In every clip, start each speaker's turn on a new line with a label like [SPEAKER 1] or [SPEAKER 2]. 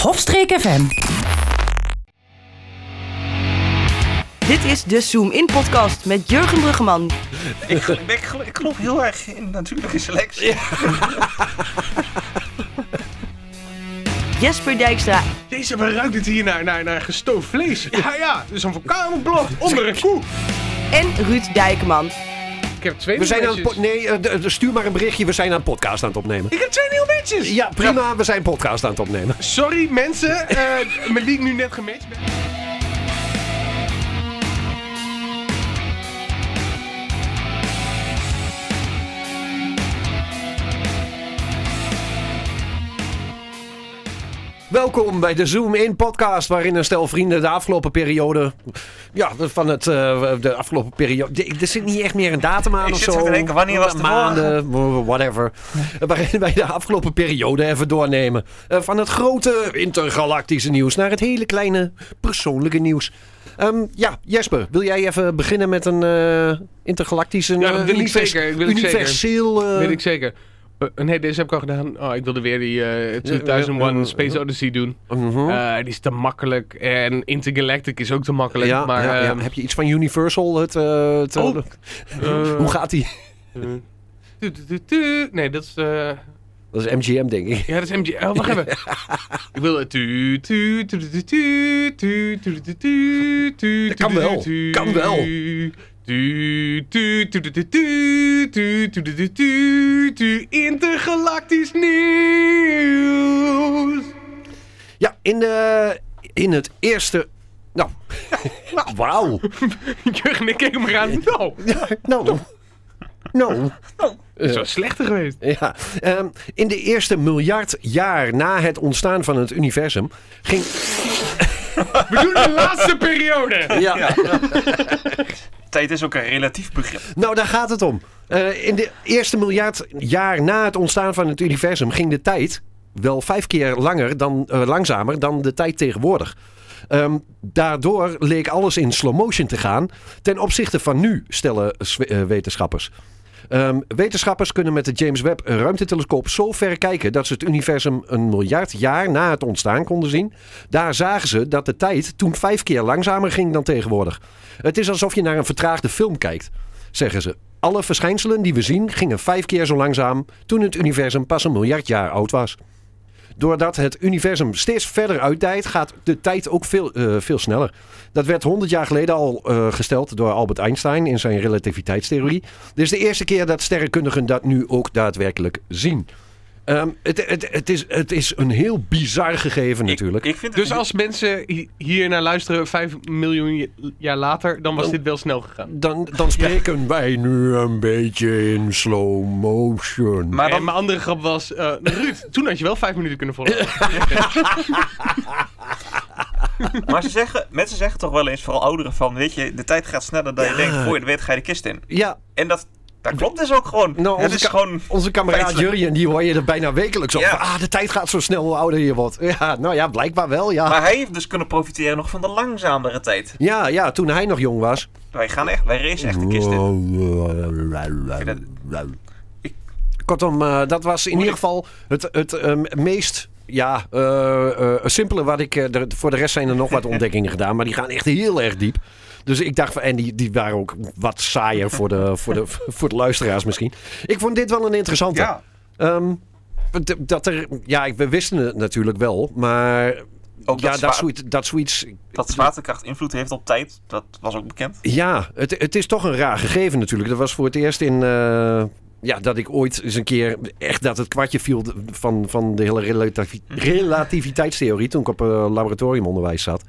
[SPEAKER 1] Hofstreek FM.
[SPEAKER 2] Dit is de Zoom In Podcast met Jurgen Bruggeman.
[SPEAKER 3] Ik, ik, ben- ik gel- ik geloof heel erg in natuurlijke selectie.
[SPEAKER 2] Jesper Dijkstra
[SPEAKER 4] Deze maar ruikt het hier naar, naar, naar gestoofd vlees.
[SPEAKER 5] Ah,
[SPEAKER 4] Ja, ja, dus een vulkaanblad onder een koe.
[SPEAKER 2] en Ruud Dijkman.
[SPEAKER 4] Ik heb twee
[SPEAKER 5] We zijn aan het
[SPEAKER 4] nieuwtjes.
[SPEAKER 5] po- nee, eh, d- d- stuur maar een berichtje. We zijn aan een podcast aan het opnemen.
[SPEAKER 4] Ik heb twee nieuwtjes.
[SPEAKER 5] Ja, prima. We zijn een podcast aan het opnemen.
[SPEAKER 4] Sorry mensen, eh met wie ik nu net gematcht ben.
[SPEAKER 5] Welkom bij de Zoom In podcast, waarin een stel vrienden de afgelopen periode, ja, van het eh, de afgelopen periode, de- er zit niet echt meer een datum aan
[SPEAKER 3] Ik
[SPEAKER 5] of
[SPEAKER 3] zit
[SPEAKER 5] zo.
[SPEAKER 3] te denken, wanneer was de
[SPEAKER 5] maanden, w- whatever. Eh, Waarin wij de afgelopen periode even doornemen Eh, van het grote intergalactische nieuws naar het hele kleine persoonlijke nieuws. Ehm, ja, Jesper, wil jij even beginnen met een eh, intergalactische,
[SPEAKER 4] Ja, dat
[SPEAKER 5] eh,
[SPEAKER 4] wil ik
[SPEAKER 5] univers-
[SPEAKER 4] zeker, wil ik zeker.
[SPEAKER 5] universeel? eh,
[SPEAKER 4] Weet ik zeker. Eh, nee, deze heb ik al gedaan. Oh, ik wilde weer die eh, 2001 Space Odyssey doen.
[SPEAKER 5] mhm.
[SPEAKER 4] Eh, die is te makkelijk. En Intergalactic is ook te makkelijk.
[SPEAKER 5] ja,
[SPEAKER 4] maar
[SPEAKER 5] ja, ja.
[SPEAKER 4] ehm,
[SPEAKER 5] heb je iets van Universal? Het, eh, het-
[SPEAKER 4] Oh. eh,
[SPEAKER 5] Hoe gaat die?
[SPEAKER 4] tu- tu- tu- tu. Nee, dat is... eh,
[SPEAKER 5] Dat is MGM, denk ik.
[SPEAKER 4] Ja, dat is MG. Oh, wacht even. ik wil het. Tu, tu, tu, tu, tu, tu, tu, tu, tu, tu, tu,
[SPEAKER 5] Dat kan
[SPEAKER 4] tu, tu,
[SPEAKER 5] wel.
[SPEAKER 4] tu,
[SPEAKER 5] Kan wel.
[SPEAKER 4] Tu, tu, tu, tu, tu, tu, tu, tu, tu, tu, tu, tu. Intergalactisch nieuws.
[SPEAKER 5] Ja, in, de, in het eerste. Nou. Wauw.
[SPEAKER 4] Jurgen, ik keek hem aan. Nou,
[SPEAKER 5] Nou. Nou.
[SPEAKER 4] dat is wel slechter geweest.
[SPEAKER 5] Ja. Ehm, in de eerste miljard jaar na het ontstaan van het universum. ging.
[SPEAKER 4] We doen de laatste periode.
[SPEAKER 5] Ja.
[SPEAKER 3] Tijd is ook een relatief begrip.
[SPEAKER 5] Nou, daar gaat het om. Eh, in de eerste miljard jaar na het ontstaan van het universum ging de tijd wel vijf keer langer dan, eh, langzamer dan de tijd tegenwoordig. Ehm, daardoor leek alles in slow motion te gaan ten opzichte van nu, stellen s- eh, wetenschappers. Ehm, wetenschappers kunnen met de James Webb ruimtetelescoop zo ver kijken dat ze het universum een miljard jaar na het ontstaan konden zien. Daar zagen ze dat de tijd toen vijf keer langzamer ging dan tegenwoordig. Het is alsof je naar een vertraagde film kijkt, zeggen ze. Alle verschijnselen die we zien gingen vijf keer zo langzaam toen het universum pas een miljard jaar oud was. Doordat het universum steeds verder uitdijt, gaat de tijd ook veel, eh, veel sneller. Dat werd 100 jaar geleden al eh, gesteld door Albert Einstein in zijn relativiteitstheorie. Dit is de eerste keer dat sterrenkundigen dat nu ook daadwerkelijk zien. Ehm, het, het, het, is, het is een heel bizar gegeven natuurlijk.
[SPEAKER 3] Ik, ik vind het
[SPEAKER 4] Dus als mensen hi- hier naar luisteren, 5 miljoen jaar later, dan
[SPEAKER 3] Oh.
[SPEAKER 4] was dit wel snel gegaan.
[SPEAKER 5] Dan, dan spreken wij nu een beetje in slow motion.
[SPEAKER 3] Maar
[SPEAKER 4] en
[SPEAKER 3] dan,
[SPEAKER 4] mijn andere grap was, eh, Ruud, toen had je wel vijf minuten kunnen volgen.
[SPEAKER 3] maar ze zeggen, mensen zeggen toch wel eens, vooral ouderen, van weet je, de tijd gaat sneller dan je denkt. Voor je het weet ga je de kist in.
[SPEAKER 5] ja,
[SPEAKER 3] En dat, dat klopt dus ook gewoon.
[SPEAKER 5] Nou,
[SPEAKER 3] het
[SPEAKER 5] onze,
[SPEAKER 3] is
[SPEAKER 5] ka-
[SPEAKER 3] gewoon...
[SPEAKER 5] onze kameraad
[SPEAKER 3] feitelijk.
[SPEAKER 5] Jurjen, die hoor je er bijna wekelijks op.
[SPEAKER 3] Ja.
[SPEAKER 5] Ah, de tijd gaat zo snel hoe ouder je wordt. Ja, nou ja, blijkbaar wel, ja.
[SPEAKER 3] Maar hij heeft dus kunnen profiteren nog van de langzamere tijd.
[SPEAKER 5] Ja, ja, toen hij nog jong was.
[SPEAKER 3] Wij gaan echt, wij racen echt de kist in.
[SPEAKER 5] Kortom, eh, dat was in ieder geval het, het ehm, meest ja, eh, eh, simpele wat ik... eh, er- voor de rest zijn er nog wat ontdekkingen gedaan, maar die gaan echt heel erg diep. Dus ik dacht, van- en die, die waren ook wat saaier voor de, voor, de, voor de luisteraars misschien. Ik vond dit wel een interessante.
[SPEAKER 3] Ja,
[SPEAKER 5] Ehm, d- dat er, ja, ik- we wisten het natuurlijk wel, maar
[SPEAKER 3] ook
[SPEAKER 5] ja,
[SPEAKER 3] dat,
[SPEAKER 5] dat,
[SPEAKER 3] zwa-
[SPEAKER 5] zoiets, dat zoiets.
[SPEAKER 3] dat zwaartekracht invloed heeft op tijd, dat was ook bekend.
[SPEAKER 5] Ja, het, het is toch een raar gegeven natuurlijk. Dat was voor het eerst in. eh, ja, dat ik ooit eens een keer echt dat het kwartje viel van, van de hele relativi- relativiteitstheorie. toen ik op eh, laboratoriumonderwijs zat.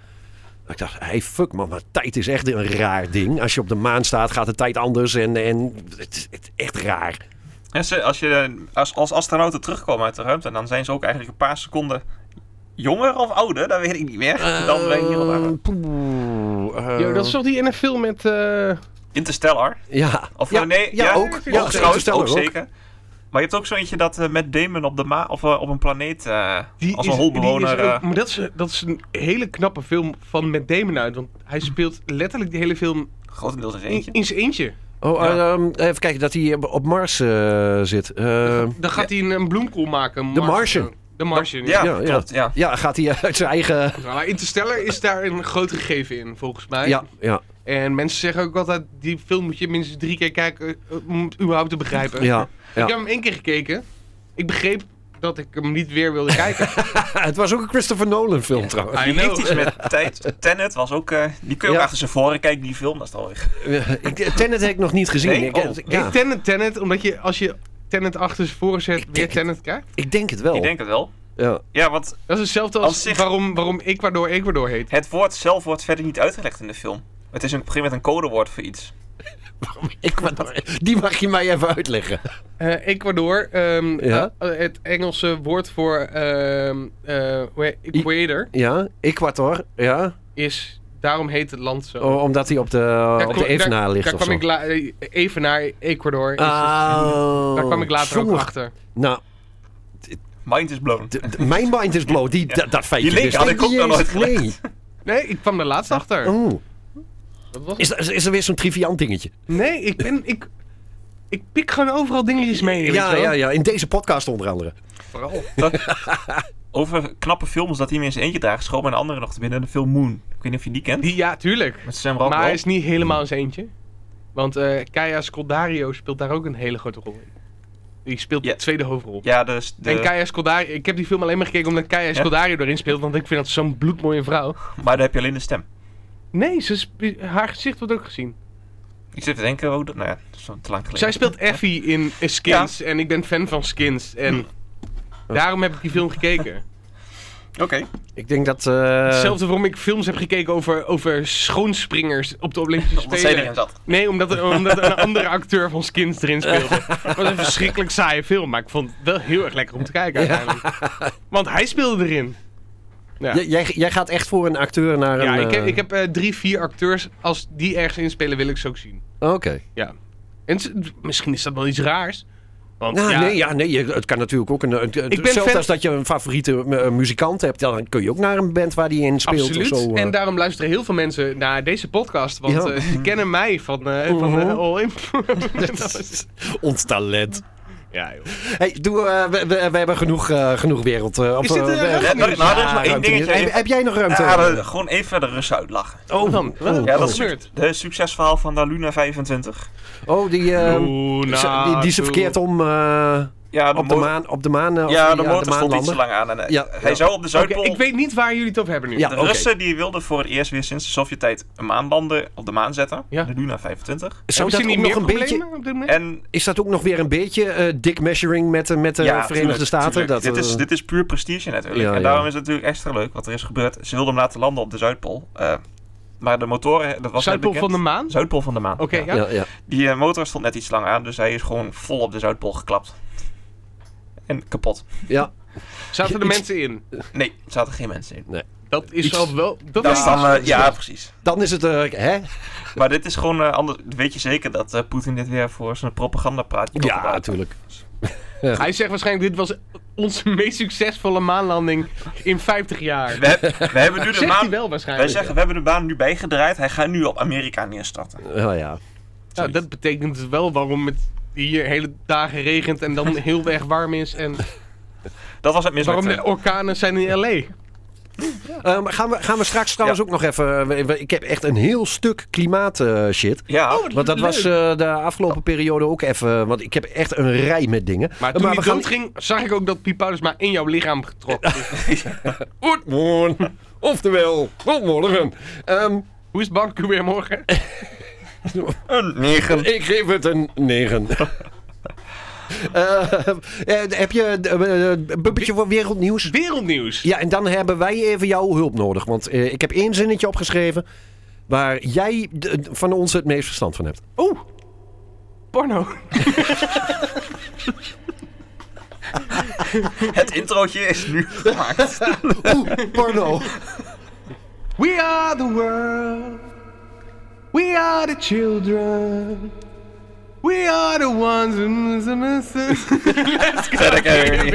[SPEAKER 5] Ik dacht, hey fuck man, maar tijd is echt een raar ding. Als je op de maan staat, gaat de tijd anders en, en het is het is echt raar.
[SPEAKER 3] En ze, als, je, eh, als, als astronauten terugkomen uit de ruimte, dan zijn ze ook eigenlijk een paar seconden jonger of ouder, dat weet ik niet meer. dan ben je hier op aarde.
[SPEAKER 5] Poeh, eh,
[SPEAKER 4] Yo, dat is toch die ene film met... eh,
[SPEAKER 3] Interstellar.
[SPEAKER 5] ja.
[SPEAKER 3] Of eh,
[SPEAKER 5] ja,
[SPEAKER 3] nee,
[SPEAKER 5] ja,
[SPEAKER 3] ja,
[SPEAKER 5] ook.
[SPEAKER 3] Ook,
[SPEAKER 5] Ja,
[SPEAKER 3] trouwens,
[SPEAKER 5] Interstellar
[SPEAKER 3] ook
[SPEAKER 5] ook.
[SPEAKER 3] zeker. Maar je hebt ook zo eentje dat eh met Damon op, de ma of, eh, op een planeet eh,
[SPEAKER 4] die
[SPEAKER 3] als
[SPEAKER 4] is-
[SPEAKER 3] een holbewoner.
[SPEAKER 4] die is ook-
[SPEAKER 3] eh,
[SPEAKER 4] maar dat is, dat is een hele knappe film van met Damon uit. Want hij speelt letterlijk de hele film
[SPEAKER 3] grotendeels
[SPEAKER 5] Mm.
[SPEAKER 3] in
[SPEAKER 4] in,
[SPEAKER 3] eentje.
[SPEAKER 4] in zijn eentje.
[SPEAKER 5] Oh,
[SPEAKER 3] Ja.
[SPEAKER 5] eh, ehm, even kijken, dat hij op Mars eh, zit. Eh,
[SPEAKER 4] Dan gaat hij een, een bloemkool maken.
[SPEAKER 5] Martian.
[SPEAKER 4] De De Martian.
[SPEAKER 3] Ja,
[SPEAKER 5] Ja, ja.
[SPEAKER 3] klopt. Ja.
[SPEAKER 5] Ja, gaat hij uit zijn eigen...
[SPEAKER 4] Maar Interstellar is daar een groot gegeven in, volgens mij.
[SPEAKER 5] Ja, ja,
[SPEAKER 4] En mensen zeggen ook altijd, die film moet je minstens drie keer kijken eh, om het überhaupt te begrijpen.
[SPEAKER 5] ja.
[SPEAKER 4] Ik heb hem één keer gekeken. Ik begreep dat ik hem niet weer wilde kijken.
[SPEAKER 5] Het was ook een Christopher Nolan film trouwens.
[SPEAKER 4] I
[SPEAKER 3] Die heeft
[SPEAKER 4] know.
[SPEAKER 3] iets met tijd. Tenet was ook... eh, die kun je
[SPEAKER 5] Ja.
[SPEAKER 3] ook achter zijn voren kijken, die film. Dat is dan weer...
[SPEAKER 5] Eh, Ik- Tenet heb ik nog niet gezien.
[SPEAKER 3] Nee?
[SPEAKER 5] Ik,
[SPEAKER 3] Oh.
[SPEAKER 5] ik- ja,
[SPEAKER 4] Ik Tenet, Tenet, omdat je als je Tenet achter ze voor zet, weer
[SPEAKER 5] denk het.
[SPEAKER 4] Tenet krijgt.
[SPEAKER 5] ik denk het wel.
[SPEAKER 3] Ik denk het wel.
[SPEAKER 5] Ja.
[SPEAKER 3] Ja, want
[SPEAKER 4] Dat is hetzelfde
[SPEAKER 3] Als
[SPEAKER 4] als
[SPEAKER 3] zich-
[SPEAKER 4] waarom, waarom Ecuador Ecuador heet.
[SPEAKER 3] het woord zelf wordt verder niet uitgelegd in de film. Het is een- op een gegeven moment een codewoord voor iets.
[SPEAKER 5] Ik- die mag je mij even uitleggen.
[SPEAKER 4] Eh, Ecuador, ehm,
[SPEAKER 5] Ja?
[SPEAKER 4] eh, het Engelse woord voor ehm eh, hoe heet- equator
[SPEAKER 5] Ja, Equator. Ja,
[SPEAKER 4] is, daarom heet het land zo.
[SPEAKER 5] O- omdat hij op de,
[SPEAKER 4] Daar
[SPEAKER 5] op
[SPEAKER 4] kom-
[SPEAKER 5] de evenaar
[SPEAKER 4] daar-
[SPEAKER 5] ligt
[SPEAKER 4] Daar
[SPEAKER 5] of
[SPEAKER 4] kwam
[SPEAKER 5] zo.
[SPEAKER 4] ik la- eh, evenaar, Ecuador. is het.
[SPEAKER 5] Oh,
[SPEAKER 4] daar kwam ik later ook
[SPEAKER 5] jongen.
[SPEAKER 4] achter.
[SPEAKER 5] Nou,
[SPEAKER 3] Mind is blown.
[SPEAKER 5] d- d- mijn mind is bloot. Die, dat- Dat feitje
[SPEAKER 3] Die link
[SPEAKER 5] wist
[SPEAKER 3] had ik ook nog nooit
[SPEAKER 5] Nee.
[SPEAKER 4] Nee, ik kwam er laatst achter.
[SPEAKER 5] Oeh.
[SPEAKER 4] Dat was
[SPEAKER 5] Oh. Is, er- is er weer zo'n triviant dingetje?
[SPEAKER 4] Nee, ik ben... Ik, ik pik gewoon overal dingetjes mee. weet
[SPEAKER 5] Ja,
[SPEAKER 4] je wel.
[SPEAKER 5] ja, ja, in deze podcast onder andere.
[SPEAKER 4] Vooral.
[SPEAKER 3] Over knappe films dat hij me in zijn eentje draagt, schoon mijn andere nog te binnen. De film Moon. Ik weet niet of je die kent.
[SPEAKER 4] Die, ja, tuurlijk.
[SPEAKER 3] Met Sam
[SPEAKER 4] Maar
[SPEAKER 3] Rockwell.
[SPEAKER 4] hij is niet helemaal eens eentje. Want eh Kaya Scoldario speelt daar ook een hele grote rol in. Die speelt
[SPEAKER 3] Ja.
[SPEAKER 4] de tweede hoofdrol.
[SPEAKER 3] Ja, dus de,
[SPEAKER 4] En Kaya Scoldario... Ik heb die film alleen maar gekeken omdat Kaya Scoldario erin speelt. Want ik vind dat zo'n bloedmooie vrouw.
[SPEAKER 3] maar daar heb je alleen de stem.
[SPEAKER 4] Nee, ze spe- haar gezicht wordt ook gezien.
[SPEAKER 3] Ik zit te denken, oh, dat, nou ja, dat is wel te lang geleden.
[SPEAKER 4] Zij speelt Effie in eh, Skins. En ik ben fan van Skins. En
[SPEAKER 3] Hm.
[SPEAKER 4] daarom heb ik die film gekeken.
[SPEAKER 3] Oké.
[SPEAKER 5] Ik denk dat... eh,
[SPEAKER 4] Hetzelfde waarom ik films heb gekeken over, over schoonspringers op de Olympische
[SPEAKER 3] Omdat zij
[SPEAKER 4] Spelen.
[SPEAKER 3] erin zat.
[SPEAKER 4] Nee, omdat, er- omdat er een andere acteur van Skins erin speelde. Het was een verschrikkelijk saaie film, maar ik vond het wel heel erg lekker om te kijken uiteindelijk. Want hij speelde erin. Ja,
[SPEAKER 5] J- jij, jij gaat echt voor een acteur naar
[SPEAKER 4] ja
[SPEAKER 5] een...
[SPEAKER 4] ik heb,
[SPEAKER 5] eh,
[SPEAKER 4] ik heb eh, drie, vier acteurs. Als die ergens inspelen, wil ik ze ook zien.
[SPEAKER 5] Oh, Oké.
[SPEAKER 4] Ja. En het- misschien is dat wel iets raars. Want
[SPEAKER 5] Nou,
[SPEAKER 4] ja,
[SPEAKER 5] nee, ja, nee, je- het kan natuurlijk ook een... een-
[SPEAKER 4] ben
[SPEAKER 5] hetzelfde
[SPEAKER 4] fan-
[SPEAKER 5] als dat je een favoriete eh, muzikant hebt, dan kun je ook naar een band waar die in speelt
[SPEAKER 4] absoluut.
[SPEAKER 5] of zo. eh.
[SPEAKER 4] En daarom luisteren heel veel mensen naar deze podcast. Want
[SPEAKER 5] Ja.
[SPEAKER 4] eh, ze kennen mij van, eh van eh,
[SPEAKER 5] Mhm.
[SPEAKER 4] All In.
[SPEAKER 5] Ons talent.
[SPEAKER 4] ja, joh.
[SPEAKER 5] Hey, doe, eh, we, we, we hebben genoeg, eh, genoeg wereld. eh, of,
[SPEAKER 4] dit,
[SPEAKER 5] eh, we-
[SPEAKER 4] eh,
[SPEAKER 5] Ah,
[SPEAKER 4] ruimte?
[SPEAKER 3] Ja, nou, nou, er is maar één
[SPEAKER 5] ruimte
[SPEAKER 3] dingetje.
[SPEAKER 5] in. Heb, heb jij nog ruimte?
[SPEAKER 3] Ja, dat- gewoon even de Russen uitlachen.
[SPEAKER 4] Oh, dan. Wat
[SPEAKER 5] oh,
[SPEAKER 4] ja,
[SPEAKER 3] Ja,
[SPEAKER 4] dat
[SPEAKER 3] dat
[SPEAKER 4] is
[SPEAKER 3] is-
[SPEAKER 4] gebeurd.
[SPEAKER 3] De succesverhaal van de Luna 25.
[SPEAKER 5] oh, die, eh, ze-
[SPEAKER 4] nou,
[SPEAKER 5] die, die ze verkeerd om eh,
[SPEAKER 3] Ja,
[SPEAKER 5] op, de
[SPEAKER 3] mo-
[SPEAKER 5] maan, op de maan. eh, of
[SPEAKER 3] Ja,
[SPEAKER 5] die,
[SPEAKER 3] de
[SPEAKER 5] eh,
[SPEAKER 3] motor stond iets
[SPEAKER 5] maanlander.
[SPEAKER 3] te lang aan. En, eh,
[SPEAKER 5] Ja,
[SPEAKER 3] hij
[SPEAKER 5] ja.
[SPEAKER 3] zou op de
[SPEAKER 4] Oké,
[SPEAKER 3] Zuidpool...
[SPEAKER 4] ik weet niet waar jullie het over hebben nu.
[SPEAKER 5] Ja.
[SPEAKER 3] De
[SPEAKER 5] oké.
[SPEAKER 3] Russen die wilden voor het eerst weer sinds de Sovjet-tijd een maanlander op de maan zetten.
[SPEAKER 4] Ja.
[SPEAKER 3] De Luna 25.
[SPEAKER 5] Zou
[SPEAKER 4] Hebben
[SPEAKER 5] dat
[SPEAKER 4] ze niet
[SPEAKER 5] ook nog
[SPEAKER 4] meer
[SPEAKER 5] een beetje,
[SPEAKER 4] problemen op dit moment?
[SPEAKER 3] En
[SPEAKER 5] is dat ook nog weer een beetje eh dick measuring met, de- met de Verenigde
[SPEAKER 3] tuurlijk,
[SPEAKER 5] Staten?
[SPEAKER 3] tuurlijk.
[SPEAKER 5] Dat,
[SPEAKER 3] dit, is,
[SPEAKER 5] eh,
[SPEAKER 3] dit is puur prestige natuurlijk.
[SPEAKER 5] Ja,
[SPEAKER 3] en
[SPEAKER 5] ja.
[SPEAKER 3] daarom is het natuurlijk extra leuk wat er is gebeurd. Ze wilden hem laten landen op de Zuidpool. eh, maar de motoren... Dat was net
[SPEAKER 4] Zuidpool van
[SPEAKER 3] bekend.
[SPEAKER 4] de maan? Oké,
[SPEAKER 3] Zuidpool van de maan. ja.
[SPEAKER 4] ja.
[SPEAKER 5] ja, ja.
[SPEAKER 3] Die eh, motor stond net iets lang aan, dus hij is gewoon vol op de Zuidpool geklapt. En kapot.
[SPEAKER 5] ja.
[SPEAKER 4] Zaten er
[SPEAKER 5] Iets-
[SPEAKER 4] mensen in?
[SPEAKER 3] Nee, er zaten geen mensen in.
[SPEAKER 4] Dat is
[SPEAKER 5] Iets-
[SPEAKER 4] wel wel... Dat
[SPEAKER 3] Dat
[SPEAKER 4] is
[SPEAKER 3] is dan, eh, ja, precies.
[SPEAKER 5] Dan is het... eh, hè?
[SPEAKER 3] Maar dit is gewoon eh, anders. Weet je zeker dat eh, Poetin dit weer voor zijn propagandapraatje wil
[SPEAKER 5] Ja,
[SPEAKER 3] gebruiken?
[SPEAKER 5] natuurlijk.
[SPEAKER 4] Hij zegt waarschijnlijk, dit was onze meest succesvolle maanlanding in 50 jaar.
[SPEAKER 3] We, heb- we hebben nu de
[SPEAKER 4] Zegt hij
[SPEAKER 3] maan.
[SPEAKER 4] wel
[SPEAKER 3] Wij
[SPEAKER 4] waarschijnlijk.
[SPEAKER 3] zeggen, we hebben de baan nu bijgedraaid. Hij gaat nu op Amerika neerstarten.
[SPEAKER 5] Ja, ja.
[SPEAKER 4] Nou, dat betekent dus wel waarom het hier hele dagen regent en dan heel erg warm is. En
[SPEAKER 3] Dat was het mis
[SPEAKER 4] waarom
[SPEAKER 3] met,
[SPEAKER 4] de
[SPEAKER 3] eh,
[SPEAKER 4] orkanen zijn in L.A.
[SPEAKER 5] Ehm, gaan, we, gaan we straks trouwens ook nog even... eh, we- we- Ik heb echt een heel stuk klimaat eh, shit.
[SPEAKER 3] Ja,
[SPEAKER 5] Want dat
[SPEAKER 4] Leuk.
[SPEAKER 5] was eh, de afgelopen periode ook even. Want ik heb echt een rij met dingen. Eh,
[SPEAKER 4] Maar toen
[SPEAKER 5] we
[SPEAKER 4] hij
[SPEAKER 5] gaan.
[SPEAKER 4] doodging, zag ik ook dat Pipouders maar in jouw lichaam getrokken is.
[SPEAKER 5] Morgen. Oftewel, tot morgen. Ehm,
[SPEAKER 4] Hoe is Banku weer morgen?
[SPEAKER 3] een negen.
[SPEAKER 5] ik geef het een 9. heb je eh, eh, een bubbetje voor wereldnieuws?
[SPEAKER 4] Wereldnieuws.
[SPEAKER 5] Ja, en dan hebben wij even jouw hulp nodig. Want eh, ik heb één zinnetje opgeschreven. Waar jij de- van ons het meest verstand van hebt.
[SPEAKER 4] Oeh, porno.
[SPEAKER 3] Het introotje is nu gemaakt.
[SPEAKER 5] Oeh, porno.
[SPEAKER 4] We are the world. We are the children. We are the ones who...
[SPEAKER 3] Zet ik er weer in.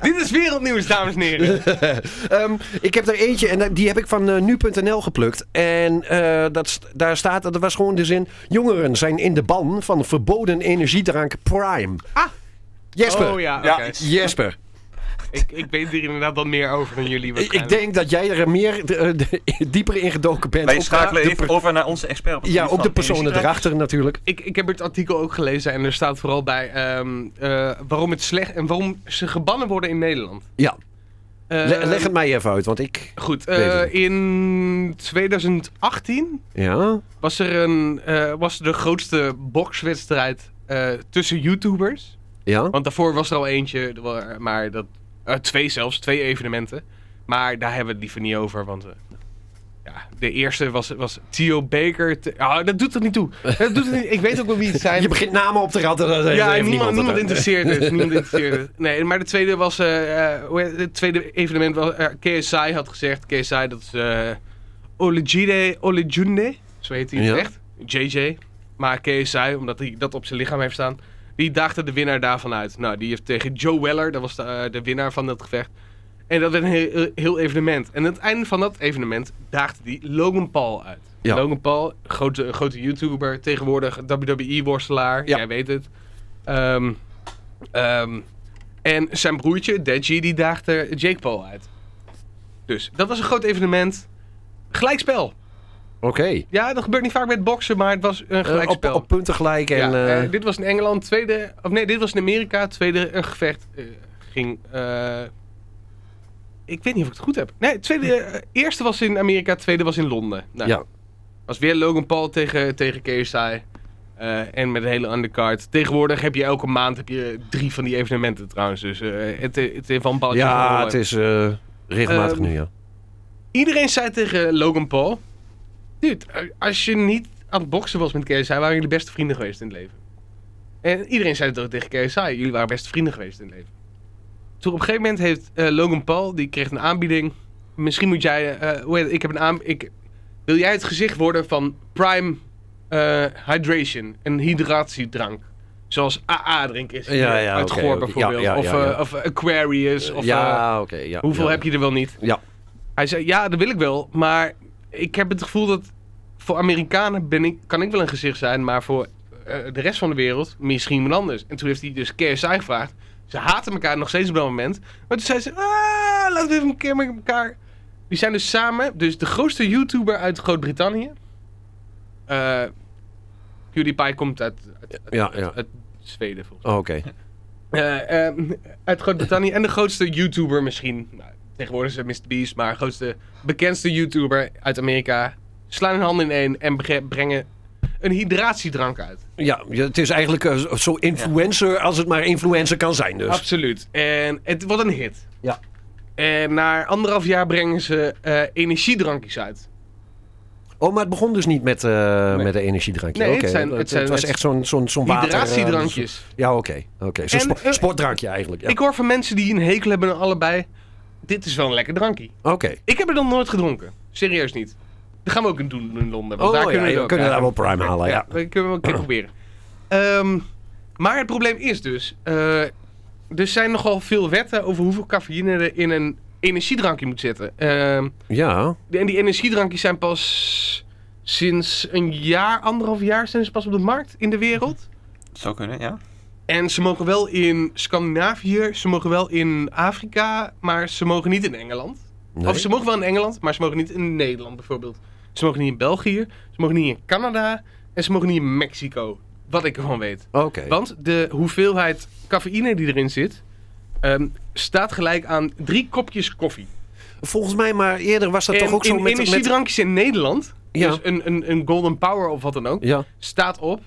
[SPEAKER 4] Dit is wereldnieuws, dames en heren.
[SPEAKER 5] Ehm, ik heb er eentje en die heb ik van eh, nu.nl geplukt. En eh, dat, st- daar staat, dat was gewoon de zin... Jongeren zijn in de ban van verboden energiedrank Prime.
[SPEAKER 4] Ah.
[SPEAKER 5] Jesper.
[SPEAKER 4] Oh ja, oké.
[SPEAKER 3] Ja.
[SPEAKER 5] Jesper.
[SPEAKER 4] Ik, ik weet er inderdaad wat meer over dan jullie.
[SPEAKER 5] Ik- Ik
[SPEAKER 4] waarschijnlijk.
[SPEAKER 5] denk dat jij er meer eh, de- dieper in gedoken bent.
[SPEAKER 3] Wij
[SPEAKER 5] Op
[SPEAKER 3] schakelen
[SPEAKER 5] de
[SPEAKER 3] even
[SPEAKER 5] per-
[SPEAKER 3] over naar onze expert. op het
[SPEAKER 5] Ja,
[SPEAKER 3] gebied
[SPEAKER 5] op de
[SPEAKER 3] van
[SPEAKER 5] personen
[SPEAKER 3] energie.
[SPEAKER 5] erachter natuurlijk.
[SPEAKER 4] Ik, ik heb het artikel ook gelezen en er staat vooral bij ehm, eh, waarom het slecht en waarom ze gebannen worden in Nederland.
[SPEAKER 5] Ja,
[SPEAKER 4] Eh,
[SPEAKER 5] le- leg het mij even uit, want ik...
[SPEAKER 4] Goed,
[SPEAKER 5] Weet het
[SPEAKER 4] eh, in 2018
[SPEAKER 5] Ja?
[SPEAKER 4] was er een, eh, was de grootste bokswedstrijd eh, tussen YouTubers.
[SPEAKER 5] Ja?
[SPEAKER 4] Want daarvoor was er al eentje, wa- maar dat, eh, twee zelfs, twee evenementen. Maar daar hebben we het liever niet over, want eh, ja, de eerste was, was Theo Baker. te- Ah, dat doet er niet toe. Dat doet er niet, ik weet ook wel wie het zijn.
[SPEAKER 5] Je begint namen op te ratten. dat- dat-
[SPEAKER 4] Ja,
[SPEAKER 5] heeft
[SPEAKER 4] niemand, niemand,
[SPEAKER 5] het, eh.
[SPEAKER 4] interesseert het. niemand interesseert het. Nee, maar de tweede was, eh, eh, hoe heet het Het tweede evenement was, eh, KSI had gezegd, KSI dat is eh Olejide, Olejunde, zo heet hij
[SPEAKER 5] Ja.
[SPEAKER 4] het echt, JJ. Maar KSI, omdat hij dat op zijn lichaam heeft staan, die daagde de winnaar daarvan uit. Nou, die heeft tegen Joe Weller, dat was de, eh, de winnaar van dat gevecht. En dat werd een heel, eh, heel evenement. En aan het einde van dat evenement daagde die Logan Paul uit.
[SPEAKER 5] Ja.
[SPEAKER 4] Logan Paul, grote, grote YouTuber, tegenwoordig WWE-worstelaar,
[SPEAKER 5] Ja.
[SPEAKER 4] jij weet het. Ehm, ehm, en zijn broertje, Deji, die daagde Jake Paul uit. Dus dat was een groot evenement. Gelijkspel.
[SPEAKER 5] Oké.
[SPEAKER 4] Ja, dat gebeurt niet vaak met boksen, maar het was een
[SPEAKER 5] Eh, op,
[SPEAKER 4] gelijkspel.
[SPEAKER 5] op punten gelijk en...
[SPEAKER 4] ja,
[SPEAKER 5] eh,
[SPEAKER 4] eh, dit was in Engeland, tweede. Of nee, dit was in Amerika, tweede eh, gevecht eh, ging. eh, ik weet niet of ik het goed heb. Nee, tweede, eh, eerste was in Amerika, tweede was in Londen. Nou,
[SPEAKER 5] ja.
[SPEAKER 4] was weer Logan Paul tegen, tegen KSI. eh, en met een hele undercard. Tegenwoordig heb je elke maand heb je drie van die evenementen trouwens. Dus eh, het, het heeft wel een balletje van
[SPEAKER 5] ja,
[SPEAKER 4] rollen.
[SPEAKER 5] het is eh, regelmatig
[SPEAKER 4] Ehm,
[SPEAKER 5] nu, ja.
[SPEAKER 4] Iedereen zei tegen Logan Paul... Dude, eh, als je niet aan het boksen was met KSI... waren jullie beste vrienden geweest in het leven. En iedereen zei het ook tegen KSI. Jullie waren beste vrienden geweest in het leven. Toen op een gegeven moment heeft eh, Logan Paul... die kreeg een aanbieding. Misschien moet jij... eh, hoe heet het? ik heb een aan, ik, wil jij het gezicht worden van Prime eh, Hydration? Een hydratiedrank. Zoals AA drink is.
[SPEAKER 5] Ja, ja,
[SPEAKER 4] uit
[SPEAKER 5] oké,
[SPEAKER 4] Goor
[SPEAKER 5] oké. Ja,
[SPEAKER 4] bijvoorbeeld.
[SPEAKER 5] ja,
[SPEAKER 4] of,
[SPEAKER 5] ja,
[SPEAKER 4] eh,
[SPEAKER 5] ja.
[SPEAKER 4] of Aquarius. Of, eh,
[SPEAKER 5] ja, oké. ja,
[SPEAKER 4] hoeveel
[SPEAKER 5] ja.
[SPEAKER 4] heb je er wel niet?
[SPEAKER 5] Ja.
[SPEAKER 4] Hij zei, ja, dat wil ik wel, maar ik heb het gevoel dat voor Amerikanen ben ik, kan ik wel een gezicht zijn, maar voor eh, de rest van de wereld misschien wel anders. En toen heeft hij dus KSI gevraagd. Ze haten elkaar nog steeds op dat moment. Maar toen zei ze, ah, laten we even een keer met elkaar. Die zijn dus samen, dus de grootste YouTuber uit Groot-Brittannië. Eh PewDiePie komt uit, uit,
[SPEAKER 5] Ja, ja.
[SPEAKER 4] uit Zweden volgens mij.
[SPEAKER 5] Oh, Oké.
[SPEAKER 4] Eh, eh, uit Groot-Brittannië en de grootste YouTuber misschien. Nou, tegenwoordig is het Mr. Beast, maar grootste, bekendste YouTuber uit Amerika. Slaan hun handen in één en bege- brengen een hydratiedrank uit.
[SPEAKER 5] Ja, ja, het is eigenlijk eh, zo- zo influencer als het maar influencer kan zijn dus.
[SPEAKER 4] Absoluut. En het wordt een hit.
[SPEAKER 5] Ja.
[SPEAKER 4] En na anderhalf jaar brengen ze eh, energiedrankjes uit.
[SPEAKER 5] Oh, maar het begon dus niet met, eh, met een energiedrankje.
[SPEAKER 4] Nee, het
[SPEAKER 5] Oké,
[SPEAKER 4] zijn- het zijn-
[SPEAKER 5] was
[SPEAKER 4] het-
[SPEAKER 5] echt zo'n zo'n zo'n water... eh,
[SPEAKER 4] Hydratiedrankjes.
[SPEAKER 5] ja, oké. oké Zo'n
[SPEAKER 4] En,
[SPEAKER 5] spo-
[SPEAKER 4] eh,
[SPEAKER 5] sportdrankje eigenlijk. Ja.
[SPEAKER 4] Ik hoor van mensen die een hekel hebben aan allebei. Dit is wel een lekker drankje.
[SPEAKER 5] Oké.
[SPEAKER 4] Ik heb er nog nooit gedronken. Serieus niet. Dat gaan we ook doen in Londen. Want
[SPEAKER 5] Oh,
[SPEAKER 4] daar
[SPEAKER 5] ja,
[SPEAKER 4] kunnen we, het
[SPEAKER 5] ja, we
[SPEAKER 4] ook
[SPEAKER 5] kunnen
[SPEAKER 4] aan.
[SPEAKER 5] daar wel prime halen, ja.
[SPEAKER 4] Ja, dat kunnen we een keer proberen. Ehm, maar het probleem is dus... eh, er zijn nogal veel wetten over hoeveel cafeïne er in een energiedrankje moet zitten. Ehm,
[SPEAKER 5] Ja,
[SPEAKER 4] de- en die energiedrankjes zijn pas sinds een jaar, anderhalf jaar... zijn ze pas op de markt in de wereld.
[SPEAKER 3] Zou kunnen, ja.
[SPEAKER 4] En ze mogen wel in Scandinavië, ze mogen wel in Afrika... maar ze mogen niet in Engeland.
[SPEAKER 5] nee.
[SPEAKER 4] Of ze mogen wel in Engeland, maar ze mogen niet in Nederland bijvoorbeeld. Ze mogen niet in België, ze mogen niet in Canada... en ze mogen niet in Mexico. Wat ik ervan weet.
[SPEAKER 5] Oké.
[SPEAKER 4] Want de hoeveelheid cafeïne die erin zit, ehm, staat gelijk aan drie kopjes koffie.
[SPEAKER 5] Volgens mij, maar eerder was dat
[SPEAKER 4] en
[SPEAKER 5] toch ook zo
[SPEAKER 4] in
[SPEAKER 5] met... met...
[SPEAKER 4] energiedrankjes in Nederland,
[SPEAKER 5] Ja.
[SPEAKER 4] dus een, een, een Golden Power of wat dan ook,
[SPEAKER 5] Ja,
[SPEAKER 4] staat op,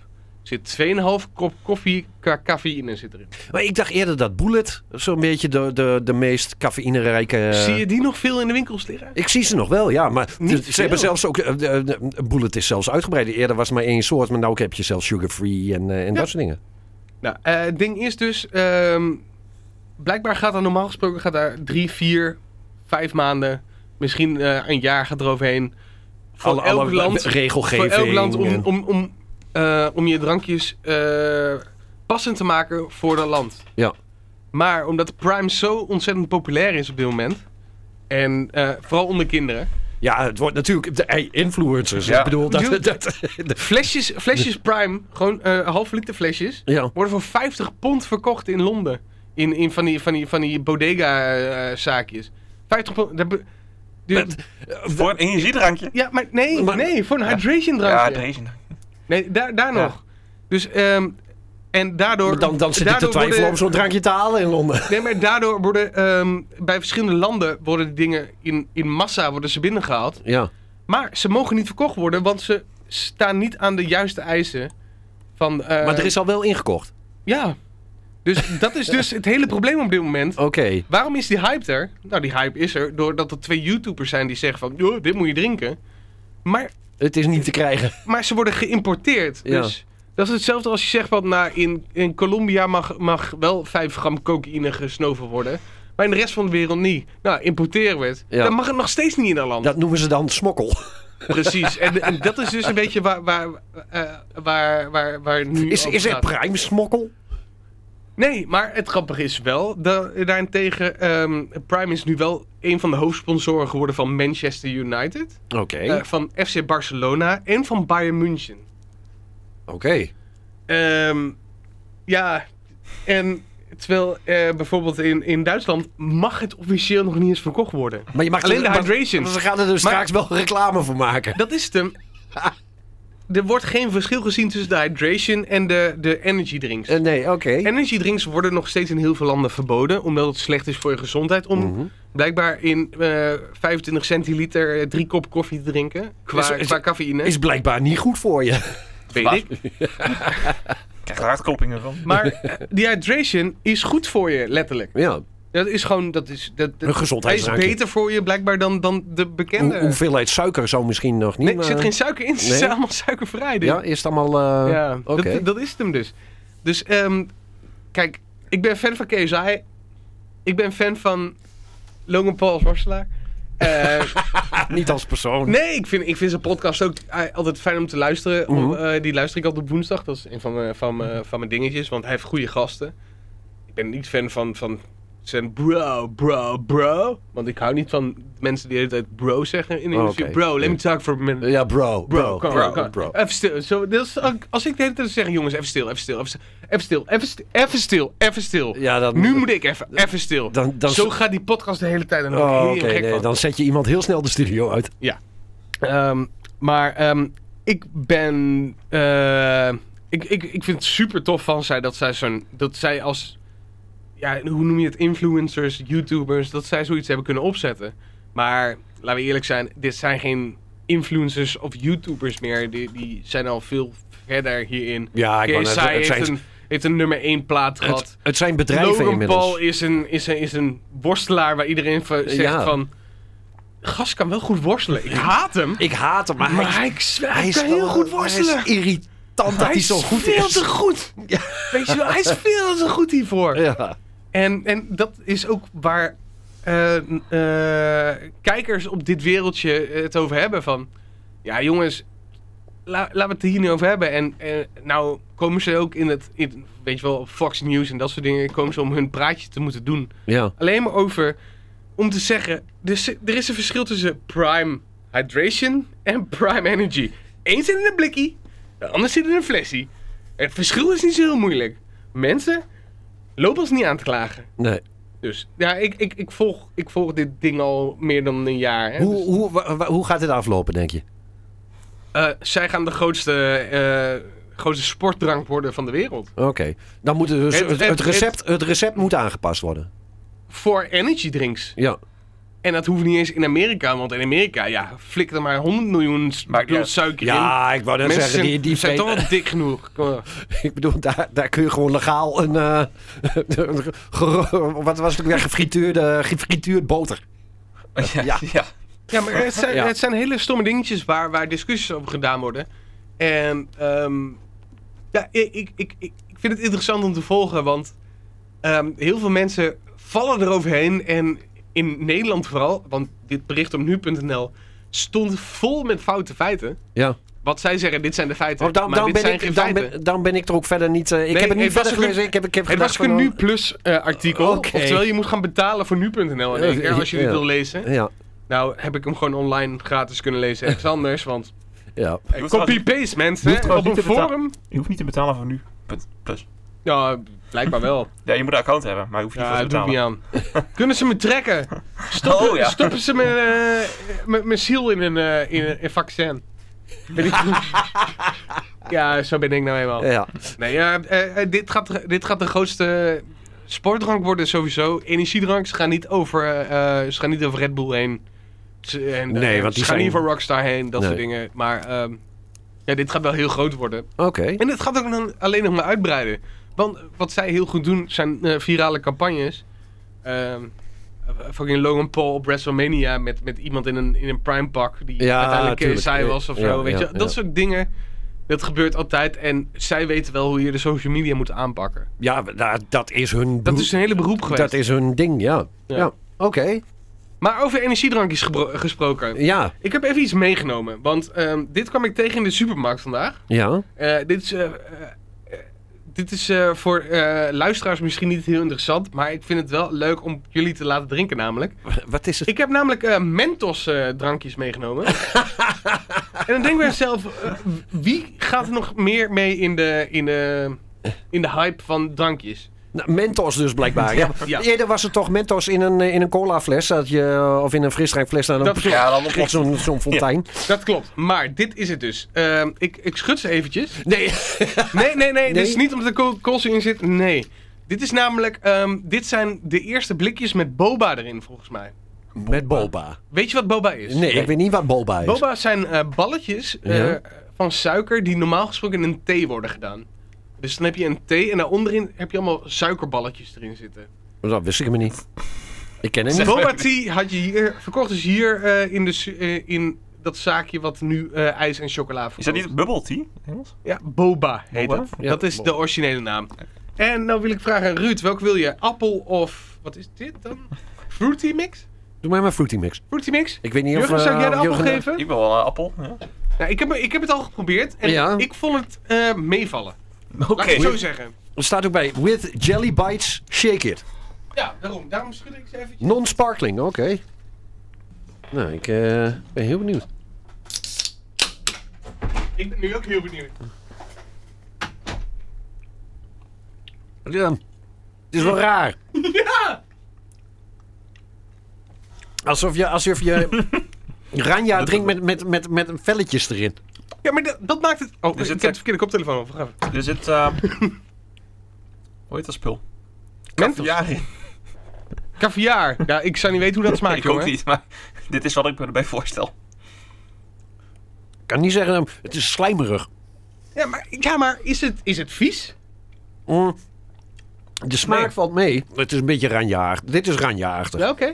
[SPEAKER 4] zit 2,5 kop koffie qua cafeïne zit erin.
[SPEAKER 5] maar ik dacht eerder dat Bullet zo'n beetje de, de, de meest cafeïnerijke... eh,
[SPEAKER 4] Zie je die nog veel in de winkels liggen?
[SPEAKER 5] Ik zie ze nog wel, ja. Maar
[SPEAKER 4] Niet
[SPEAKER 5] ze- ze
[SPEAKER 4] veel.
[SPEAKER 5] hebben zelfs ook... eh, de- de- Bullet is zelfs uitgebreid. Eerder was het maar één soort, maar nu heb je zelfs sugar-free en, eh, en dat soort dingen.
[SPEAKER 4] Nou, eh, het ding is dus, ehm, blijkbaar gaat dat normaal gesproken gaat daar drie, vier, vijf maanden, misschien eh, een jaar gaat eroverheen. Voor
[SPEAKER 5] Alle-
[SPEAKER 4] elk
[SPEAKER 5] alle
[SPEAKER 4] land
[SPEAKER 5] regelgeving.
[SPEAKER 4] Voor elk land om,
[SPEAKER 5] en-
[SPEAKER 4] om, om, eh, om je drankjes eh, passend te maken voor dat land.
[SPEAKER 5] Ja.
[SPEAKER 4] Maar omdat Prime zo ontzettend populair is op dit moment. En eh, vooral onder kinderen.
[SPEAKER 5] Ja, het wordt natuurlijk... De, hey, influencers.
[SPEAKER 3] Ja.
[SPEAKER 5] Ik bedoel, dat...
[SPEAKER 4] Dude.
[SPEAKER 5] dat, dat-
[SPEAKER 4] Flesjes, flesjes Prime, gewoon eh half liter flesjes,
[SPEAKER 5] ja.
[SPEAKER 4] worden voor 50 pond verkocht in Londen. In, in van die, van die, van die eh, bodega-zaakjes. 50 dat be- dude,
[SPEAKER 3] Voor een energiedrankje.
[SPEAKER 4] ja, maar nee,
[SPEAKER 5] Maar-
[SPEAKER 4] nee, voor een hydration drankje.
[SPEAKER 3] Ja, deze.
[SPEAKER 4] Nee, daar, daar
[SPEAKER 3] Ja.
[SPEAKER 4] nog. Dus, ehm, en daardoor...
[SPEAKER 5] Maar Dan, dan zit ik te
[SPEAKER 4] daardoor
[SPEAKER 5] twijfelen
[SPEAKER 4] worden-
[SPEAKER 5] om zo'n drankje te halen in Londen.
[SPEAKER 4] Nee, maar daardoor worden ehm, bij verschillende landen worden die dingen in, in massa worden ze binnengehaald.
[SPEAKER 5] Ja.
[SPEAKER 4] Maar ze mogen niet verkocht worden, want ze staan niet aan de juiste eisen. Van, eh,
[SPEAKER 5] Maar er is al wel ingekocht.
[SPEAKER 4] Ja. Dus dat is dus het hele probleem op dit moment.
[SPEAKER 5] Oké.
[SPEAKER 4] Waarom is die hype er? Nou, die hype is er doordat er twee YouTubers zijn die zeggen van... "Joh, dit moet je drinken. Maar,
[SPEAKER 5] Het is niet te krijgen.
[SPEAKER 4] maar ze worden geïmporteerd.
[SPEAKER 5] Ja.
[SPEAKER 4] Dus dat is hetzelfde als je zegt van... Nou, in, in Colombia mag, mag wel 5 gram cocaïne gesnoven worden. Maar in de rest van de wereld niet. Nou, importeren we het.
[SPEAKER 5] Ja.
[SPEAKER 4] Dan mag het nog steeds niet in een land.
[SPEAKER 5] Dat noemen ze dan smokkel.
[SPEAKER 4] Precies. En, en dat is dus een beetje waar, waar, eh, waar, waar, waar nu
[SPEAKER 5] Is,
[SPEAKER 4] over
[SPEAKER 5] is er
[SPEAKER 4] gaat.
[SPEAKER 5] prime smokkel?
[SPEAKER 4] Nee, maar het grappige is wel, da daarentegen, ehm, Prime is nu wel een van de hoofdsponsoren geworden van Manchester United,
[SPEAKER 5] Oké.
[SPEAKER 4] eh, van FC Barcelona en van Bayern München.
[SPEAKER 5] Oké.
[SPEAKER 4] Ehm, ja, en terwijl eh, bijvoorbeeld in, in Duitsland mag het officieel nog niet eens verkocht worden.
[SPEAKER 5] Maar je mag
[SPEAKER 4] Alleen de
[SPEAKER 5] maar-
[SPEAKER 4] hydration.
[SPEAKER 5] Ze gaan er dus
[SPEAKER 4] Maar-
[SPEAKER 5] straks wel reclame voor maken.
[SPEAKER 4] Dat is het hem. Er wordt geen verschil gezien tussen de hydration en de, de energy drinks.
[SPEAKER 5] Eh, nee, oké.
[SPEAKER 4] Energy drinks worden nog steeds in heel veel landen verboden, omdat het slecht is voor je gezondheid. Om blijkbaar in eh 25 centiliter eh, drie kop koffie te drinken. Qua,
[SPEAKER 5] Is- is-
[SPEAKER 4] qua cafeïne,
[SPEAKER 5] Is blijkbaar niet goed voor je.
[SPEAKER 4] weet ik.
[SPEAKER 3] Ik krijg er hartkloppingen van.
[SPEAKER 4] Maar eh, die hydration is goed voor je, letterlijk.
[SPEAKER 5] Ja.
[SPEAKER 4] Dat is gewoon, dat is... Dat, dat-
[SPEAKER 5] Een
[SPEAKER 4] hij is
[SPEAKER 5] gezondheidsdrankje.
[SPEAKER 4] beter voor je blijkbaar dan, dan de bekende...
[SPEAKER 5] Hoe- hoeveelheid suiker zou misschien nog niet.
[SPEAKER 4] nee, er
[SPEAKER 5] maar-
[SPEAKER 4] zit geen suiker in. Ze
[SPEAKER 5] Nee.
[SPEAKER 4] zijn allemaal suikervrij. dus-
[SPEAKER 5] Ja, is het allemaal. eh,
[SPEAKER 4] Ja,
[SPEAKER 5] Oké.
[SPEAKER 4] dat, dat is het hem dus. Dus ehm, kijk, ik ben fan van KSI. Ik ben fan van Logan Paul als worstelaar. Eh,
[SPEAKER 5] Niet als persoon.
[SPEAKER 4] nee, ik vind, ik vind zijn podcast ook eh, altijd fijn om te luisteren. Om,
[SPEAKER 5] Mhm.
[SPEAKER 4] eh, die luister ik altijd op woensdag. Dat is een van, mijn- van, mijn- van mijn dingetjes, want hij heeft goede gasten. Ik ben niet fan van, van zijn bro, bro, bro. Want ik hou niet van mensen die de hele tijd bro zeggen in een
[SPEAKER 5] Oh,
[SPEAKER 4] interview.
[SPEAKER 5] oké.
[SPEAKER 4] Bro, let me
[SPEAKER 5] Ja.
[SPEAKER 4] talk for a minute.
[SPEAKER 5] Ja, bro.
[SPEAKER 4] Bro,
[SPEAKER 5] Bro.
[SPEAKER 4] kom,
[SPEAKER 3] bro,
[SPEAKER 4] kom.
[SPEAKER 5] bro.
[SPEAKER 4] Even stil. Zo, dat is ook- als ik de hele tijd zeg, jongens, even stil, even stil, even stil, even stil, even stil, even stil, even stil.
[SPEAKER 5] Ja, dat-
[SPEAKER 4] nu moet ik even, even stil.
[SPEAKER 5] Dan- dan-
[SPEAKER 4] zo gaat die podcast de hele tijd en dan word ik
[SPEAKER 5] Oh,
[SPEAKER 4] heel
[SPEAKER 5] oké.
[SPEAKER 4] gek
[SPEAKER 5] nee,
[SPEAKER 4] van.
[SPEAKER 5] dan zet je iemand heel snel de studio uit.
[SPEAKER 4] Ehm, maar ehm, ik ben, eh, ik, ik, ik vind het super tof van zij dat zij zo'n, dat zij als, ja, hoe noem je het, influencers, YouTubers, dat zij zoiets hebben kunnen opzetten. Maar laten we eerlijk zijn, dit zijn geen influencers of YouTubers meer. Die, die zijn al veel verder hierin.
[SPEAKER 5] Ja, ik wou net-
[SPEAKER 4] KSI
[SPEAKER 5] het
[SPEAKER 4] heeft,
[SPEAKER 5] zijn-
[SPEAKER 4] een, heeft een nummer 1 plaat
[SPEAKER 5] Het,
[SPEAKER 4] gehad.
[SPEAKER 5] het zijn bedrijven
[SPEAKER 4] Logan
[SPEAKER 5] inmiddels.
[SPEAKER 4] Paul is een, is, een, is een worstelaar waar iedereen van zegt
[SPEAKER 5] Ja.
[SPEAKER 4] van... Gast kan wel goed worstelen. Ik haat hem.
[SPEAKER 5] Ik haat hem, maar,
[SPEAKER 4] Maar
[SPEAKER 5] hij,
[SPEAKER 4] hij, is- hij
[SPEAKER 5] hij is
[SPEAKER 4] kan
[SPEAKER 5] wel-
[SPEAKER 4] heel goed worstelen.
[SPEAKER 5] Hij is irritant dat hij zo goed
[SPEAKER 4] veel
[SPEAKER 5] is.
[SPEAKER 4] te goed. Weet je wel, hij is veel te goed hiervoor.
[SPEAKER 5] Ja.
[SPEAKER 4] En, en dat is ook waar eh, eh, kijkers op dit wereldje het over hebben. Van, ja jongens, la- laten we het hier niet over hebben. En eh, nou komen ze ook in het, in, weet je wel, op Fox News en dat soort dingen, komen ze om hun praatje te moeten doen.
[SPEAKER 5] ja.
[SPEAKER 4] Alleen maar over om te zeggen, er, is- er is een verschil tussen prime hydration en prime energy. Eén zit in een blikkie, de ander zit in een flesje. Het verschil is niet zo heel moeilijk. Mensen, loop ons niet aan te klagen.
[SPEAKER 5] Nee.
[SPEAKER 4] Dus ja, ik, ik, ik, volg, ik volg dit ding al meer dan een jaar. Hè?
[SPEAKER 5] Hoe,
[SPEAKER 4] Dus,
[SPEAKER 5] hoe, wa- wa- hoe gaat dit aflopen, denk je?
[SPEAKER 4] eh, zij gaan de grootste, eh, grootste sportdrank worden van de wereld.
[SPEAKER 5] Oké. Dan moet er dus,
[SPEAKER 4] Het-
[SPEAKER 5] het,
[SPEAKER 4] het-
[SPEAKER 5] het recept, het recept moet aangepast worden.
[SPEAKER 4] Voor energy drinks.
[SPEAKER 5] Ja.
[SPEAKER 4] En dat hoeft niet eens in Amerika, want in Amerika, ja, flik er maar 100 miljoen
[SPEAKER 3] Maakt niet
[SPEAKER 4] bedoel,
[SPEAKER 3] uit.
[SPEAKER 4] suiker in.
[SPEAKER 5] Ja, ik wou net
[SPEAKER 4] Mensen
[SPEAKER 5] zeggen, die, die
[SPEAKER 4] zijn
[SPEAKER 5] vee-
[SPEAKER 4] toch wel dik genoeg. Kom maar.
[SPEAKER 5] Ik bedoel, daar, daar kun je gewoon legaal een. eh, een gero- wat was het ook weer? Gefrituurde, gefrituurd boter.
[SPEAKER 3] Ja,
[SPEAKER 5] Ja.
[SPEAKER 3] ja.
[SPEAKER 4] Ja, maar het zijn,
[SPEAKER 5] Ja.
[SPEAKER 4] het zijn hele stomme dingetjes waar, waar discussies over gedaan worden. En ehm, ja, ik, ik, ik, ik ik vind het interessant om te volgen, want ehm, heel veel mensen vallen eroverheen. En in Nederland vooral, want dit bericht op nu.nl stond vol met foute feiten.
[SPEAKER 5] Ja.
[SPEAKER 4] Wat zij zeggen, dit zijn de feiten,
[SPEAKER 5] Oh, dan,
[SPEAKER 4] maar
[SPEAKER 5] dan,
[SPEAKER 4] dit
[SPEAKER 5] ben
[SPEAKER 4] zijn
[SPEAKER 5] ik,
[SPEAKER 4] geen
[SPEAKER 5] dan,
[SPEAKER 4] feiten.
[SPEAKER 5] ben, dan ben ik er ook verder niet. eh, ik
[SPEAKER 4] Nee,
[SPEAKER 5] heb het niet
[SPEAKER 4] het was
[SPEAKER 5] verder
[SPEAKER 4] ook een-
[SPEAKER 5] gelezen. Ik heb, ik heb
[SPEAKER 4] Het
[SPEAKER 5] gedacht
[SPEAKER 4] was een
[SPEAKER 5] van,
[SPEAKER 4] Nu Plus eh, artikel,
[SPEAKER 5] Oké.
[SPEAKER 4] oftewel je moet gaan betalen voor nu.nl in één keer als je dit
[SPEAKER 5] Ja.
[SPEAKER 4] wil lezen.
[SPEAKER 5] Ja,
[SPEAKER 4] Nou, heb ik hem gewoon online gratis kunnen lezen. Ergens anders, want...
[SPEAKER 5] ja.
[SPEAKER 4] Copy-paste,
[SPEAKER 3] Je
[SPEAKER 4] mensen.
[SPEAKER 3] hoeft trouwens
[SPEAKER 4] Op een
[SPEAKER 3] niet te
[SPEAKER 4] forum.
[SPEAKER 3] Je hoeft niet te betalen voor nu. Punt. Plus.
[SPEAKER 4] Ja, blijkbaar wel.
[SPEAKER 3] Ja, je moet een account hebben, maar je hoeft niet
[SPEAKER 4] Ja,
[SPEAKER 3] voor
[SPEAKER 4] dat
[SPEAKER 3] te
[SPEAKER 4] doe ik niet
[SPEAKER 3] betalen.
[SPEAKER 4] aan. Kunnen ze me trekken? Stoppen,
[SPEAKER 3] Oh, ja.
[SPEAKER 4] stoppen ze mijn, eh, mijn, mijn ziel in een, eh, in een, in vaccin? Weet ik hoe- ja, zo ben ik nou eenmaal.
[SPEAKER 5] Ja.
[SPEAKER 4] Nee, ja, eh, eh, dit, gaat, dit gaat de grootste sportdrank worden sowieso. Energiedrank, ze gaan niet over, eh, eh, ze gaan niet over Red Bull heen. Ze, en, eh,
[SPEAKER 5] Nee, want die
[SPEAKER 4] ze gaan
[SPEAKER 5] zijn-
[SPEAKER 4] niet over Rockstar heen, dat
[SPEAKER 5] Nee.
[SPEAKER 4] soort dingen. Maar ehm, ja, dit gaat wel heel groot worden.
[SPEAKER 5] Oké.
[SPEAKER 4] En dit gaat ook dan alleen nog maar uitbreiden. Want wat zij heel goed doen zijn eh, virale campagnes. Ehm, fucking Logan Paul op WrestleMania met, met iemand in een, in een prime pak die
[SPEAKER 5] Ja,
[SPEAKER 4] uiteindelijk eh,
[SPEAKER 5] tuurlijk.
[SPEAKER 4] zij was of
[SPEAKER 5] Ja,
[SPEAKER 4] zo.
[SPEAKER 5] ja,
[SPEAKER 4] Weet je? Dat
[SPEAKER 5] ja.
[SPEAKER 4] soort dingen, dat gebeurt altijd. En zij weten wel hoe je de social media moet aanpakken.
[SPEAKER 5] Ja, daar- dat is hun...
[SPEAKER 4] Dat
[SPEAKER 5] beroe-
[SPEAKER 4] is een hele beroep geweest.
[SPEAKER 5] dat is hun ding, ja. Ja,
[SPEAKER 4] Ja.
[SPEAKER 5] oké.
[SPEAKER 4] Maar over energiedrankjes gebro- gesproken.
[SPEAKER 5] Ja,
[SPEAKER 4] Ik heb even iets meegenomen, want ehm, dit kwam ik tegen in de supermarkt vandaag.
[SPEAKER 5] ja.
[SPEAKER 4] Eh, dit is, eh, eh, eh, dit is eh, voor eh, luisteraars misschien niet heel interessant, maar ik vind het wel leuk om jullie te laten drinken namelijk.
[SPEAKER 5] Wat is het?
[SPEAKER 4] Ik heb namelijk eh, Mentos eh, drankjes meegenomen. en dan denk ik bij mezelf, eh, wie gaat er nog meer mee in de, in, de, in de hype van drankjes?
[SPEAKER 5] Nou, Mentos dus blijkbaar. Ja.
[SPEAKER 4] Ja.
[SPEAKER 5] Eerder was het toch Mentos in een, eh, in een cola fles dat je, eh, of in een frisdrankfles. Nou, dan
[SPEAKER 4] Dat klopt.
[SPEAKER 3] Ja, dan
[SPEAKER 5] pff, zo'n zo'n fontein.
[SPEAKER 4] Dat klopt, maar dit is het dus. Ehm, ik, ik schud ze eventjes.
[SPEAKER 5] Nee. dus
[SPEAKER 4] Nee, nee, nee,
[SPEAKER 5] Nee?
[SPEAKER 4] dit is niet omdat er kool- koolzuur in zit, nee. Dit is namelijk, ehm, dit zijn de eerste blikjes met boba erin volgens mij.
[SPEAKER 5] Met boba.
[SPEAKER 4] Weet je wat boba is?
[SPEAKER 5] Nee, ik weet niet wat boba is.
[SPEAKER 4] Boba zijn eh, balletjes eh,
[SPEAKER 5] Ja.
[SPEAKER 4] van suiker die normaal gesproken in een thee worden gedaan. Dus dan heb je een thee en daaronderin heb je allemaal suikerballetjes erin zitten.
[SPEAKER 5] Dat wist ik me niet. Ik ken hem niet.
[SPEAKER 4] Boba tea had je hier, verkocht dus hier eh, in, de, su- eh, in dat zaakje wat nu eh, ijs en chocola verkoopt.
[SPEAKER 3] Is dat niet bubble tea? in Engels?
[SPEAKER 4] Ja, boba heet
[SPEAKER 3] Boba?
[SPEAKER 4] dat.
[SPEAKER 5] Ja,
[SPEAKER 4] dat is
[SPEAKER 5] boba.
[SPEAKER 4] de originele naam. En nou wil ik vragen aan Ruud, welk wil je? Appel of, wat is dit dan? Fruity mix?
[SPEAKER 5] Doe mij maar fruity mix.
[SPEAKER 4] Fruity mix?
[SPEAKER 5] Ik weet niet
[SPEAKER 4] Jurgen,
[SPEAKER 5] of...
[SPEAKER 4] zou ik jij de
[SPEAKER 5] eh,
[SPEAKER 4] appel
[SPEAKER 5] Jurgen-
[SPEAKER 4] geven?
[SPEAKER 3] Ik wil wel een appel. ja.
[SPEAKER 4] Nou, ik, heb, ik heb het al geprobeerd en
[SPEAKER 5] Ja.
[SPEAKER 4] ik vond het eh, meevallen.
[SPEAKER 3] Oké.
[SPEAKER 4] Laat ik het zo zeggen.
[SPEAKER 5] Er eh, staat ook bij, with jelly bites, shake it.
[SPEAKER 4] Ja, daarom. Daarom schud ik ze eventjes.
[SPEAKER 5] Non-sparkling, oké. Nou, ik eh, ben heel benieuwd.
[SPEAKER 4] Ik ben nu ook heel benieuwd.
[SPEAKER 5] Ja. Het is wel raar.
[SPEAKER 4] Ja!
[SPEAKER 5] Alsof je, alsof je Ranja drinkt met, met, met, met velletjes erin.
[SPEAKER 4] Ja, maar dat, dat maakt het... Oh,
[SPEAKER 3] Dus
[SPEAKER 4] ik
[SPEAKER 3] het-
[SPEAKER 4] heb de verkeerde koptelefoon op. Wacht even.
[SPEAKER 3] Er zit. eh, hoe heet dat spul?
[SPEAKER 4] Mentos.
[SPEAKER 3] Ja, ik
[SPEAKER 4] Caviar. Ja, ik zou niet weten hoe dat smaakt,
[SPEAKER 3] ook
[SPEAKER 4] jongen.
[SPEAKER 3] niet, maar dit is wat ik me erbij voorstel.
[SPEAKER 5] Ik kan niet zeggen, ehm, het is slijmerig.
[SPEAKER 4] Ja, maar, ja, maar is, het, is het vies?
[SPEAKER 5] Mm. De smaak
[SPEAKER 4] Nee.
[SPEAKER 5] valt mee. Het is een beetje ranja Dit is ranja
[SPEAKER 4] Ja,
[SPEAKER 5] Ja.
[SPEAKER 4] oké.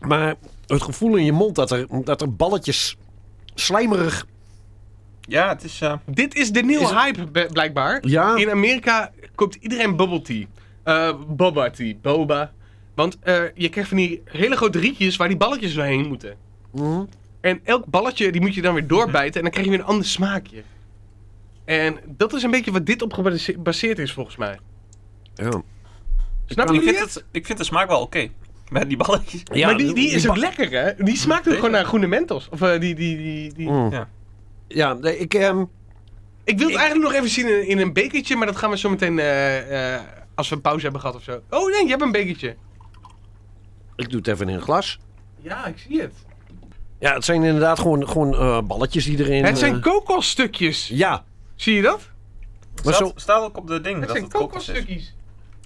[SPEAKER 5] Maar het gevoel in je mond dat er, dat er balletjes slijmerig...
[SPEAKER 3] Ja, het is. eh,
[SPEAKER 4] Dit is de nieuwe
[SPEAKER 5] Is-
[SPEAKER 4] hype, be- blijkbaar.
[SPEAKER 5] Ja.
[SPEAKER 4] In Amerika koopt iedereen bubble tea. Eh, boba tea. Boba. Want eh, je krijgt van die hele grote rietjes waar die balletjes doorheen moeten.
[SPEAKER 5] Mm.
[SPEAKER 4] En elk balletje die moet je dan weer doorbijten en dan krijg je weer een ander smaakje. En dat is een beetje wat dit op gebase- gebaseerd is volgens mij.
[SPEAKER 5] Ja.
[SPEAKER 4] Snap
[SPEAKER 3] ik,
[SPEAKER 4] je
[SPEAKER 3] vind
[SPEAKER 4] het?
[SPEAKER 3] het, ik vind de smaak wel oké. Met die balletjes.
[SPEAKER 5] Ja,
[SPEAKER 4] maar die, die is ook lekker hè? Die smaakt ook
[SPEAKER 3] Zeker.
[SPEAKER 4] gewoon naar groene mentos. Of eh, die, die, die, die...
[SPEAKER 5] Mm.
[SPEAKER 3] Ja.
[SPEAKER 5] Ja, nee, ik... ehm,
[SPEAKER 4] Ik wil het eigenlijk nog even zien in, in een bekertje, maar dat gaan we zo meteen eh, eh, als we een pauze hebben gehad of zo. Oh nee, je hebt een bekertje.
[SPEAKER 5] ik doe het even in een glas.
[SPEAKER 4] Ja, ik zie het.
[SPEAKER 5] Ja, het zijn inderdaad gewoon, gewoon eh, balletjes die erin...
[SPEAKER 4] het zijn
[SPEAKER 5] eh,
[SPEAKER 4] kokosstukjes.
[SPEAKER 5] ja,
[SPEAKER 4] Zie je dat?
[SPEAKER 5] maar
[SPEAKER 3] staat,
[SPEAKER 5] zo,
[SPEAKER 3] staat ook op de ding
[SPEAKER 4] Het
[SPEAKER 3] dat
[SPEAKER 4] zijn
[SPEAKER 3] het kokos is.
[SPEAKER 4] kokosstukjes.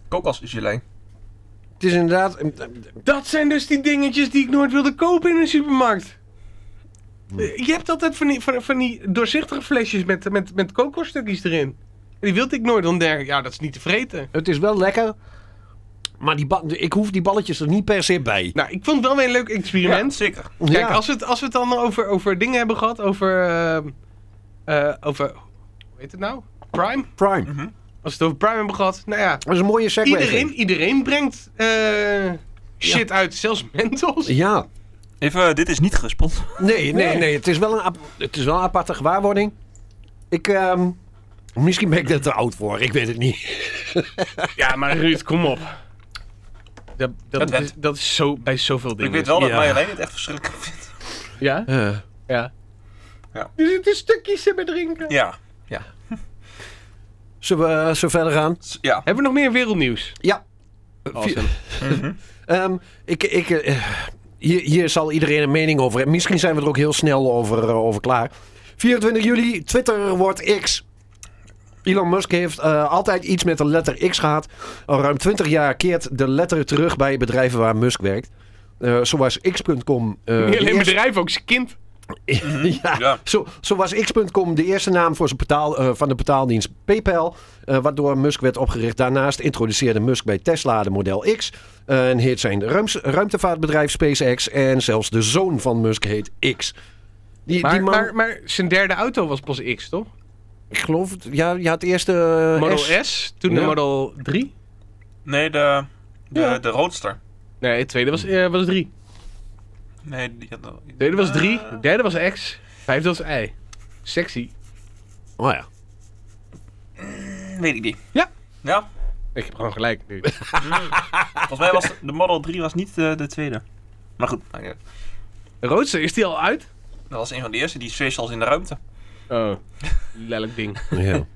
[SPEAKER 3] Kokosgelei.
[SPEAKER 5] het is inderdaad... ehm,
[SPEAKER 4] Dat zijn dus die dingetjes die ik nooit wilde kopen in een supermarkt.
[SPEAKER 3] Hm.
[SPEAKER 4] Eh, Je hebt altijd van die, van, van die doorzichtige flesjes met, met, met kokosstukjes erin. En die wilde ik nooit, dan denk ik, ja, dat is niet te vreten.
[SPEAKER 5] Het is wel lekker. Maar die ba- ik hoef die balletjes er niet per se bij.
[SPEAKER 4] Nou, ik vond het wel weer een leuk
[SPEAKER 3] Ja,
[SPEAKER 4] experiment.
[SPEAKER 3] zeker.
[SPEAKER 4] Kijk, als we, het, als we het dan over, over dingen hebben gehad, over, eh, eh, over, hoe heet het nou? Prime?
[SPEAKER 5] Prime.
[SPEAKER 4] Als we het over Prime hebben gehad, nou ja.
[SPEAKER 5] Dat is een mooie segue.
[SPEAKER 4] Iedereen, iedereen brengt eh, shit uit, zelfs Mentos.
[SPEAKER 5] Ja.
[SPEAKER 3] Even, eh, dit is niet gespot.
[SPEAKER 5] Nee, nee,
[SPEAKER 4] Nee.
[SPEAKER 5] nee. Het is wel een, ap- het is wel een aparte gewaarwording. Ik, ehm, misschien ben ik er te oud voor. Ik weet het niet.
[SPEAKER 4] Ja, maar Ruud, kom op. Dat, dat,
[SPEAKER 3] went.
[SPEAKER 4] is, dat is zo, bij zoveel dingen.
[SPEAKER 3] Ik weet wel dat
[SPEAKER 5] Ja.
[SPEAKER 3] Marjolein het echt verschrikkelijk vindt.
[SPEAKER 4] Ja?
[SPEAKER 5] Eh,
[SPEAKER 4] Ja.
[SPEAKER 3] Ja.
[SPEAKER 4] Er zitten stukjes in bij drinken.
[SPEAKER 3] Ja.
[SPEAKER 5] Zullen we eh, zo verder gaan?
[SPEAKER 3] Ja.
[SPEAKER 4] Hebben we nog meer wereldnieuws?
[SPEAKER 5] Ja.
[SPEAKER 4] Awesome.
[SPEAKER 3] Mhm.
[SPEAKER 5] Ehm, ik, ik, eh, hier, hier zal iedereen een mening over hebben. Misschien zijn we er ook heel snel over, eh, over klaar. 24 juli, Twitter wordt X. Elon Musk heeft eh, altijd iets met de letter X gehad. Al ruim 20 jaar keert de letter terug bij bedrijven waar Musk werkt. Eh, zo was X.com. eh,
[SPEAKER 4] Niet
[SPEAKER 5] de
[SPEAKER 4] alleen
[SPEAKER 5] eerste-
[SPEAKER 4] bedrijf, ook zijn kind.
[SPEAKER 5] ja,
[SPEAKER 3] Ja.
[SPEAKER 5] Zo, zo was X.com de eerste naam voor zijn betaal, eh, van de betaaldienst PayPal, eh, waardoor Musk werd opgericht. Daarnaast introduceerde Musk bij Tesla de model X eh, en heet zijn ruims- ruimtevaartbedrijf SpaceX en zelfs de zoon van Musk heet X. Die,
[SPEAKER 4] Maar,
[SPEAKER 5] die man,
[SPEAKER 4] maar, maar zijn derde auto was pas X, toch?
[SPEAKER 5] ik geloof, het- ja, je had eerst de
[SPEAKER 3] Eh,
[SPEAKER 4] Model
[SPEAKER 5] S.
[SPEAKER 4] S, toen de
[SPEAKER 5] Ja.
[SPEAKER 4] Model 3.
[SPEAKER 3] Nee, de, de,
[SPEAKER 4] Ja.
[SPEAKER 3] de Roadster.
[SPEAKER 4] Nee, het tweede was, eh, was 3.
[SPEAKER 3] Nee, die had de-
[SPEAKER 4] Tweede was
[SPEAKER 3] Eh,
[SPEAKER 4] 3, derde was X, vijfde was Y. Sexy.
[SPEAKER 5] Oh ja.
[SPEAKER 3] weet ik niet.
[SPEAKER 4] Ja.
[SPEAKER 3] Ja,
[SPEAKER 4] Ik heb gewoon gelijk nu.
[SPEAKER 3] volgens mij was de- de Model 3 was niet eh, de tweede. Maar goed, nou ja,
[SPEAKER 4] Roadster, is die al uit?
[SPEAKER 3] dat was een van de eerste. Die zweeft zelfs in de ruimte.
[SPEAKER 4] Oh, lelijk ding.
[SPEAKER 5] Ja.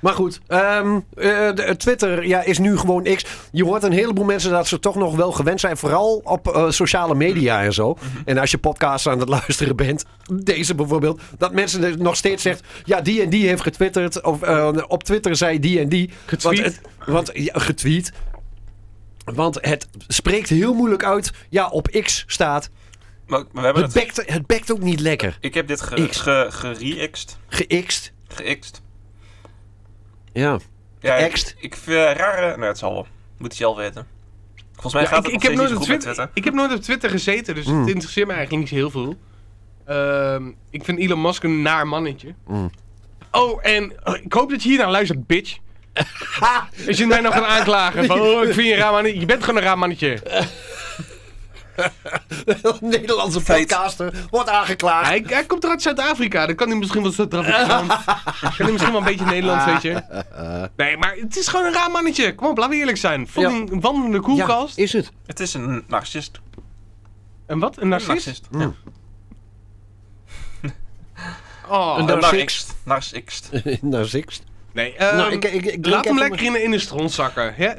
[SPEAKER 5] Maar goed, ehm, eh, de- Twitter ja, is nu gewoon X. Je hoort een heleboel mensen dat ze toch nog wel gewend zijn. Vooral op eh, sociale media en zo. En als je podcasts aan het luisteren bent. Deze bijvoorbeeld. Dat mensen er nog steeds zegt. Ja, die en die heeft getwitterd. Of eh, op Twitter zei die en die.
[SPEAKER 4] Getweet.
[SPEAKER 5] Want, het, want, ja, getweet. Want het spreekt heel moeilijk uit. Ja, op X staat.
[SPEAKER 3] Maar, maar we hebben
[SPEAKER 5] Het
[SPEAKER 3] het.
[SPEAKER 5] bekt, het bekt ook niet lekker.
[SPEAKER 3] Ik heb dit ge,
[SPEAKER 5] X.
[SPEAKER 3] ge, gere-xed.
[SPEAKER 5] Ge-X'd.
[SPEAKER 3] Ge-xed.
[SPEAKER 5] Ja.
[SPEAKER 3] Ja, ik,
[SPEAKER 5] Ge-xed?
[SPEAKER 3] ik vind eh, rare... Nou, het zal wel. Moet je zelf weten. Volgens mij
[SPEAKER 4] Ja,
[SPEAKER 3] gaat
[SPEAKER 4] ik,
[SPEAKER 3] het
[SPEAKER 4] ik, heb
[SPEAKER 3] nog steeds
[SPEAKER 4] nooit op
[SPEAKER 3] niet zo goed met
[SPEAKER 4] Twitter-
[SPEAKER 3] Twitter. Hmm.
[SPEAKER 4] ik heb nooit op Twitter gezeten, dus
[SPEAKER 5] Mm.
[SPEAKER 4] het interesseert me eigenlijk niet zo heel veel. Ehm, ik vind Elon Musk een naar mannetje.
[SPEAKER 3] Hmm.
[SPEAKER 5] Mm.
[SPEAKER 4] Oh, en oh, ik hoop dat je hier naar luistert, bitch. Als je mij nog gaat aanklagen. Van, oh, ik vind je een raar mannetje. Je bent gewoon een raar mannetje.
[SPEAKER 5] Nederlandse
[SPEAKER 3] Feit.
[SPEAKER 5] podcaster wordt aangeklaagd.
[SPEAKER 4] Hij, hij komt eruit Zuid-Afrika. Dan kan hij misschien wel Zuid-Afrikaans. kan hij misschien wel een beetje Nederlands, weet je.
[SPEAKER 5] Ah.
[SPEAKER 4] Nee, maar het is gewoon een raar mannetje. Kom op, laten we eerlijk zijn. Fucking een wandelende koelkast.
[SPEAKER 5] Ja, is het.
[SPEAKER 3] Het is een narcist. Een
[SPEAKER 4] Een wat? Een narcist?
[SPEAKER 3] Ja.
[SPEAKER 4] Oh,
[SPEAKER 5] Een
[SPEAKER 3] Een
[SPEAKER 5] narcist.
[SPEAKER 3] narcist. Narcist.
[SPEAKER 5] nou, Sixt.
[SPEAKER 4] nee.
[SPEAKER 5] Nou,
[SPEAKER 4] ehm,
[SPEAKER 5] ik, ik, ik
[SPEAKER 4] Laat hem
[SPEAKER 5] even
[SPEAKER 4] lekker in de, in de stront zakken. Ja?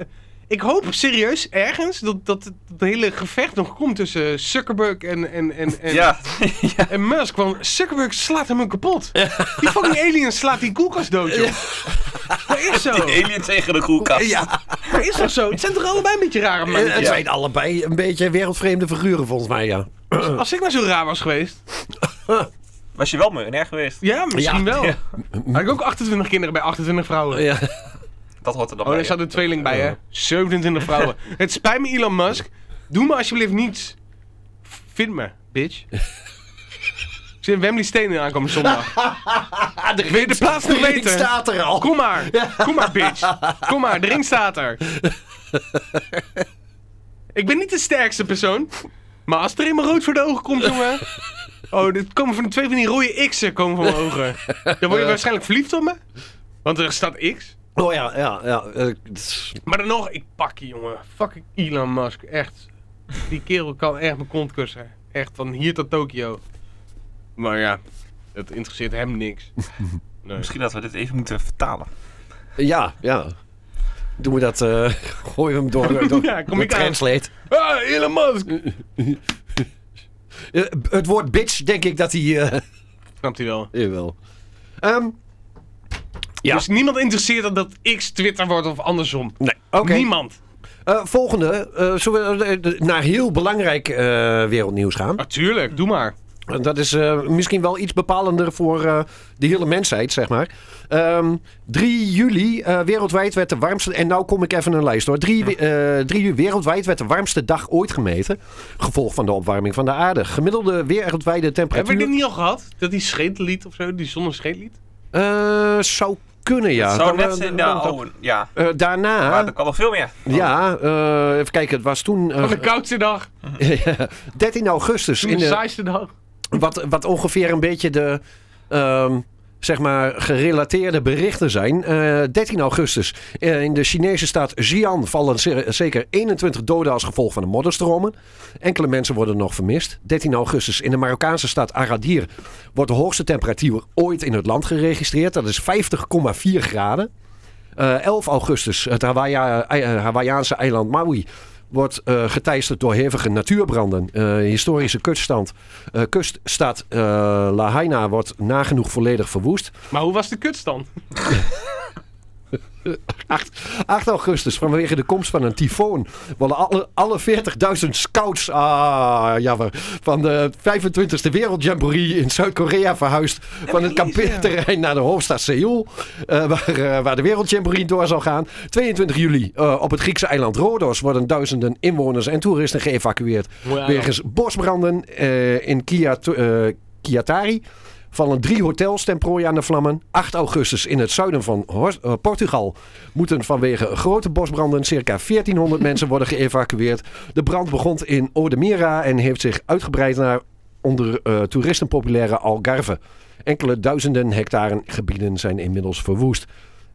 [SPEAKER 4] Ik hoop serieus ergens dat, dat het dat hele gevecht nog komt tussen Zuckerberg en, en, en, en,
[SPEAKER 3] Ja.
[SPEAKER 4] en Musk. Want Zuckerberg slaat hem kapot. Die fucking alien slaat die koelkast dood, joh. Dat is zo.
[SPEAKER 3] Die alien tegen de koelkast.
[SPEAKER 5] Ja,
[SPEAKER 4] Dat is toch zo? Het zijn toch allebei een beetje rare
[SPEAKER 5] het
[SPEAKER 4] mannetjes?
[SPEAKER 5] zijn allebei een beetje wereldvreemde figuren volgens mij, ja.
[SPEAKER 4] Als ik nou zo raar was geweest.
[SPEAKER 3] Was je wel miljonair geweest?
[SPEAKER 4] Ja, misschien
[SPEAKER 5] Ja.
[SPEAKER 4] wel. Had ik ook 28 kinderen bij 28 vrouwen.
[SPEAKER 5] ja.
[SPEAKER 3] Dat hoort er dan
[SPEAKER 4] Oh,
[SPEAKER 3] bij.
[SPEAKER 4] daar staat een tweeling bij, hè? 27 vrouwen. Het spijt me, Elon Musk. Doe me alsjeblieft niets. Vind me, bitch. Ik zit in Wembley Stenen aankomen zondag. Wil je de plaats nog
[SPEAKER 5] Ik
[SPEAKER 4] weten?
[SPEAKER 5] Ah, staat er al.
[SPEAKER 4] Kom maar. Kom maar, bitch. Kom maar, de ring staat er. Ik ben niet de sterkste persoon. Maar als er eenmaal rood voor de ogen komt, jongen. Oh, dit komen van twee van die rode X'en komen van mijn ogen. Dan word je waarschijnlijk verliefd op me. Want er staat X.
[SPEAKER 5] Oh ja, ja, ja. eh, het is-
[SPEAKER 4] Maar dan nog, ik pak je jongen. Fucking Elon Musk. Echt. Die kerel kan echt mijn kont kussen. Echt van hier tot Tokio. Maar ja, dat interesseert hem niks. Nee.
[SPEAKER 3] Misschien dat we dit even moeten vertalen.
[SPEAKER 5] ja, ja. Doen we dat, eh gooien we hem door, door,
[SPEAKER 4] Ja, kom
[SPEAKER 5] door
[SPEAKER 4] ik aan.
[SPEAKER 5] Translate.
[SPEAKER 4] Ah, Elon Musk!
[SPEAKER 5] Eh, het woord bitch denk ik dat hij... eh
[SPEAKER 4] Snapt hij wel.
[SPEAKER 5] jawel. Ehm, Ja.
[SPEAKER 4] Dus niemand interesseert dat dat X Twitter wordt of andersom.
[SPEAKER 5] nee, oké.
[SPEAKER 4] Niemand.
[SPEAKER 5] Eh, volgende, eh, zullen we eh, naar heel belangrijk eh, wereldnieuws gaan?
[SPEAKER 4] Natuurlijk, doe maar.
[SPEAKER 5] Dat is eh, misschien wel iets bepalender voor eh, de hele mensheid, zeg maar. Ehm, 3 juli eh, wereldwijd werd de warmste... En nou kom ik even een lijst hoor. 3, we- eh, 3 juli wereldwijd werd de warmste dag ooit gemeten. Gevolg van de opwarming van de aarde. Gemiddelde wereldwijde
[SPEAKER 4] Hebben
[SPEAKER 5] temperatuur...
[SPEAKER 4] we dit niet al gehad? Dat die scheetlied of zo, die zonnescheetlied?
[SPEAKER 5] Eh, zou kunnen, ja.
[SPEAKER 3] Zo
[SPEAKER 5] Dan,
[SPEAKER 3] net
[SPEAKER 5] eh,
[SPEAKER 3] zijn.
[SPEAKER 5] dan-
[SPEAKER 3] Nou, oh, ja.
[SPEAKER 5] eh, daarna...
[SPEAKER 3] Maar er kan nog veel meer.
[SPEAKER 5] ja, eh, even kijken. Het was toen... eh,
[SPEAKER 4] Van de koudste dag.
[SPEAKER 5] 13 augustus.
[SPEAKER 4] Toen
[SPEAKER 5] In
[SPEAKER 4] de
[SPEAKER 5] de,
[SPEAKER 4] saaiste dag.
[SPEAKER 5] wat, wat ongeveer een beetje de... ehm, zeg maar, gerelateerde berichten zijn. Eh, 13 augustus eh, in de Chinese staat Xi'an vallen ze- zeker 21 doden als gevolg van de modderstromen. Enkele mensen worden nog vermist. 13 augustus in de Marokkaanse stad Agadir wordt de hoogste temperatuur ooit in het land geregistreerd. Dat is 50,4 graden. Eh, 11 augustus, het Hawaia- ei- eh, Hawaïaanse eiland Maui wordt eh geteisterd door hevige natuurbranden. Eh, historische kuststand, eh, kuststad eh, Lahaina wordt nagenoeg volledig verwoest.
[SPEAKER 4] Maar hoe was de kutstand?
[SPEAKER 5] 8 augustus, vanwege de komst van een tyfoon, worden alle, alle 40.000 scouts ah, jammer, van de 25e Wereldjamboree in Zuid-Korea verhuisd van het kampeerterrein naar de hoofdstad Seoul, eh, waar, eh, waar de Wereldjamboree door zal gaan. 22 juli eh, op het Griekse eiland Rodos worden duizenden inwoners en toeristen geëvacueerd
[SPEAKER 4] Mooi eiland.
[SPEAKER 5] wegens bosbranden eh, in Kia, eh Kiatari. Vallen drie hotels ten prooi aan de vlammen. 8 augustus in het zuiden van Hor- eh, Portugal moeten vanwege grote bosbranden circa 1400 mensen worden geëvacueerd. De brand begon in Odemira en heeft zich uitgebreid naar onder eh, toeristenpopulaire Algarve. Enkele duizenden hectare gebieden zijn inmiddels verwoest.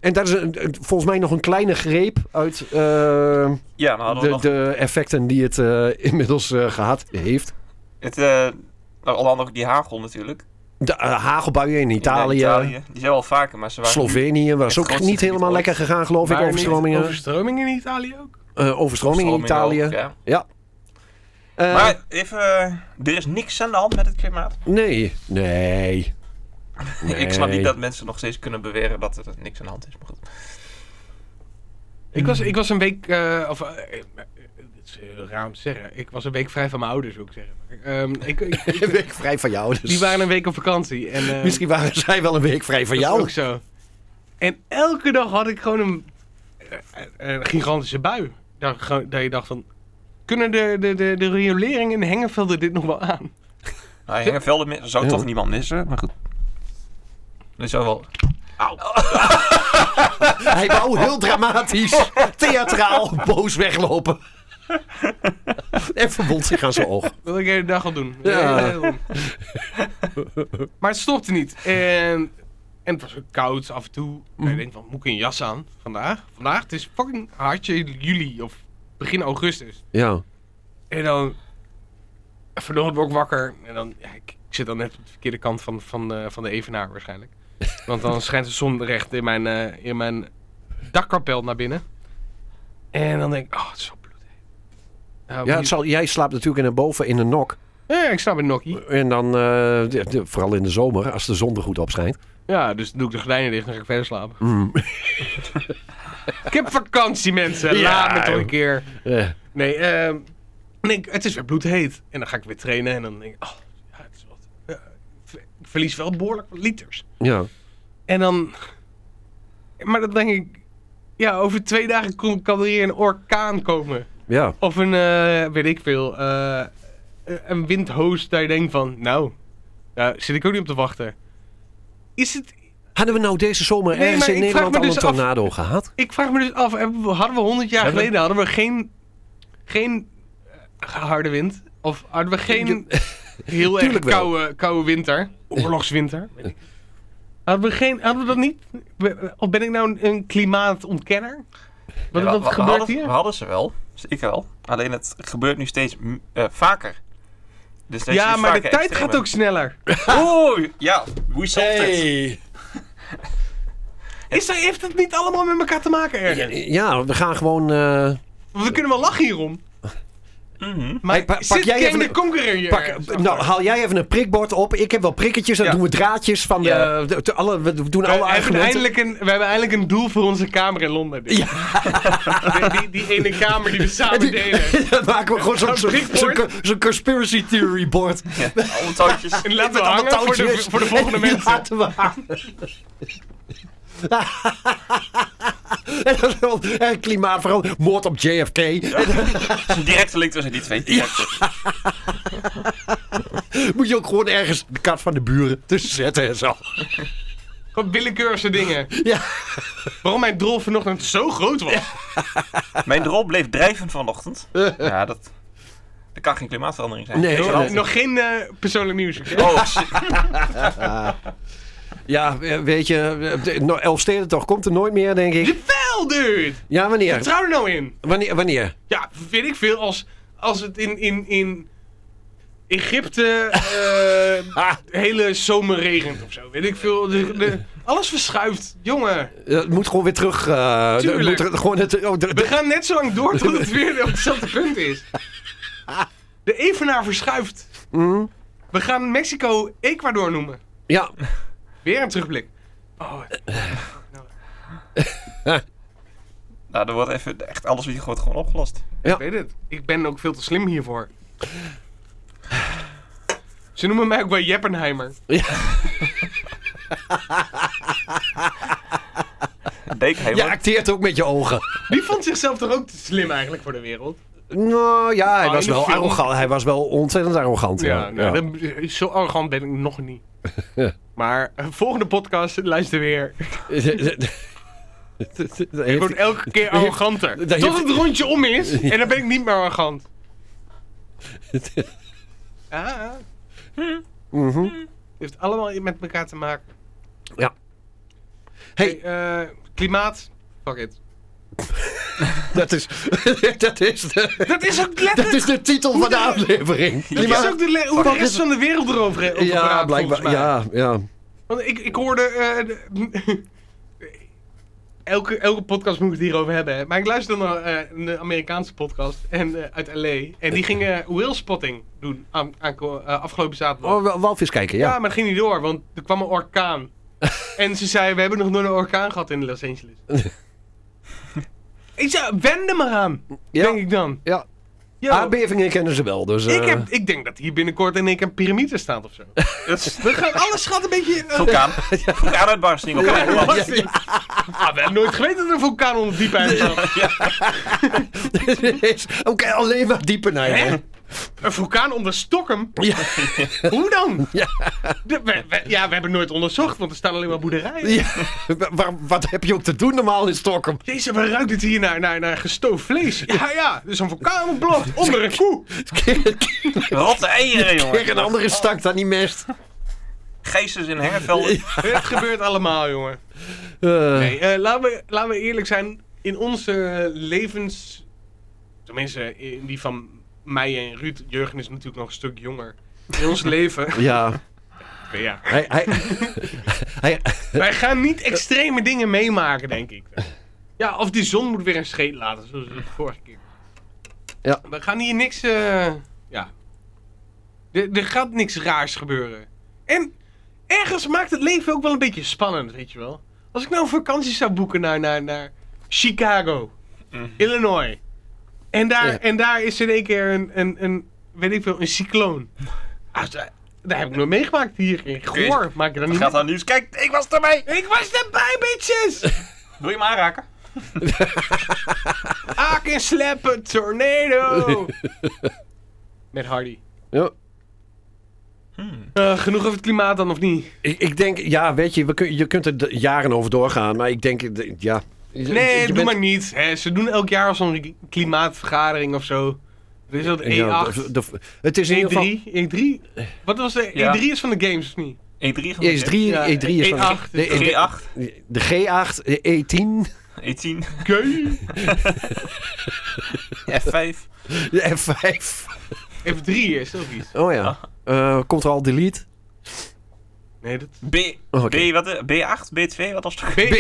[SPEAKER 5] En dat is een- een- volgens mij nog een kleine greep uit eh,
[SPEAKER 3] Ja, dan hadden we
[SPEAKER 5] de,
[SPEAKER 3] nog...
[SPEAKER 5] de effecten die het eh, inmiddels eh, gehad heeft.
[SPEAKER 3] Het, eh nou, onder andere ook die hagel natuurlijk. In
[SPEAKER 5] De eh, hagelbuien in
[SPEAKER 3] eh,
[SPEAKER 5] Italië,
[SPEAKER 3] Die zijn wel vaker, maar ze waren...
[SPEAKER 5] Slovenië was
[SPEAKER 3] Het
[SPEAKER 5] ook
[SPEAKER 3] grootste
[SPEAKER 5] niet
[SPEAKER 3] gebied
[SPEAKER 5] helemaal
[SPEAKER 3] ooit.
[SPEAKER 5] lekker gegaan, geloof ik.
[SPEAKER 4] Waren niet
[SPEAKER 5] Overstromingen.
[SPEAKER 4] Overstromingen in Italië ook?
[SPEAKER 5] Eh, overstromingen in Italië.
[SPEAKER 3] ook, ja.
[SPEAKER 5] Eh,
[SPEAKER 3] Maar even, eh, er is niks aan de hand met het klimaat.
[SPEAKER 5] nee, nee.
[SPEAKER 3] Ik snap
[SPEAKER 5] Nee.
[SPEAKER 3] niet dat mensen nog steeds kunnen beweren dat er niks aan de hand is. Maar goed.
[SPEAKER 4] Ik was, ik was een week, eh, of eh, eh, het is heel raar om te zeggen, ik was een week vrij van mijn ouders, wil ik zeggen. Ehm, ik, ik-
[SPEAKER 5] Een week vrij van jou. Dus.
[SPEAKER 4] die waren een week op vakantie. En, eh,
[SPEAKER 5] Misschien waren zij wel een week vrij van
[SPEAKER 4] dat is
[SPEAKER 5] jou.
[SPEAKER 4] Ook zo. En elke dag had ik gewoon een, eh, een gigantische bui. Dat, gewoon- dat je dacht van, kunnen de, de, de, de riolering in Hengevelden dit nog wel aan?
[SPEAKER 3] Nou, Hengevelden mi- zou
[SPEAKER 5] Ja.
[SPEAKER 3] toch niemand missen, maar goed. Dat zou wel...
[SPEAKER 5] Hij wou heel dramatisch, theatraal, boos weglopen. en verbond zich aan zijn oog.
[SPEAKER 4] Dat wil ik de hele dag al doen.
[SPEAKER 5] Ja.
[SPEAKER 4] De hele dag. maar het stopte niet. En, en het was ook koud af en toe. En ik denk van, moet ik een jas aan vandaag? Vandaag, het is fucking hartje juli of begin augustus.
[SPEAKER 5] Ja.
[SPEAKER 4] En dan, vanochtend word ik wakker. En dan, ja, ik, ik zit dan net op de verkeerde kant van, van, eh, van de evenaar waarschijnlijk. Want dan schijnt de zon recht in mijn, eh, in mijn dakkapel naar binnen. En dan denk ik, oh, het is zo bloedheet. Nou,
[SPEAKER 5] Ja,
[SPEAKER 4] hier-
[SPEAKER 5] het zal, jij slaapt natuurlijk in een boven in een nok.
[SPEAKER 4] ja, ik sta bij Nokkie.
[SPEAKER 5] En dan, eh, de- de- vooral in de zomer, als de zon er goed op schijnt.
[SPEAKER 4] Ja, dus doe ik de gordijnen dicht en ga ik verder slapen.
[SPEAKER 5] Mm.
[SPEAKER 4] Ik heb vakantie, mensen.
[SPEAKER 5] Ja,
[SPEAKER 4] Laat me toch een
[SPEAKER 5] joh.
[SPEAKER 4] keer.
[SPEAKER 5] Eh,
[SPEAKER 4] Nee, ehm, en ik, het is weer bloedheet. En dan ga ik weer trainen en dan denk ik... Oh, ja, het is wat. Ja, ik ver- ik verlies wel behoorlijk wat liters.
[SPEAKER 5] ja.
[SPEAKER 4] En dan... Maar dan denk ik... Ja, over twee dagen kom- kan er hier een orkaan komen.
[SPEAKER 5] Ja.
[SPEAKER 4] Of een, eh, weet ik veel... eh, een windhoos dat je denkt van... Nou, daar zit ik ook niet op te wachten. Is het...
[SPEAKER 5] Hadden we nou deze zomer
[SPEAKER 4] Nee,
[SPEAKER 5] ergens
[SPEAKER 4] maar
[SPEAKER 5] in
[SPEAKER 4] ik vraag
[SPEAKER 5] Nederland
[SPEAKER 4] me
[SPEAKER 5] al een
[SPEAKER 4] dus af-
[SPEAKER 5] tornado gehad?
[SPEAKER 4] Ik vraag me dus af, hebben we- hadden we 100 jaar
[SPEAKER 5] Hebben-
[SPEAKER 4] geleden hadden we geen, geen eh, harde wind? Of hadden we geen heel erg
[SPEAKER 5] Tuurlijk wel.
[SPEAKER 4] koude, koude winter? Oorlogswinter? weet ik. Hadden we, geen, hadden we dat niet? We- Of ben ik nou een, een klimaatontkenner? Wat,
[SPEAKER 3] Ja,
[SPEAKER 4] wat
[SPEAKER 3] we- we
[SPEAKER 4] gebeurt
[SPEAKER 3] hadden,
[SPEAKER 4] hier?
[SPEAKER 3] We hadden ze wel. Zeker wel. Alleen het gebeurt nu steeds mm, eh, vaker. Dus er is
[SPEAKER 4] ja,
[SPEAKER 3] steeds
[SPEAKER 4] maar de
[SPEAKER 3] vaker
[SPEAKER 4] tijd
[SPEAKER 3] extremer.
[SPEAKER 4] gaat ook sneller.
[SPEAKER 3] Oeh, ja. Hoe zal het?
[SPEAKER 4] Is dat, heeft dat niet allemaal met elkaar te maken ergens?
[SPEAKER 5] Ja, we gaan gewoon... eh,
[SPEAKER 4] We kunnen wel lachen hierom.
[SPEAKER 3] Mhm.
[SPEAKER 4] Maar
[SPEAKER 5] Hey, pa-
[SPEAKER 4] zit
[SPEAKER 5] pak jij
[SPEAKER 4] Kang
[SPEAKER 5] even
[SPEAKER 4] de
[SPEAKER 5] een-
[SPEAKER 4] Conqueror hier? ergens
[SPEAKER 5] pak,
[SPEAKER 4] achter?
[SPEAKER 5] nou, haal jij even een prikbord op. Ik heb wel prikketjes. Dan
[SPEAKER 3] Ja.
[SPEAKER 5] doen we draadjes van de...
[SPEAKER 4] Ja.
[SPEAKER 5] de- de- alle, we doen alle
[SPEAKER 4] we, hebben
[SPEAKER 5] argumenten.
[SPEAKER 4] eindelijk een, we hebben eindelijk een doel voor onze kamer in Londen. Dick. die, die, die ene kamer die we samen delen.
[SPEAKER 5] Dan maken we gewoon zo'n
[SPEAKER 4] Zo'n
[SPEAKER 5] zo'n zo'n-
[SPEAKER 4] prikbord.
[SPEAKER 5] zo'n conspiracy theory board.
[SPEAKER 3] Ja, alle touwtjes.
[SPEAKER 4] En laten we hangen voor de, voor de volgende
[SPEAKER 5] En die
[SPEAKER 4] mensen.
[SPEAKER 5] laten we hangen. En dan wel- en klimaatverandering, Eh, moord op JFK.
[SPEAKER 3] Er is een directe link tussen die twee. Directe.
[SPEAKER 5] Moet je ook gewoon ergens de kat van de buren tussen zetten en zo.
[SPEAKER 4] Gewoon willekeurige dingen.
[SPEAKER 5] Ja.
[SPEAKER 4] Waarom mijn drol vanochtend zo groot was.
[SPEAKER 3] Mijn drol bleef drijven vanochtend.
[SPEAKER 4] Eh.
[SPEAKER 3] Ja, dat... Dat kan geen klimaatverandering zijn.
[SPEAKER 5] Nee,
[SPEAKER 3] Weet je
[SPEAKER 5] nee.
[SPEAKER 3] wel?
[SPEAKER 4] Nog geen eh, persoonlijk nieuws.
[SPEAKER 3] Oh, shit.
[SPEAKER 5] Ja, eh, weet je, eh, de- nou, Elfsteden toch komt er nooit meer, denk ik.
[SPEAKER 4] Jawel, dude!
[SPEAKER 5] Ja, wanneer?
[SPEAKER 4] Vertrouw er nou in.
[SPEAKER 5] Wanneer? wanneer?
[SPEAKER 4] Ja, vind ik veel als, als het in, in, in Egypte eh,
[SPEAKER 5] Ah,
[SPEAKER 4] de hele zomer regent of zo. Weet ik veel. De- de- alles verschuift, jongen.
[SPEAKER 5] het moet gewoon weer terug. eh,
[SPEAKER 4] Tuurlijk.
[SPEAKER 5] het moet er- gewoon het, oh, de-
[SPEAKER 4] We
[SPEAKER 5] de-
[SPEAKER 4] gaan net zo lang door tot het weer op hetzelfde punt is. De evenaar verschuift.
[SPEAKER 5] Mm,
[SPEAKER 4] We gaan Mexico Ecuador noemen.
[SPEAKER 5] ja,
[SPEAKER 4] Weer een terugblik. Oh,
[SPEAKER 3] Nou, er wordt even echt alles hier wordt gewoon opgelost.
[SPEAKER 5] ja.
[SPEAKER 4] ik weet het. Ik ben ook veel te slim hiervoor. Ze noemen mij ook wel Jeppenheimer.
[SPEAKER 3] Deken
[SPEAKER 5] Je
[SPEAKER 3] helemaal.
[SPEAKER 5] acteert ook met je ogen.
[SPEAKER 4] Die vond zichzelf toch ook te slim eigenlijk voor de wereld?
[SPEAKER 5] Nou ja, hij
[SPEAKER 4] Ah,
[SPEAKER 5] was
[SPEAKER 4] in de
[SPEAKER 5] wel
[SPEAKER 4] film.
[SPEAKER 5] arrogant. Hij was wel ontzettend arrogant. Ja,
[SPEAKER 4] Ja, nou, dat- zo arrogant ben ik nog niet. Maar eh, volgende podcast, luister weer. Ik word elke keer arroganter.
[SPEAKER 5] Dat heeft-
[SPEAKER 4] Tot het rondje om is en dan ben ik niet meer arrogant. Ah,
[SPEAKER 5] Mhm.
[SPEAKER 4] heeft allemaal met elkaar te maken.
[SPEAKER 5] Ja.
[SPEAKER 4] Hey,
[SPEAKER 5] Hey,
[SPEAKER 4] eh, klimaat. Fuck it.
[SPEAKER 5] dat is, dat, is de,
[SPEAKER 4] Dat is ook
[SPEAKER 5] dat
[SPEAKER 4] letterlijk.
[SPEAKER 5] is de titel van de aflevering.
[SPEAKER 4] Dat is ook de le- hoe de rest van de wereld erover over
[SPEAKER 5] Ja,
[SPEAKER 4] praat,
[SPEAKER 5] blijkbaar.
[SPEAKER 4] volgens mij.
[SPEAKER 5] Ja, ja.
[SPEAKER 4] Want ik, ik hoorde... eh, de- elke, elke podcast moet ik het hierover hebben. hè. Maar ik luisterde naar eh, een Amerikaanse podcast en, eh, uit L.A. En die gingen whale spotting doen aan, aanko- eh, afgelopen zaterdag.
[SPEAKER 5] Oh, wel- walvis kijken,
[SPEAKER 4] ja.
[SPEAKER 5] ja.
[SPEAKER 4] maar dat ging niet door, want er kwam een orkaan. en ze zei, we hebben nog nooit een orkaan gehad in Los Angeles. ik zei, wend er maar aan, denk
[SPEAKER 5] ja.
[SPEAKER 4] ik dan.
[SPEAKER 5] ja.
[SPEAKER 4] Yo,
[SPEAKER 5] Aardbevingen kennen ze wel, dus...
[SPEAKER 4] ik,
[SPEAKER 5] eh,
[SPEAKER 4] heb, ik denk dat hier binnenkort in één keer een piramide staat of zo. We gaan, alles gaat een beetje... eh,
[SPEAKER 3] Vulkaan. Vulkaanuitbarsting. op eigen land.
[SPEAKER 4] Belasting. Ah, we hebben nooit geweten dat er een vulkaan onder diep eind zat.
[SPEAKER 5] dit eh, is- Oké, alleen maar dieper naar
[SPEAKER 4] Hè?
[SPEAKER 5] je.
[SPEAKER 4] Een vulkaan onder Stockholm?
[SPEAKER 5] Ja.
[SPEAKER 4] Hoe dan? De- we- we- ja, we hebben nooit onderzocht, want er staan alleen maar boerderijen.
[SPEAKER 5] Ja. Waar- Wat heb je ook te doen normaal in Stockholm?
[SPEAKER 4] Jezus, waar ruikt het hier naar, naar, naar gestoofd vlees? Ja, ja, dus een vulkaan ontploft onder een koe.
[SPEAKER 3] Rotte eieren, jongen.
[SPEAKER 5] Kijk, een andere stank dan die mest.
[SPEAKER 3] Geesters in Hengeveld.
[SPEAKER 4] Het gebeurt allemaal, jongen.
[SPEAKER 5] Eh,
[SPEAKER 4] Nee, eh, laten, we, laten we eerlijk zijn. In onze eh, levens... Tenminste, in die van mij en Ruud. Jurgen is natuurlijk nog een stuk jonger. In ons leven...
[SPEAKER 5] Ja,
[SPEAKER 4] Ja.
[SPEAKER 5] hij, hij, hij,
[SPEAKER 4] Wij gaan niet extreme dingen meemaken, denk ik. Ja, of die zon moet weer een scheet laten, zoals de vorige keer.
[SPEAKER 5] Ja.
[SPEAKER 4] We gaan hier niks... eh, ja. Er er gaat niks raars gebeuren. En ergens maakt het leven ook wel een beetje spannend, weet je wel. Als ik nou een vakantie zou boeken naar, naar, naar Chicago, Illinois. En daar,
[SPEAKER 5] Ja.
[SPEAKER 4] en daar is in één keer een, een, een, weet ik veel, een cycloon. Ah, daar- daar heb ik nooit meegemaakt hier. In Goor maak je dan niet
[SPEAKER 3] Gaat aan nieuws. Kijk, ik was erbij.
[SPEAKER 4] ik was erbij, bitches!
[SPEAKER 3] Wil je me aanraken?
[SPEAKER 4] I can slap a tornado! Met Hardy.
[SPEAKER 5] ja.
[SPEAKER 4] Eh, genoeg over het klimaat dan, of niet?
[SPEAKER 5] Ik, ik denk, ja, weet je, we kun, je kunt er d- jaren over doorgaan, maar ik denk, d- ja. Je-
[SPEAKER 4] Nee,
[SPEAKER 5] je
[SPEAKER 4] doe
[SPEAKER 5] bent-
[SPEAKER 4] maar niet. Hè, ze doen elk jaar zo'n klimaatvergadering of zo. Er is dat E E8,
[SPEAKER 5] Ja, de- de- het is in ieder geval.
[SPEAKER 4] E3, E3. E Wat was de
[SPEAKER 3] Ja.
[SPEAKER 4] E3 is van de games, of niet?
[SPEAKER 3] E3
[SPEAKER 5] E3,
[SPEAKER 4] Ja, E
[SPEAKER 5] E3 E is van
[SPEAKER 4] E8
[SPEAKER 5] de,
[SPEAKER 4] is
[SPEAKER 5] de,
[SPEAKER 3] G8,
[SPEAKER 5] de, de G8, de E E10,
[SPEAKER 3] E10,
[SPEAKER 4] Gay.
[SPEAKER 3] F5.
[SPEAKER 5] de F5.
[SPEAKER 4] F3 is dat iets?
[SPEAKER 5] Oh ja. Eh, komt er al delete?
[SPEAKER 4] Nee, dat...
[SPEAKER 3] B,
[SPEAKER 5] Oh, oké.
[SPEAKER 3] B, wat, eh, B8, B2, wat was het?
[SPEAKER 4] B100. Nee,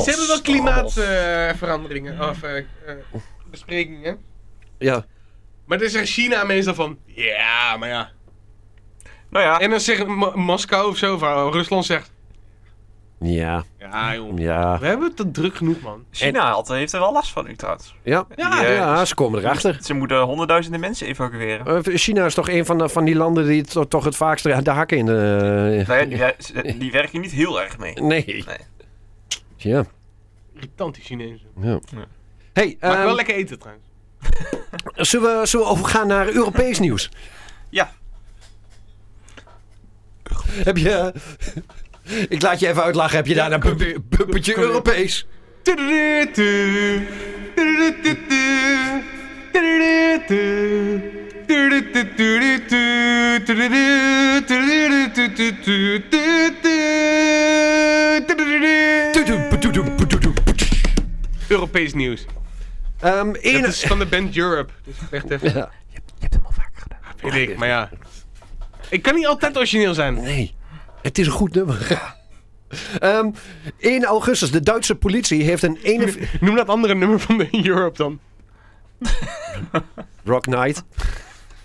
[SPEAKER 4] ze hebben wel
[SPEAKER 3] eh,
[SPEAKER 4] klimaatveranderingen, of eh, eh, besprekingen.
[SPEAKER 5] Ja.
[SPEAKER 4] Maar dan zegt China meestal van, ja, maar ja.
[SPEAKER 3] nou ja,
[SPEAKER 4] En dan zegt Mo- Moskou of zo, of eh, Rusland zegt,
[SPEAKER 5] Ja,
[SPEAKER 4] ja joh.
[SPEAKER 5] ja.
[SPEAKER 4] We hebben het te druk genoeg, man.
[SPEAKER 3] China had, eh, heeft er wel last van nu trouwens.
[SPEAKER 5] Ja,
[SPEAKER 4] Ja,
[SPEAKER 5] ja,
[SPEAKER 3] eh,
[SPEAKER 5] ze komen erachter.
[SPEAKER 3] Ze moeten honderdduizenden mensen evacueren.
[SPEAKER 5] Eh, China is toch een van, de- van die landen die to- toch het vaakst de de hakken in de...
[SPEAKER 3] Nou ja, die, wer- ze- die werken niet heel erg mee.
[SPEAKER 5] Nee.
[SPEAKER 3] Nee.
[SPEAKER 5] Ja.
[SPEAKER 4] Irritant die Chinezen.
[SPEAKER 5] ja.
[SPEAKER 3] Ja.
[SPEAKER 5] hey,
[SPEAKER 4] Maar
[SPEAKER 5] ehm,
[SPEAKER 4] wel lekker eten trouwens.
[SPEAKER 5] zullen, we, zullen we overgaan naar Europees nieuws?
[SPEAKER 3] Ja,
[SPEAKER 5] Heb je... Ik laat je even uitlachen. Heb je daar een bump- bumpetje
[SPEAKER 4] Kom hier.
[SPEAKER 5] Europees?
[SPEAKER 4] Tudududu, tudududu, tudududu, tudududu, tudududu, tu, tu, tu, tu, tu, tu, tu, tu. Europees nieuws.
[SPEAKER 5] Ehm,
[SPEAKER 4] Het
[SPEAKER 5] in,
[SPEAKER 4] is van de band Europe. Dus echt even.
[SPEAKER 5] Ja.
[SPEAKER 4] Weet ik, maar ja. Ik kan niet altijd origineel zijn.
[SPEAKER 5] Nee, het is een goed nummer. Ehm, in augustus, de Duitse politie heeft een... Ene...
[SPEAKER 4] Noem dat andere nummer van de Europe dan.
[SPEAKER 5] Rock Knight.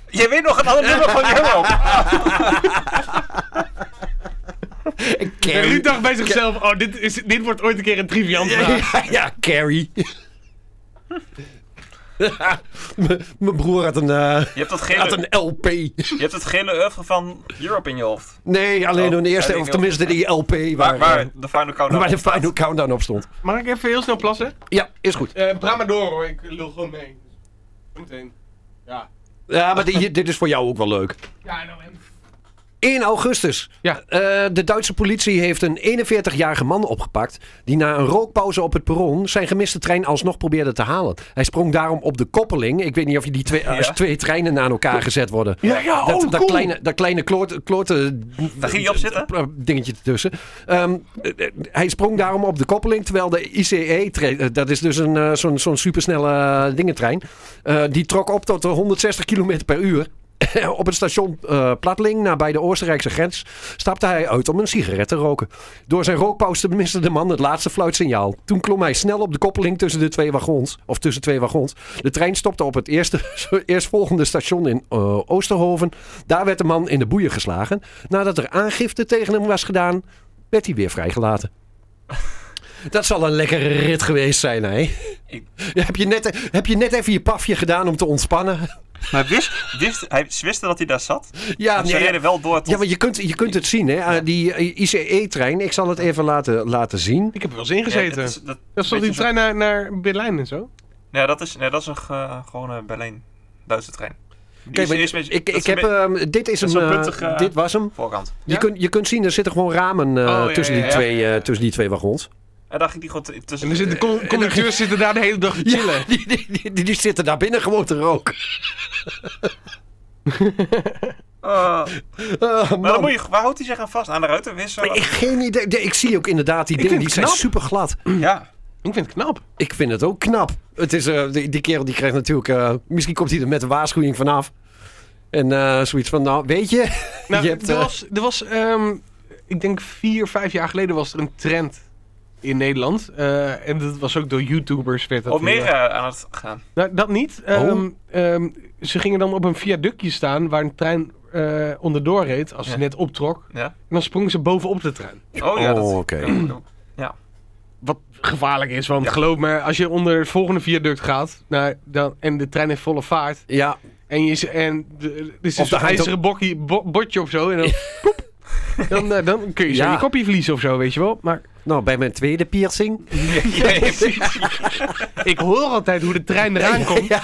[SPEAKER 3] Jij weet nog een ander nummer van Europe.
[SPEAKER 4] Ruud dacht bij zichzelf, oh, dit, is, dit wordt ooit een keer een triviant vraag.
[SPEAKER 5] Ja, ja, Carrie. M- Mijn broer had een, eh,
[SPEAKER 3] Je hebt dat
[SPEAKER 5] had
[SPEAKER 3] gele,
[SPEAKER 5] een LP.
[SPEAKER 3] je hebt het gele oeuvre van Europe in je hoofd.
[SPEAKER 5] Nee, alleen
[SPEAKER 3] Oh,
[SPEAKER 5] door de eerste,
[SPEAKER 3] ja,
[SPEAKER 5] of
[SPEAKER 3] die-
[SPEAKER 5] tenminste die LP waar,
[SPEAKER 3] Waar, waar
[SPEAKER 5] eh,
[SPEAKER 3] de Final Countdown
[SPEAKER 5] waar de
[SPEAKER 3] staat.
[SPEAKER 5] Final Countdown op stond.
[SPEAKER 4] Mag ik even heel snel plassen?
[SPEAKER 5] Ja, is goed.
[SPEAKER 4] Eh praat maar door hoor, ik lul gewoon mee. Meteen. Ja.
[SPEAKER 5] Ja, maar die- dit is voor jou ook wel leuk.
[SPEAKER 4] Ja, nou en...
[SPEAKER 5] In augustus.
[SPEAKER 4] Ja.
[SPEAKER 5] Eh, de Duitse politie heeft een 41-jarige man opgepakt. die na een rookpauze op het perron. zijn gemiste trein alsnog probeerde te halen. Hij sprong daarom op de koppeling. Ik weet niet of je die twee, als twee treinen aan elkaar gezet worden.
[SPEAKER 4] Ja, ja,
[SPEAKER 5] dat,
[SPEAKER 4] oh,
[SPEAKER 5] dat
[SPEAKER 4] cool.
[SPEAKER 5] kleine, dat kleine kloort, kloorten-
[SPEAKER 3] Daar ging je op zitten?
[SPEAKER 5] eh, dingetje ertussen. Ehm, eh, eh, hij sprong daarom op de koppeling, terwijl de ICE, tre- eh, dat is dus een, eh, zo'n, zo'n supersnelle eh, dingetrein, eh, die trok op tot de 160 km per uur. op het station eh Platling, nabij de Oostenrijkse grens, stapte hij uit om een sigaret te roken. Door zijn rookpauze miste de man het laatste fluitsignaal. Toen klom hij snel op de koppeling tussen de twee wagons, of tussen twee wagons. De trein stopte op het eerste, eerstvolgende station in eh, Oosterhoven. Daar werd de man in de boeien geslagen. Nadat er aangifte tegen hem was gedaan, werd hij weer vrijgelaten. Dat zal een lekkere rit geweest zijn, hè?
[SPEAKER 3] Ik-
[SPEAKER 5] Heb je, net, heb je net even je pafje gedaan om te ontspannen?
[SPEAKER 3] Maar wist, wist, hij wist dat hij daar zat?
[SPEAKER 5] Ja,
[SPEAKER 3] Of ze
[SPEAKER 5] nee,
[SPEAKER 3] reden wel door tot...
[SPEAKER 5] ja maar je kunt, je kunt het zien, hè? Ah, die eh, ICE-trein, ik zal het even laten, laten zien.
[SPEAKER 4] Ik heb er wel eens
[SPEAKER 3] Ja, dat
[SPEAKER 4] ingezeten.
[SPEAKER 3] is- dat,
[SPEAKER 4] dat is toch
[SPEAKER 3] weet
[SPEAKER 4] die
[SPEAKER 3] je zo-
[SPEAKER 4] trein naar, naar Berlijn en zo?
[SPEAKER 3] Nee, dat is, nee, dat is een ge- gewone eh, Berlijn. Duitse trein. Die
[SPEAKER 5] Kijk,
[SPEAKER 3] is-
[SPEAKER 5] maar
[SPEAKER 3] is met-
[SPEAKER 5] ik, ik
[SPEAKER 3] dat is een
[SPEAKER 5] heb,
[SPEAKER 3] beetje-
[SPEAKER 5] ehm, dit is
[SPEAKER 3] dat
[SPEAKER 5] hem,
[SPEAKER 3] is een
[SPEAKER 5] eh,
[SPEAKER 3] puntig, eh,
[SPEAKER 5] dit was hem.
[SPEAKER 3] voorkant.
[SPEAKER 5] Je,
[SPEAKER 4] Ja?
[SPEAKER 5] kunt, je kunt zien, er zitten gewoon ramen eh,
[SPEAKER 4] ja,
[SPEAKER 5] tussen, die
[SPEAKER 4] ja, ja.
[SPEAKER 5] twee, eh, tussen die twee wagons.
[SPEAKER 3] En daar ging die gewoon t- tussen...
[SPEAKER 4] En er zitten
[SPEAKER 3] eh,
[SPEAKER 4] con- conducteurs zitten daar de hele dag te chillen.
[SPEAKER 5] Ja, die, die, die- die- die zitten daar binnen gewoon te roken.
[SPEAKER 3] eh,
[SPEAKER 5] Ah,
[SPEAKER 3] maar
[SPEAKER 5] man.
[SPEAKER 4] Nou.
[SPEAKER 3] dan moet je, waar houdt hij zich aan vast? Aan de ruitenwisser?
[SPEAKER 5] Ik, geen idee. Nee, Ik zie ook inderdaad die
[SPEAKER 4] Ik
[SPEAKER 5] dingen.
[SPEAKER 4] vind
[SPEAKER 5] Die
[SPEAKER 4] het
[SPEAKER 5] zijn super
[SPEAKER 4] knap.
[SPEAKER 5] glad.
[SPEAKER 3] Ja.
[SPEAKER 4] Ik vind het knap.
[SPEAKER 5] Ik vind het ook knap. Het is, eh, die, die kerel die krijgt natuurlijk... eh, misschien komt hij er met een waarschuwing vanaf. En eh, zoiets van, nou, weet je...
[SPEAKER 4] Nou,
[SPEAKER 5] je hebt,
[SPEAKER 4] er
[SPEAKER 5] eh,
[SPEAKER 4] was, er was ehm, ik denk vier, vijf jaar geleden was er een trend in Nederland. Eh, en dat was ook door YouTubers. Werd dat
[SPEAKER 3] Of meer
[SPEAKER 4] heel-
[SPEAKER 3] eh, aan het gaan.
[SPEAKER 4] Nou, dat niet. Ehm, ehm, ze gingen dan op een viaductje staan waar een trein eh, onderdoor reed als ze
[SPEAKER 3] Ja.
[SPEAKER 4] net optrok.
[SPEAKER 3] Ja.
[SPEAKER 4] En dan sprongen ze bovenop de trein.
[SPEAKER 3] Oh ja, dat...
[SPEAKER 5] Oh, oké.
[SPEAKER 3] ja,
[SPEAKER 4] Wat gevaarlijk is, want geloof me, als je onder het volgende viaduct gaat nou, dan, en de trein heeft volle vaart.
[SPEAKER 5] Ja,
[SPEAKER 4] En je is- en de- er
[SPEAKER 5] Of
[SPEAKER 4] is een
[SPEAKER 5] er
[SPEAKER 4] soort
[SPEAKER 5] hangt
[SPEAKER 4] ijzeren bokkie, bo- botje of zo. En dan, ploep. dan, eh, dan kun je zo
[SPEAKER 5] Ja.
[SPEAKER 4] je kopje verliezen of zo, weet je wel. Maar
[SPEAKER 5] nou, bij mijn tweede piercing...
[SPEAKER 3] ja, precies.
[SPEAKER 4] ik hoor altijd hoe de trein eraan komt.
[SPEAKER 5] Ja.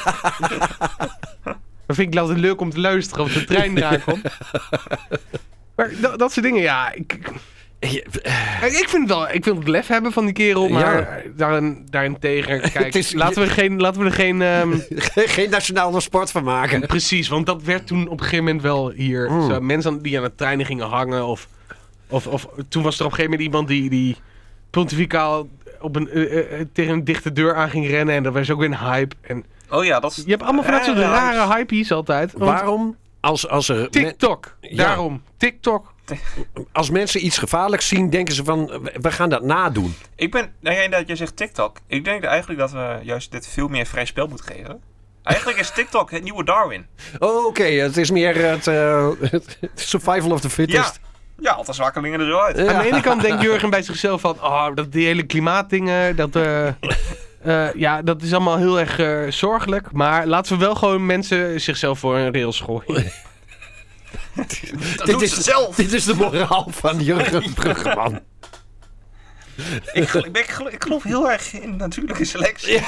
[SPEAKER 4] Dat vind ik altijd leuk om te luisteren, als de trein eraan komt. Maar da- dat soort dingen, ja. Ik, ik
[SPEAKER 5] eh.
[SPEAKER 4] ik vind het wel, ik wil het lef hebben van die kerel, maar daarin, daarentegen, kijk,
[SPEAKER 5] Het is-
[SPEAKER 4] laten, we geen, laten we er geen... ehm,
[SPEAKER 5] Geen nationale sport van maken.
[SPEAKER 4] Precies, want dat werd toen op een gegeven moment wel hier.
[SPEAKER 5] Mm.
[SPEAKER 4] Zo, mensen aan- die aan de treinen gingen hangen. Of, of, of toen was er op een gegeven moment iemand die, die pontificaal op een, eh, eh, eh, tegen een dichte deur aan ging rennen. En dat was ook weer een hype. En Eh, dus-
[SPEAKER 3] Oh ja, dat is...
[SPEAKER 4] je hebt allemaal van dat soort
[SPEAKER 3] Ja,
[SPEAKER 4] rare hype's altijd. want
[SPEAKER 5] Waarom, als, als, er men-
[SPEAKER 4] TikTok,
[SPEAKER 5] Ja.
[SPEAKER 4] daarom. TikTok.
[SPEAKER 5] als mensen iets gevaarlijks zien, denken ze van... eh, we gaan dat nadoen.
[SPEAKER 3] Ik ben, nou ja, inderdaad, jij zegt TikTok. Ik denk eigenlijk dat we juist dit veel meer vrij spel moeten geven. Eigenlijk is TikTok het nieuwe Darwin.
[SPEAKER 5] Oh, Oké, het is meer het, eh, het survival of the
[SPEAKER 3] Ja,
[SPEAKER 5] fittest.
[SPEAKER 3] ja, al de zwakkelingen er zo
[SPEAKER 5] Eh,
[SPEAKER 3] uit.
[SPEAKER 4] Aan de ene kant denkt Jurgen bij zichzelf van... Oh, dat die hele klimaatdingen, dat... eh, eh, ja, dat is allemaal heel erg eh, zorgelijk. Maar laten we wel gewoon mensen zichzelf voor een rails gooien.
[SPEAKER 3] Dat
[SPEAKER 5] dit
[SPEAKER 3] doet
[SPEAKER 5] is-
[SPEAKER 3] ze zelf.
[SPEAKER 5] Dit is de moraal van Jurgen Bruggeman.
[SPEAKER 3] Ik, gel- ik, ben- ik, gel- ik geloof heel erg in natuurlijke selectie.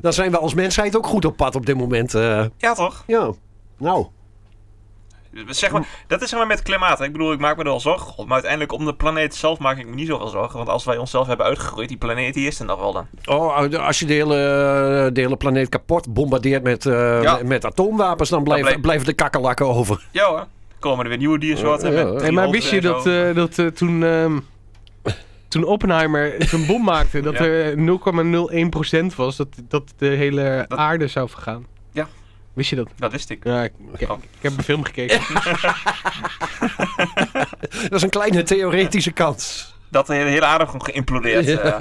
[SPEAKER 5] Dan zijn we als mensheid ook goed op pad op dit moment. eh.
[SPEAKER 3] Ja, toch?
[SPEAKER 5] ja, nou.
[SPEAKER 3] Zeg maar, dat is zeg maar met klimaat. hè. Ik bedoel, ik maak me er wel zorgen om. Maar uiteindelijk om de planeet zelf maak ik me niet zoveel zorgen. Want als wij onszelf hebben uitgegroeid, die planeet die is er nog wel dan.
[SPEAKER 5] Oh, als je de hele, de hele planeet kapot bombardeert met, eh,
[SPEAKER 3] Ja.
[SPEAKER 5] met atoomwapens, dan blijven,
[SPEAKER 3] blijft-
[SPEAKER 5] blijven de kakkerlakken over.
[SPEAKER 3] Ja hoor. Komen er weer nieuwe diersoorten.
[SPEAKER 5] Ja, ja.
[SPEAKER 3] met drie
[SPEAKER 5] Hey,
[SPEAKER 4] Hey, maar
[SPEAKER 3] hoofden
[SPEAKER 4] wist je
[SPEAKER 3] en zo.
[SPEAKER 4] dat, eh, dat eh, toen, ehm, toen Oppenheimer zijn bom maakte, dat
[SPEAKER 3] Ja.
[SPEAKER 4] er 0,01% was dat, dat de hele
[SPEAKER 3] Dat-
[SPEAKER 4] aarde zou vergaan?
[SPEAKER 3] Ja.
[SPEAKER 4] Wist je dat?
[SPEAKER 3] Dat wist ik.
[SPEAKER 4] Ja, ik, ik-
[SPEAKER 3] Oh.
[SPEAKER 4] ik heb een film gekeken.
[SPEAKER 5] Dat is een kleine theoretische kans.
[SPEAKER 3] Dat de hele- hele aarde gewoon geïmplodeerd. eh.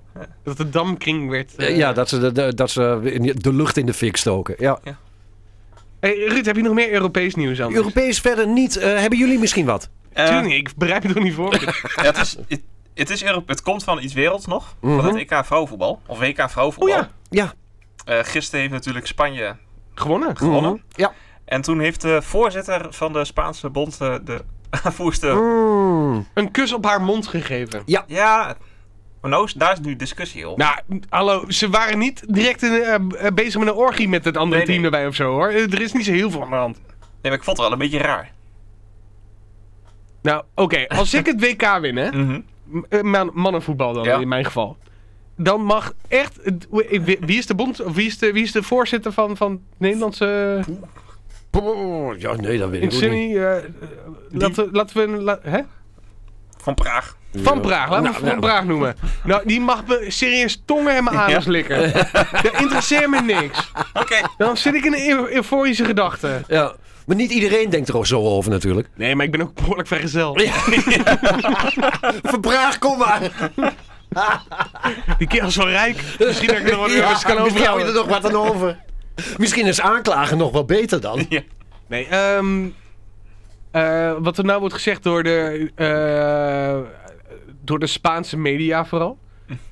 [SPEAKER 4] dat de damkring werd. eh.
[SPEAKER 5] ja, dat ze, de- de, dat ze in de lucht in de fik stoken. Ja.
[SPEAKER 4] Hey, Ruud, heb je nog meer Europees nieuws aan?
[SPEAKER 5] Europees verder niet. Eh, hebben jullie misschien wat?
[SPEAKER 3] Eh,
[SPEAKER 4] Tuurlijk, ik bereid me er niet voor.
[SPEAKER 3] ja, het, is, het, het is Europe- het komt van iets werelds nog. E
[SPEAKER 5] Mhm.
[SPEAKER 3] Van het EK vrouwenvoetbal. Of WK
[SPEAKER 4] oh
[SPEAKER 3] vrouwenvoetbal.
[SPEAKER 4] ja,
[SPEAKER 5] Ja.
[SPEAKER 3] Eh, gisteren heeft natuurlijk Spanje
[SPEAKER 4] gewonnen.
[SPEAKER 3] gewonnen.
[SPEAKER 5] Mhm. Ja.
[SPEAKER 3] En toen heeft de voorzitter van de Spaanse bond eh, de aanvoerster...
[SPEAKER 4] Mhm.
[SPEAKER 5] Mm.
[SPEAKER 4] Een kus op haar mond gegeven.
[SPEAKER 3] Ja, maar nou, is- daar is nu discussie op.
[SPEAKER 4] Nou, m- hallo, ze waren niet direct in, eh, b- eh, bezig met een orgie met het andere
[SPEAKER 3] Nee, nee.
[SPEAKER 4] team erbij of zo hoor. Eh, Er is niet zo heel veel aan de hand.
[SPEAKER 3] Nee, maar ik vond het wel een beetje raar.
[SPEAKER 4] Nou, oké, als ik het WK win, hè,
[SPEAKER 5] Mhm.
[SPEAKER 4] m- eh, man- mannenvoetbal dan
[SPEAKER 3] Ja.
[SPEAKER 4] in mijn geval. Dan mag echt. het- w- w- Wie is de bond? Of wie is de, wie is de voorzitter van, van het Nederlandse.
[SPEAKER 5] Poeh, Ja, nee, dat weet ik ook niet.
[SPEAKER 4] Insinnie? laten, we- laten we. een la- hè?
[SPEAKER 3] Van Praag.
[SPEAKER 4] Van Praag, laten we
[SPEAKER 5] Nou,
[SPEAKER 4] Van
[SPEAKER 5] nou.
[SPEAKER 4] Praag noemen. Nou, die mag me serieus tongen en mijn anus
[SPEAKER 3] Ja.
[SPEAKER 4] likken. Dat interesseert me niks.
[SPEAKER 3] Oké.
[SPEAKER 4] Dan zit ik in een eu- euforische gedachte.
[SPEAKER 5] Ja. Maar niet iedereen denkt er zo over natuurlijk.
[SPEAKER 4] Nee, maar ik ben ook behoorlijk vrijgezel.
[SPEAKER 5] Verbraag, kom maar.
[SPEAKER 4] Die kerel is wel rijk. Misschien dat ik er nog wat euro's kan
[SPEAKER 5] misschien hou je er
[SPEAKER 4] overhouden.
[SPEAKER 5] nog wat aan over. Misschien is aanklagen nog wel beter dan.
[SPEAKER 4] Nee, ehm, eh, wat er nou wordt gezegd door de, eh, door de Spaanse media vooral...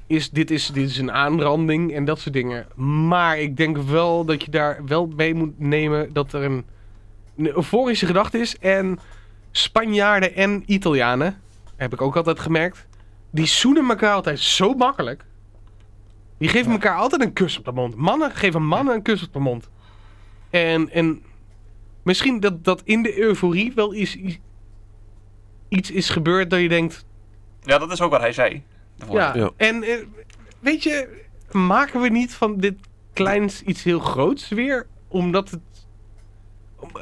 [SPEAKER 4] Is dit, is dit is een aanranding en dat soort dingen. Maar ik denk wel dat je daar wel mee moet nemen dat er een, een euforische gedachte is. En Spanjaarden en Italianen, heb ik ook altijd gemerkt... die zoenen elkaar altijd zo makkelijk. Die geven elkaar altijd een kus op de mond. Mannen geven mannen een kus op de mond. En, en misschien dat, dat in de euforie wel is, i- iets is gebeurd dat je denkt...
[SPEAKER 3] Ja, dat is ook wat hij zei. De
[SPEAKER 4] Ja,
[SPEAKER 3] voorzitter.
[SPEAKER 5] Ja.
[SPEAKER 4] en eh, weet je, maken we niet van dit kleins iets heel groots weer? Omdat het...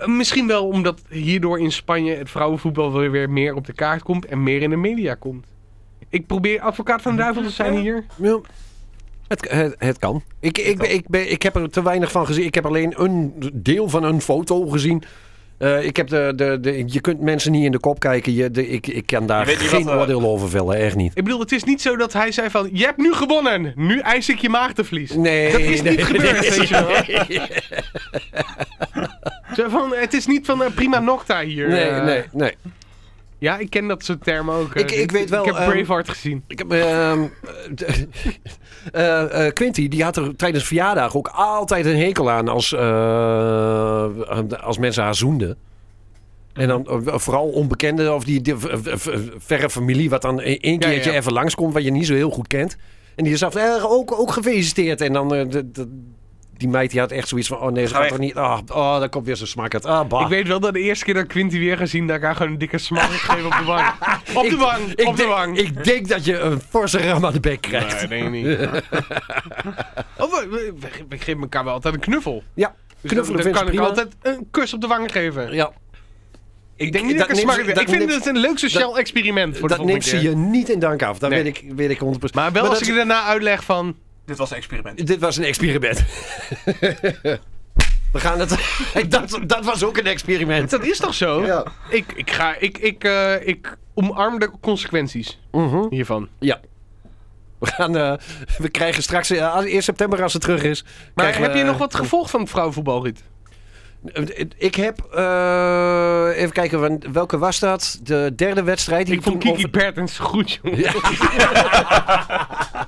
[SPEAKER 4] om- Misschien wel omdat hierdoor in Spanje het vrouwenvoetbal wel weer meer op de kaart komt en meer in de media komt. Ik probeer advocaat van de duivel te zijn hier.
[SPEAKER 5] Ja. Het, het, het kan. Ik, ik, ben- ik, ben, ik heb er te weinig van gezien. Ik heb alleen een deel van een foto gezien. Eh, ik heb de, de, de, je kunt mensen niet in de kop kijken. Je, de, ik, ik kan daar
[SPEAKER 3] Je weet niet
[SPEAKER 5] geen
[SPEAKER 3] wat, eh,
[SPEAKER 5] oordeel over vellen. Echt niet.
[SPEAKER 4] Ik bedoel, het is niet zo dat hij zei van, je hebt nu gewonnen, nu eis ik je maagdenvlies.
[SPEAKER 5] Nee,
[SPEAKER 4] Dat is
[SPEAKER 5] nee,
[SPEAKER 4] niet gebeurd,
[SPEAKER 5] nee.
[SPEAKER 4] weet je wel. Zo van, het is niet van eh, prima nocta hier.
[SPEAKER 5] Nee,
[SPEAKER 4] eh.
[SPEAKER 5] nee, nee.
[SPEAKER 4] Ja, ik ken dat soort termen ook. eh.
[SPEAKER 5] Ik- ik weet wel,
[SPEAKER 4] Ik heb
[SPEAKER 5] ehm,
[SPEAKER 4] Braveheart gezien.
[SPEAKER 5] Ik heb, ehm, eh, eh, Quinty, die had er tijdens verjaardag ook altijd een hekel aan als, eh, als mensen haar zoenden. En dan eh, vooral onbekenden of die, die v- v- v- verre familie, wat dan e- één
[SPEAKER 4] Ja, ja,
[SPEAKER 5] keertje
[SPEAKER 4] ja.
[SPEAKER 5] even langskomt, wat je niet zo heel goed kent. En die zag eh, ook, ook gefeliciteerd. En dan eh, de- de- die meid die had echt zoiets van, oh nee, ze
[SPEAKER 3] Ga
[SPEAKER 5] gaat
[SPEAKER 3] weg.
[SPEAKER 5] toch niet, ah, oh, daar komt weer zo'n smakkerd. Ah, bah.
[SPEAKER 4] Ik weet wel dat de eerste keer dat ik Quinty weer gezien, dat ik haar gewoon een dikke smak geef op de wang. Op de
[SPEAKER 5] Ik-
[SPEAKER 4] wang,
[SPEAKER 5] Ik
[SPEAKER 4] op de
[SPEAKER 5] denk-
[SPEAKER 4] wang.
[SPEAKER 5] Ik denk dat je een forse ram aan de bek krijgt.
[SPEAKER 4] Nee, denk ik niet. oh, we, we- we- we geven elkaar wel altijd een knuffel.
[SPEAKER 5] Ja,
[SPEAKER 4] Dus
[SPEAKER 5] knuffelen
[SPEAKER 4] dan,
[SPEAKER 5] vind
[SPEAKER 4] dan
[SPEAKER 5] ik
[SPEAKER 4] kan ik
[SPEAKER 5] prima.
[SPEAKER 4] altijd een kus op de wang geven.
[SPEAKER 5] Ja,
[SPEAKER 4] Ik denk niet
[SPEAKER 5] dat
[SPEAKER 4] dat ik een
[SPEAKER 5] neemt
[SPEAKER 4] smak
[SPEAKER 5] ze- dat
[SPEAKER 4] Ik vind
[SPEAKER 5] neemt-
[SPEAKER 4] het een leuk sociaal experiment voor de
[SPEAKER 5] dat
[SPEAKER 4] volgende
[SPEAKER 5] neemt ze
[SPEAKER 4] keer.
[SPEAKER 5] je niet in dank af. Dat
[SPEAKER 4] Nee.
[SPEAKER 5] weet, ik, weet ik 100%.
[SPEAKER 4] Maar wel als
[SPEAKER 5] dat-
[SPEAKER 4] ik er daarna uitleg van...
[SPEAKER 3] Dit was een experiment.
[SPEAKER 5] Dit was een experiment. We gaan het... dat, dat was ook een experiment.
[SPEAKER 4] Dat is toch zo?
[SPEAKER 5] Ja.
[SPEAKER 4] Ik, ik, ga, ik, ik, eh, ik omarm de consequenties
[SPEAKER 5] Mhm.
[SPEAKER 4] hiervan.
[SPEAKER 5] Ja. We, gaan, eh, we krijgen straks... eh, als- 1 september als het terug is...
[SPEAKER 4] Maar
[SPEAKER 5] krijgen
[SPEAKER 4] heb
[SPEAKER 5] we- eh,
[SPEAKER 4] je nog wat gevolgd van het vrouwenvoetbal, Ruud?
[SPEAKER 5] Ik heb... eh, even kijken, wan- welke was dat? De derde wedstrijd. die
[SPEAKER 4] Ik vond
[SPEAKER 5] toen
[SPEAKER 4] Kiki Bertens goed, jongen.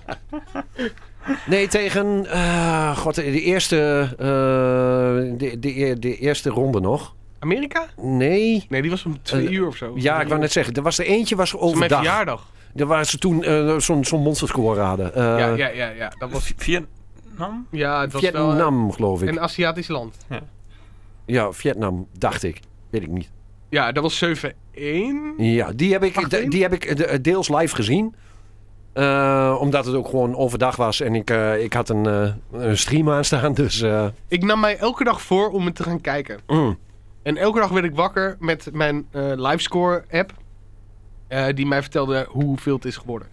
[SPEAKER 5] over- Nee, tegen... eh, God, de eerste... eh, de, de, de eerste ronde nog.
[SPEAKER 4] Amerika?
[SPEAKER 5] Nee...
[SPEAKER 4] Nee, die was om twee
[SPEAKER 5] Eh,
[SPEAKER 4] uur of zo.
[SPEAKER 5] Ja, ik wou net zeggen. Er was er eentje was
[SPEAKER 4] Op mijn
[SPEAKER 5] overdag.
[SPEAKER 4] verjaardag.
[SPEAKER 5] Daar waar ze toen eh, zo'n zo'n monsterscore hadden. Eh,
[SPEAKER 4] ja, ja, ja, ja. Dat was,
[SPEAKER 3] V- Vietnam?
[SPEAKER 4] ja het was wel, eh,
[SPEAKER 5] Vietnam, geloof ik.
[SPEAKER 4] een Aziatisch land.
[SPEAKER 5] Ja, Vietnam, dacht ik. Weet ik niet.
[SPEAKER 4] Ja, dat was 7-1.
[SPEAKER 5] Ja, die heb ik,
[SPEAKER 4] 18?
[SPEAKER 5] die heb ik eh, de- deels live gezien. Eh, omdat het ook gewoon overdag was en ik, eh, ik had een, eh, een stream aanstaan. Dus eh,
[SPEAKER 4] Ik nam mij elke dag voor om het te gaan kijken.
[SPEAKER 5] mm.
[SPEAKER 4] En elke dag werd ik wakker met mijn eh, livescore app. eh, die mij vertelde hoeveel het is geworden.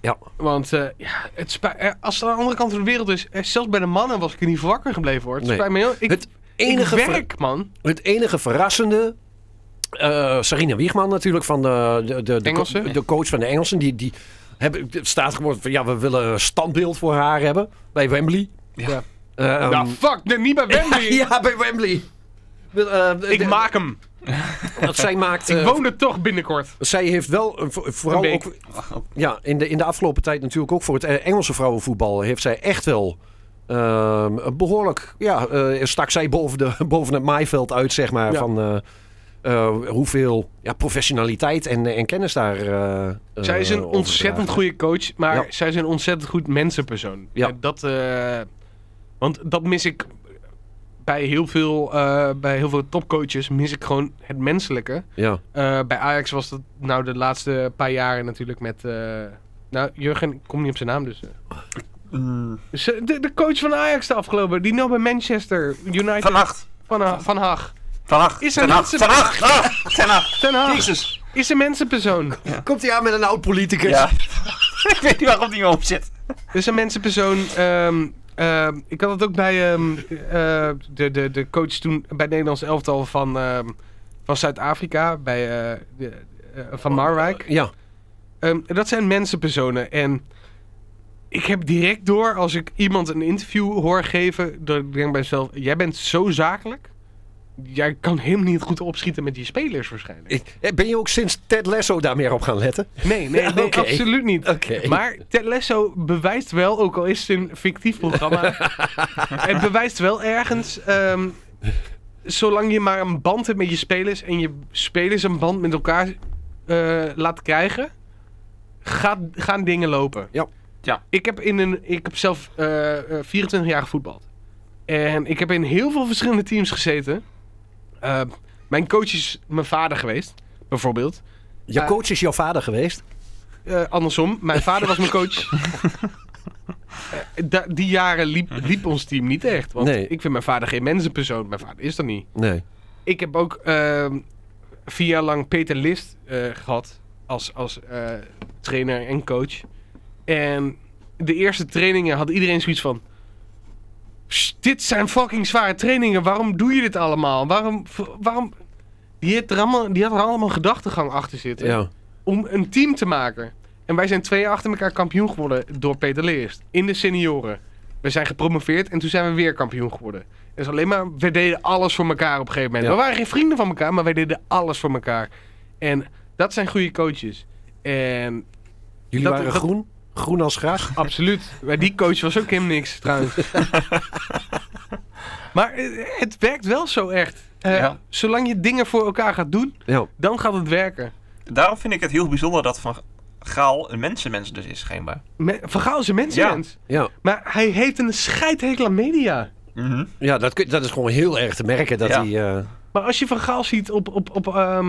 [SPEAKER 5] Ja.
[SPEAKER 4] Want eh, ja, het spijt- eh, als het aan de andere kant van de wereld is, eh, zelfs bij de mannen was ik er niet voor wakker gebleven hoor. Het
[SPEAKER 5] Nee.
[SPEAKER 4] spijt me heel. Ik,
[SPEAKER 5] Het enige
[SPEAKER 4] ik
[SPEAKER 5] ver-
[SPEAKER 4] werk, man.
[SPEAKER 5] Het enige verrassende. eh Sarina Wiegman natuurlijk van de, de, de, de,
[SPEAKER 4] Engelsen.
[SPEAKER 5] co- de coach van de Engelsen. Die, die hebben, het staat gewoon van ja, we willen een standbeeld voor haar hebben bij Wembley.
[SPEAKER 4] Ja.
[SPEAKER 5] Ehm,
[SPEAKER 4] nou, fuck, nee, niet bij Wembley.
[SPEAKER 5] ja, bij Wembley. Wil- eh, de-
[SPEAKER 4] Ik
[SPEAKER 5] de-
[SPEAKER 4] maak hem.
[SPEAKER 5] dat zij maakt.
[SPEAKER 4] Ik
[SPEAKER 5] eh,
[SPEAKER 4] woon er toch binnenkort.
[SPEAKER 5] zij heeft wel eh, vo- vooral
[SPEAKER 4] Een week.
[SPEAKER 5] ook ja, in, de, in de afgelopen tijd natuurlijk ook voor het eh, Engelse vrouwenvoetbal heeft zij echt wel ehm, een behoorlijk. Ja, eh, stak zij boven, de, boven het maaiveld uit, zeg maar.
[SPEAKER 4] Ja.
[SPEAKER 5] Van eh, eh, hoeveel ja, professionaliteit en, en kennis daar. eh,
[SPEAKER 4] Zij is een
[SPEAKER 5] eh,
[SPEAKER 4] ontzettend
[SPEAKER 5] overdragen.
[SPEAKER 4] goede coach, maar
[SPEAKER 5] Ja.
[SPEAKER 4] zij is een ontzettend goed mensenpersoon.
[SPEAKER 5] Ja.
[SPEAKER 4] Eh, Dat, eh, want dat mis ik bij heel veel, eh, bij heel veel topcoaches, mis ik gewoon het menselijke.
[SPEAKER 5] Ja,
[SPEAKER 4] Eh, bij Ajax was dat nou de laatste paar jaren natuurlijk met... eh, nou, Jurgen, ik kom niet op zijn naam dus. eh.
[SPEAKER 3] Mm,
[SPEAKER 4] Dus, eh, de, de coach van Ajax de afgelopen, die nou bij Manchester United... Van,
[SPEAKER 3] Vannacht.
[SPEAKER 4] Ha- van Haag.
[SPEAKER 3] Vannacht.
[SPEAKER 4] Is er
[SPEAKER 3] Vannacht.
[SPEAKER 4] mensen- Ah,
[SPEAKER 3] Vannacht. Vannacht. Vannacht.
[SPEAKER 4] Ten Haag
[SPEAKER 3] Jezus.
[SPEAKER 4] is een mensenpersoon.
[SPEAKER 5] Komt hij aan met een oud politicus?
[SPEAKER 3] Ja. ik weet niet waarom die me op zit.
[SPEAKER 4] Dus een mensenpersoon. ehm, ehm, ik had het ook bij ehm, eh, de, de, de coach toen bij het Nederlands elftal van, ehm, van Zuid-Afrika, bij eh, de- eh, van Marwijk.
[SPEAKER 5] Ja,
[SPEAKER 4] Ehm, dat zijn mensenpersonen. En ik heb direct door als ik iemand een interview hoor geven, dat ik denk bij mezelf: jij bent zo zakelijk. Jij kan helemaal niet goed opschieten met die spelers waarschijnlijk.
[SPEAKER 5] Ik- eh, ben je ook sinds Ted Lasso daar meer op gaan letten?
[SPEAKER 4] Nee, nee, nee
[SPEAKER 5] Oké.
[SPEAKER 4] absoluut niet.
[SPEAKER 5] Oké.
[SPEAKER 4] Maar Ted Lasso bewijst wel, ook al is het een fictief programma, het bewijst wel ergens, ehm, zolang je maar een band hebt met je spelers en je spelers een band met elkaar eh, laat krijgen, gaat, gaan dingen lopen.
[SPEAKER 5] Ja.
[SPEAKER 3] Ja.
[SPEAKER 4] Ik heb, in een, ik heb zelf eh, eh, 24 jaar gevoetbald. En ik heb in heel veel verschillende teams gezeten. Eh, mijn coach is mijn vader geweest, bijvoorbeeld.
[SPEAKER 5] Je
[SPEAKER 4] Ja.
[SPEAKER 5] coach is jouw vader geweest.
[SPEAKER 4] Eh, andersom, mijn vader was mijn coach. Eh, da- die jaren liep, liep ons team niet echt. Want
[SPEAKER 5] Nee.
[SPEAKER 4] ik vind mijn vader geen mensenpersoon. Mijn vader is dat niet.
[SPEAKER 5] Nee.
[SPEAKER 4] Ik heb ook ehm, vier jaar lang Peter List eh, gehad. Als, als eh, trainer en coach. En de eerste trainingen had iedereen zoiets van... "Sst, Dit zijn fucking zware trainingen. Waarom doe je dit allemaal? Waarom... waarom... Die, heeft er allemaal, die had er allemaal gedachtegang achter zitten
[SPEAKER 5] Ja.
[SPEAKER 4] om een team te maken. En wij zijn twee jaar achter elkaar kampioen geworden door Peter Leerst. In de senioren. We zijn gepromoveerd en toen zijn we weer kampioen geworden. Dus alleen maar, we deden alles voor elkaar op een gegeven moment.
[SPEAKER 5] Ja.
[SPEAKER 4] We waren geen vrienden van elkaar, maar wij deden alles voor elkaar. En dat zijn goede coaches. En
[SPEAKER 5] Jullie
[SPEAKER 4] Dat-
[SPEAKER 5] waren
[SPEAKER 4] dat-
[SPEAKER 5] groen. Groen als gras.
[SPEAKER 4] absoluut, bij die coach was ook helemaal niks trouwens. maar eh, het werkt wel zo echt. Eh,
[SPEAKER 3] Ja.
[SPEAKER 4] Zolang je dingen voor elkaar gaat doen,
[SPEAKER 5] Ja.
[SPEAKER 4] dan gaat het werken.
[SPEAKER 3] Daarom vind ik het heel bijzonder dat Van Gaal een mensenmens dus is, schijnbaar.
[SPEAKER 4] Me Vergaal is een mensenmens.
[SPEAKER 5] Ja.
[SPEAKER 4] Maar hij heeft een scheidhekel aan media.
[SPEAKER 3] Mhm.
[SPEAKER 5] Ja, dat, kun- dat is gewoon heel erg te merken dat
[SPEAKER 3] Ja.
[SPEAKER 5] hij... eh,
[SPEAKER 4] Maar als je Van Gaal ziet op, op, op ehm,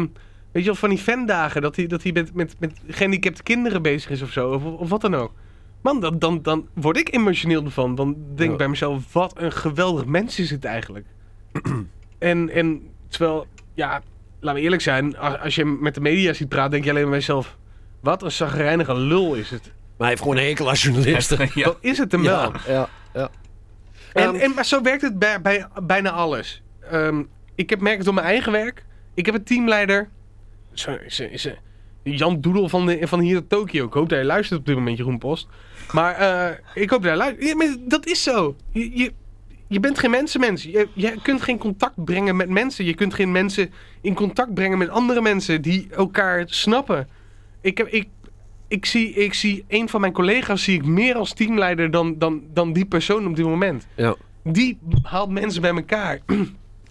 [SPEAKER 4] weet je wel, van die fandagen... dat hij, dat hij met, met, met gehandicapte kinderen bezig is of zo, of, of wat dan ook. Man, dan, dan, dan word ik emotioneel ervan. Dan denk
[SPEAKER 5] Ja.
[SPEAKER 4] ik bij mezelf, wat een geweldig mens is het eigenlijk. en, en terwijl, ja, laten we eerlijk zijn... a- als je hem met de media ziet praten, denk je alleen maar bij jezelf... wat een zagrijnige lul is het.
[SPEAKER 5] maar hij heeft gewoon een hekel als journalist.
[SPEAKER 3] ja.
[SPEAKER 4] Dat is het hem wel.
[SPEAKER 5] ja.
[SPEAKER 4] En,
[SPEAKER 5] Ehm,
[SPEAKER 4] en, maar zo werkt het bij, bij bijna alles. Ehm, ik heb merk het op mijn eigen werk. Ik heb een teamleider. Zo, is, is, Jan Doedel van, de, van hier tot Tokio. Ik hoop dat hij luistert op dit moment, Jeroen Post. Maar eh, ik hoop dat hij luistert. Ja, maar dat is zo. Je, je, je bent geen mensenmens. Je, je kunt geen contact brengen met mensen. Je kunt geen mensen in contact brengen met andere mensen die elkaar snappen. Ik, heb, ik, ik, zie, ik zie een van mijn collega's zie ik meer als teamleider dan, dan, dan die persoon op dit moment
[SPEAKER 5] Ja.
[SPEAKER 4] die haalt mensen bij elkaar.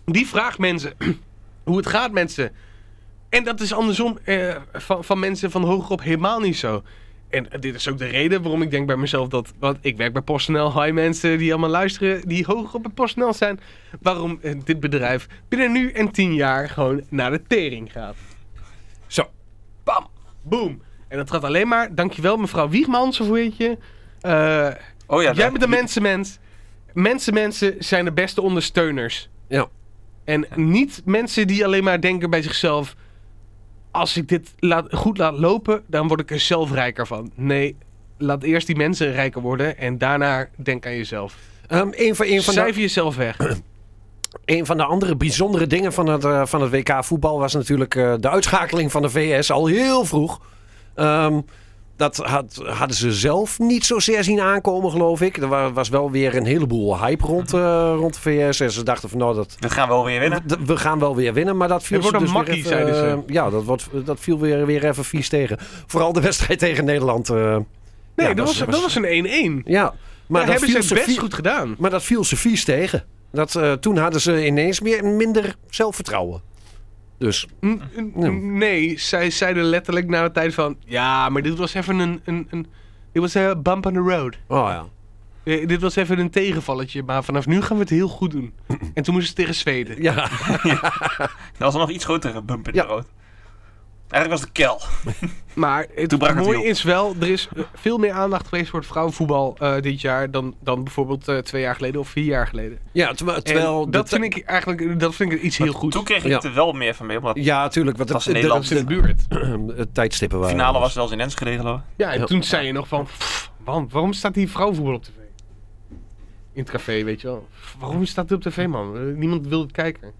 [SPEAKER 4] Die vraagt mensen hoe het gaat met ze. En dat is andersom eh, van, van mensen van hogerop helemaal niet zo. En dit is ook de reden waarom ik denk bij mezelf dat... Want ik werk bij PostNL. Hi mensen die allemaal luisteren, die hoog op het PostNL zijn. Waarom eh, dit bedrijf binnen nu en tien jaar gewoon naar de tering gaat.
[SPEAKER 5] Zo.
[SPEAKER 4] Bam. Boom. En dat gaat alleen maar... Dankjewel mevrouw Wiegmans of hoe heet je? Eh,
[SPEAKER 3] Oh ja,
[SPEAKER 4] jij
[SPEAKER 3] daar-
[SPEAKER 4] bent een
[SPEAKER 3] die-
[SPEAKER 4] mensenmens. Mensen, mensen zijn de beste ondersteuners.
[SPEAKER 5] Ja.
[SPEAKER 4] En niet mensen die alleen maar denken bij zichzelf... Als ik dit laat, goed laat lopen, dan word ik er zelf rijker van. Nee, laat eerst die mensen rijker worden en daarna denk aan jezelf.
[SPEAKER 5] Ehm, een, van, een, van de,
[SPEAKER 4] Cijfer jezelf weg.
[SPEAKER 5] een van de andere bijzondere dingen van het, eh, van het WK voetbal was natuurlijk eh, de uitschakeling van de VS al heel vroeg. Ehm, dat had, hadden ze zelf niet zozeer zien aankomen, geloof ik. Er wa- was wel weer een heleboel hype rond, eh, rond de VS. En ze dachten van nou, dat,
[SPEAKER 3] We gaan wel weer winnen.
[SPEAKER 5] D- We gaan wel weer winnen, maar dat viel
[SPEAKER 4] Het
[SPEAKER 5] ze
[SPEAKER 4] wordt een
[SPEAKER 5] dus
[SPEAKER 4] makkie,
[SPEAKER 5] weer even,
[SPEAKER 4] zeiden
[SPEAKER 5] eh, Ja, dat, wordt, dat viel weer, weer even vies tegen. Vooral de wedstrijd tegen Nederland. eh,
[SPEAKER 4] Nee,
[SPEAKER 5] ja,
[SPEAKER 4] dat, was, dat was een 1-1.
[SPEAKER 5] Ja, maar
[SPEAKER 4] Maar
[SPEAKER 5] dat
[SPEAKER 4] hebben ze
[SPEAKER 5] viel
[SPEAKER 4] het
[SPEAKER 5] ze
[SPEAKER 4] best
[SPEAKER 5] vie-
[SPEAKER 4] goed gedaan.
[SPEAKER 5] Maar dat viel ze vies tegen. Dat, eh, toen hadden ze ineens meer, minder zelfvertrouwen. Dus
[SPEAKER 4] N- n- n- Nee, zij zeiden letterlijk na de tijd van... Ja, maar dit was even een... een, een dit was een bump on the road.
[SPEAKER 5] Oh ja.
[SPEAKER 4] Eh, dit was even een tegenvalletje, maar vanaf nu gaan we het heel goed doen. En toen moesten ze tegen Zweden.
[SPEAKER 5] Ja,
[SPEAKER 3] Dat was nog iets grotere bump in
[SPEAKER 5] Ja.
[SPEAKER 3] de rood. Eigenlijk was het kel.
[SPEAKER 4] Maar het
[SPEAKER 3] Toen brak het
[SPEAKER 4] mooie
[SPEAKER 3] heel.
[SPEAKER 4] is wel, er is eh, veel meer aandacht geweest voor het vrouwenvoetbal eh, dit jaar dan, dan bijvoorbeeld eh, twee jaar geleden of vier jaar geleden.
[SPEAKER 5] ja terwijl,
[SPEAKER 4] En
[SPEAKER 5] terwijl
[SPEAKER 4] dat
[SPEAKER 5] de-
[SPEAKER 4] vind ik eigenlijk dat vind ik iets heel goed.
[SPEAKER 3] Toen kreeg ik
[SPEAKER 5] Ja.
[SPEAKER 3] er wel meer van mee, omdat de
[SPEAKER 5] Ja, tuurlijk. Want
[SPEAKER 3] was
[SPEAKER 5] het-
[SPEAKER 3] in
[SPEAKER 5] de-
[SPEAKER 4] Dat is in de buurt.
[SPEAKER 5] de- de tijdstippen waren.
[SPEAKER 3] finale was zelfs in Enschede hoor.
[SPEAKER 4] Ja, en toen zei je nog van, "Pff, man, waarom staat die vrouwenvoetbal op tv? In het café, weet je wel. "Pff, Waarom staat die op tv, man? Eh, Niemand wil het kijken.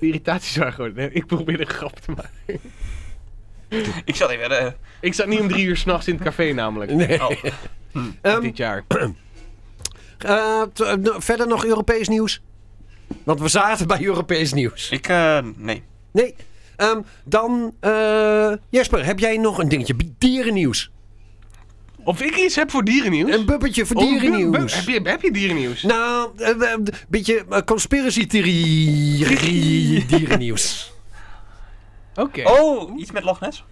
[SPEAKER 4] De irritaties waren gewoon, nee, ik probeerde een grap te maken.
[SPEAKER 3] Ik zat even... eh,
[SPEAKER 4] Ik zat niet om drie uur s'nachts in het café namelijk,
[SPEAKER 5] Nee.
[SPEAKER 3] oh.
[SPEAKER 5] Ehm,
[SPEAKER 4] dit jaar.
[SPEAKER 5] eh, t- eh, nou, verder nog Europees nieuws? Want we zaten bij Europees nieuws.
[SPEAKER 3] ik, eh, nee.
[SPEAKER 5] Nee. Ehm, dan, eh, Jesper, heb jij nog een dingetje? Dierennieuws.
[SPEAKER 4] Of ik iets heb voor dierennieuws?
[SPEAKER 5] Een bubbetje voor
[SPEAKER 4] Oh, bu- bu-
[SPEAKER 5] dierennieuws.
[SPEAKER 4] Heb je, heb je dierennieuws?
[SPEAKER 5] Nou, een beetje eh, conspiracy theorie dierennieuws.
[SPEAKER 4] Oké.
[SPEAKER 3] Oh, iets met Loch Ness?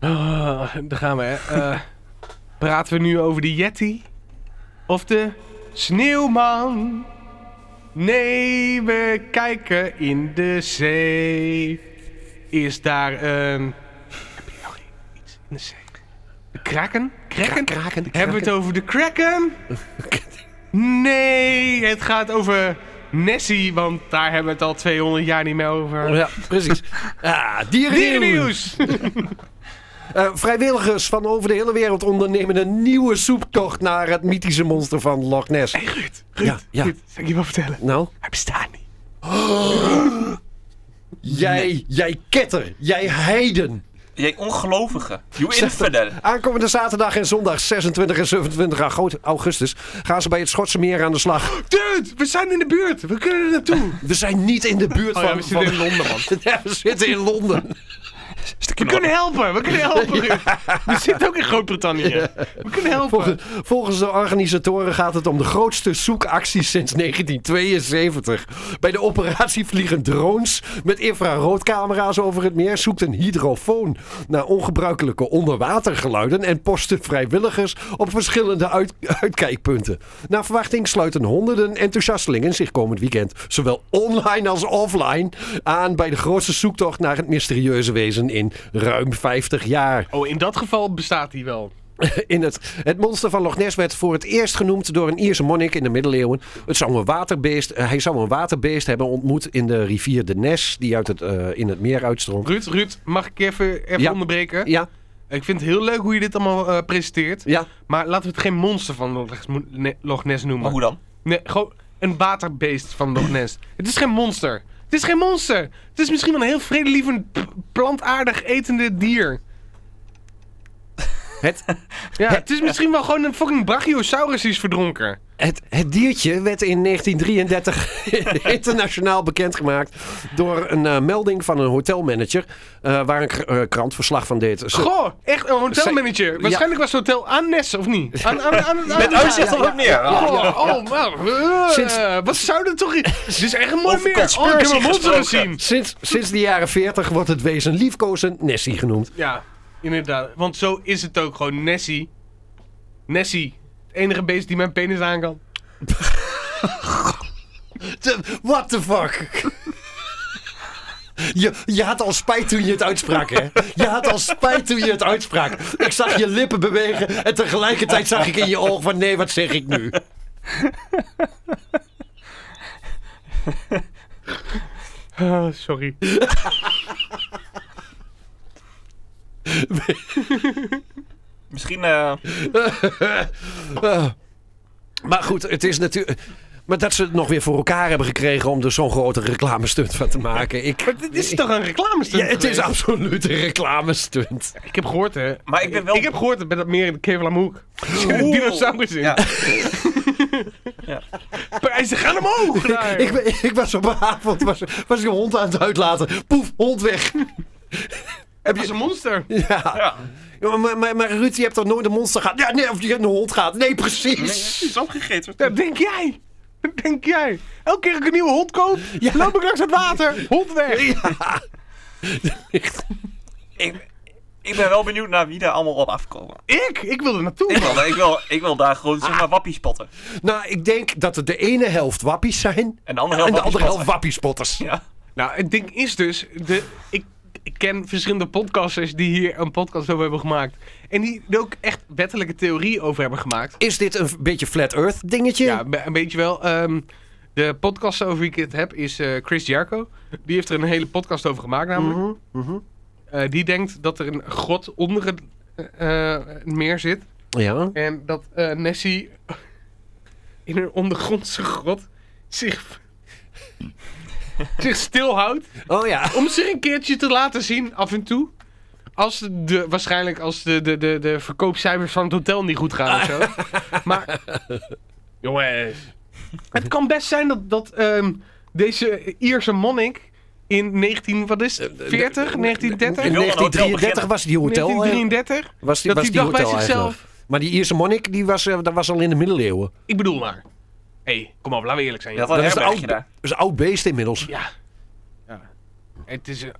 [SPEAKER 4] Ah, daar gaan we, hè. Eh, praten we nu over de Yeti? Of de sneeuwman? Nee, we kijken in de zee. Ehm, Is daar een... Heb je nog iets in de zee? De kraken? Kraken?
[SPEAKER 5] Kraken.
[SPEAKER 4] Hebben we het over de kraken? Nee, het gaat over Nessie, want daar hebben we het al 200 jaar niet meer over.
[SPEAKER 5] Ja, precies. Ah, dierennieuws.
[SPEAKER 4] Dierennieuws!
[SPEAKER 5] Eh, vrijwilligers van over de hele wereld ondernemen een nieuwe zoektocht naar het mythische monster van Loch Ness.
[SPEAKER 4] Hey, Ruud, Ruud,
[SPEAKER 5] Ja, ja.
[SPEAKER 4] Ruud, zal ik je wat vertellen?
[SPEAKER 5] Nou,
[SPEAKER 4] Hij bestaat niet.
[SPEAKER 5] jij, jij ketter, jij heiden.
[SPEAKER 3] Jij ongelovige. You infidel.
[SPEAKER 5] Aankomende zaterdag en zondag 26 en 27 august- augustus gaan ze bij het Schotse meer aan de slag.
[SPEAKER 4] Dude, we zijn in de buurt. We kunnen er naartoe.
[SPEAKER 5] We zijn niet in de buurt
[SPEAKER 4] Oh
[SPEAKER 5] van...
[SPEAKER 4] ja, we zitten in
[SPEAKER 5] van-
[SPEAKER 4] Londen, man.
[SPEAKER 5] Ja, we zitten in Londen.
[SPEAKER 4] We kunnen helpen. We kunnen helpen, Ruud. We zitten ook in Groot-Brittannië. We kunnen helpen.
[SPEAKER 5] Volgens, volgens de organisatoren gaat het om de grootste zoekactie sinds 1972. Bij de operatie vliegen drones met infraroodcamera's over het meer. Zoekt een hydrofoon naar ongebruikelijke onderwatergeluiden. En posten vrijwilligers op verschillende uit- uitkijkpunten. Naar verwachting sluiten honderden enthousiastelingen zich komend weekend, zowel online als offline, aan bij de grootste zoektocht naar het mysterieuze wezen in ruim 50 jaar.
[SPEAKER 4] Oh, in dat geval bestaat hij wel.
[SPEAKER 5] In het, het monster van Loch Ness werd voor het eerst genoemd door een Ierse monnik in de middeleeuwen. Het zou een waterbeest, eh, hij zou een waterbeest hebben ontmoet in de rivier de Nes, die uit het, eh, in het meer uitstroomt.
[SPEAKER 4] Ruud, Ruud, mag ik je even, even
[SPEAKER 5] Ja.
[SPEAKER 4] onderbreken?
[SPEAKER 5] Ja,
[SPEAKER 4] Ik vind het heel leuk hoe je dit allemaal eh, presenteert.
[SPEAKER 5] ja.
[SPEAKER 4] Maar laten we het geen monster van Loch Ness, mo- ne- Loch Ness noemen.
[SPEAKER 3] Maar hoe dan?
[SPEAKER 4] Nee, gewoon een waterbeest van Loch Ness. Het is geen monster. Het is geen monster. Het is misschien wel een heel vredelievend, p- plantaardig etende dier.
[SPEAKER 5] Het,
[SPEAKER 4] Ja, het is misschien wel gewoon een fucking brachiosaurus die is verdronken.
[SPEAKER 5] het, het diertje werd in 1933 internationaal bekendgemaakt door een eh, melding van een hotelmanager eh, waar een kr- eh, krant verslag van deed. Ze-
[SPEAKER 4] Goh, echt een hotelmanager.
[SPEAKER 5] Zij-
[SPEAKER 4] Waarschijnlijk was het hotel aan Ness, of niet? Aan, aan, aan, aan-
[SPEAKER 3] Met uitzicht
[SPEAKER 5] ja,
[SPEAKER 3] op het meer.
[SPEAKER 4] Oh, oh, maar, eh,
[SPEAKER 5] Sinds-
[SPEAKER 4] wat zou er toch... Dit is echt een mooi
[SPEAKER 3] Over
[SPEAKER 4] meer. Oh, ik heb
[SPEAKER 3] conspiracy
[SPEAKER 4] een monster
[SPEAKER 3] gesproken.
[SPEAKER 4] gezien.
[SPEAKER 5] Sinds, sinds de jaren 40 wordt het wezen liefkozend Nessie genoemd.
[SPEAKER 4] Ja, inderdaad. Want zo is het ook gewoon. Nessie. Nessie. Het enige beest die mijn penis aan kan.
[SPEAKER 5] De- What the fuck? Je, je had al spijt toen je het uitsprak, hè? Je had al spijt toen je het uitsprak. Ik zag je lippen bewegen en tegelijkertijd zag ik in je ogen van... Nee, wat zeg ik nu?
[SPEAKER 4] Ah, sorry.
[SPEAKER 3] Misschien eh,
[SPEAKER 5] Eh, maar goed, het is natuurlijk... Maar dat ze het nog weer voor elkaar hebben gekregen om er zo'n grote reclamestunt van te maken. Ik,
[SPEAKER 4] Maar dit is toch een reclame
[SPEAKER 5] ja, het is
[SPEAKER 4] af.
[SPEAKER 5] absoluut een reclamestunt.
[SPEAKER 4] Ik heb gehoord, hè.
[SPEAKER 3] Maar ik ben wel-
[SPEAKER 4] Ik heb gehoord dat bij dat meer in de Kevlamoek.
[SPEAKER 3] Oeh.
[SPEAKER 4] Dinosaurus in.
[SPEAKER 3] Ja.
[SPEAKER 4] Prijzen gaan omhoog! daar.
[SPEAKER 5] Ik, ben- ik was op een avond, was, was ik een hond aan het uitlaten. Poef, hond weg.
[SPEAKER 4] heb je een monster?
[SPEAKER 5] Ja.
[SPEAKER 3] ja,
[SPEAKER 5] Ja, Maar, maar, maar Ruud, je hebt toch nooit een monster gehad? Ja, nee, of je een hond gaat. Nee, precies.
[SPEAKER 3] is opgegeten.
[SPEAKER 4] Dat denk jij. Dat denk jij. Elke keer dat ik een nieuwe hond koop, loop ik langs het water. Hond weg.
[SPEAKER 3] Ik, ik ben wel benieuwd naar wie daar allemaal op afkomen.
[SPEAKER 4] Ik? Ik wil er naartoe.
[SPEAKER 3] Ik wil, ik wil, ik wil daar gewoon
[SPEAKER 5] Ah.
[SPEAKER 3] zeg maar wappies spotten.
[SPEAKER 5] Nou, ik denk dat het de ene helft wappies zijn.
[SPEAKER 3] En de andere
[SPEAKER 5] En
[SPEAKER 3] helft
[SPEAKER 5] de andere helft
[SPEAKER 3] wappies
[SPEAKER 5] wappiespodders.
[SPEAKER 3] spotten. Ja.
[SPEAKER 4] Nou, het ding is dus, de, ik, ik ken verschillende podcasters die hier een podcast over hebben gemaakt. En die er ook echt wettelijke theorie over hebben gemaakt.
[SPEAKER 5] Is dit een beetje flat earth dingetje?
[SPEAKER 4] Ja, be- een beetje wel. ehm, de podcast over wie ik het heb is eh, Chris Jarko. Die heeft er een hele podcast over gemaakt namelijk.
[SPEAKER 5] Mhm, mhm.
[SPEAKER 4] Eh, die denkt dat er een grot onder het eh, eh, meer zit.
[SPEAKER 5] ja.
[SPEAKER 4] En dat eh, Nessie in een ondergrondse grot zich, zich stilhoudt.
[SPEAKER 5] Oh ja.
[SPEAKER 4] Om zich een keertje te laten zien af en toe. Als de, waarschijnlijk als de, de, de, de verkoopcijfers van het hotel niet goed gaan of zo. Maar. Jongens. Het kan best zijn dat, dat ehm, deze Ierse monnik in 19, wat is het, 40,
[SPEAKER 5] In
[SPEAKER 4] 1930,
[SPEAKER 3] wil een hotel
[SPEAKER 5] 1933
[SPEAKER 3] beginnen.
[SPEAKER 5] was die hotel. eh,
[SPEAKER 4] 1933?
[SPEAKER 5] was die,
[SPEAKER 4] dat
[SPEAKER 5] was
[SPEAKER 4] die dacht bij
[SPEAKER 5] hotel
[SPEAKER 4] zichzelf-
[SPEAKER 5] eigenaar. Maar die Ierse monnik, die was, eh, dat was al in de middeleeuwen.
[SPEAKER 4] Ik bedoel maar. Hé, hey, kom op, laten we eerlijk zijn.
[SPEAKER 3] Je
[SPEAKER 4] joh.
[SPEAKER 3] had al een
[SPEAKER 5] is een
[SPEAKER 3] herbergje
[SPEAKER 5] oud,
[SPEAKER 3] daar.
[SPEAKER 5] dat is een oud beest inmiddels.
[SPEAKER 4] Ja. ja. Het is een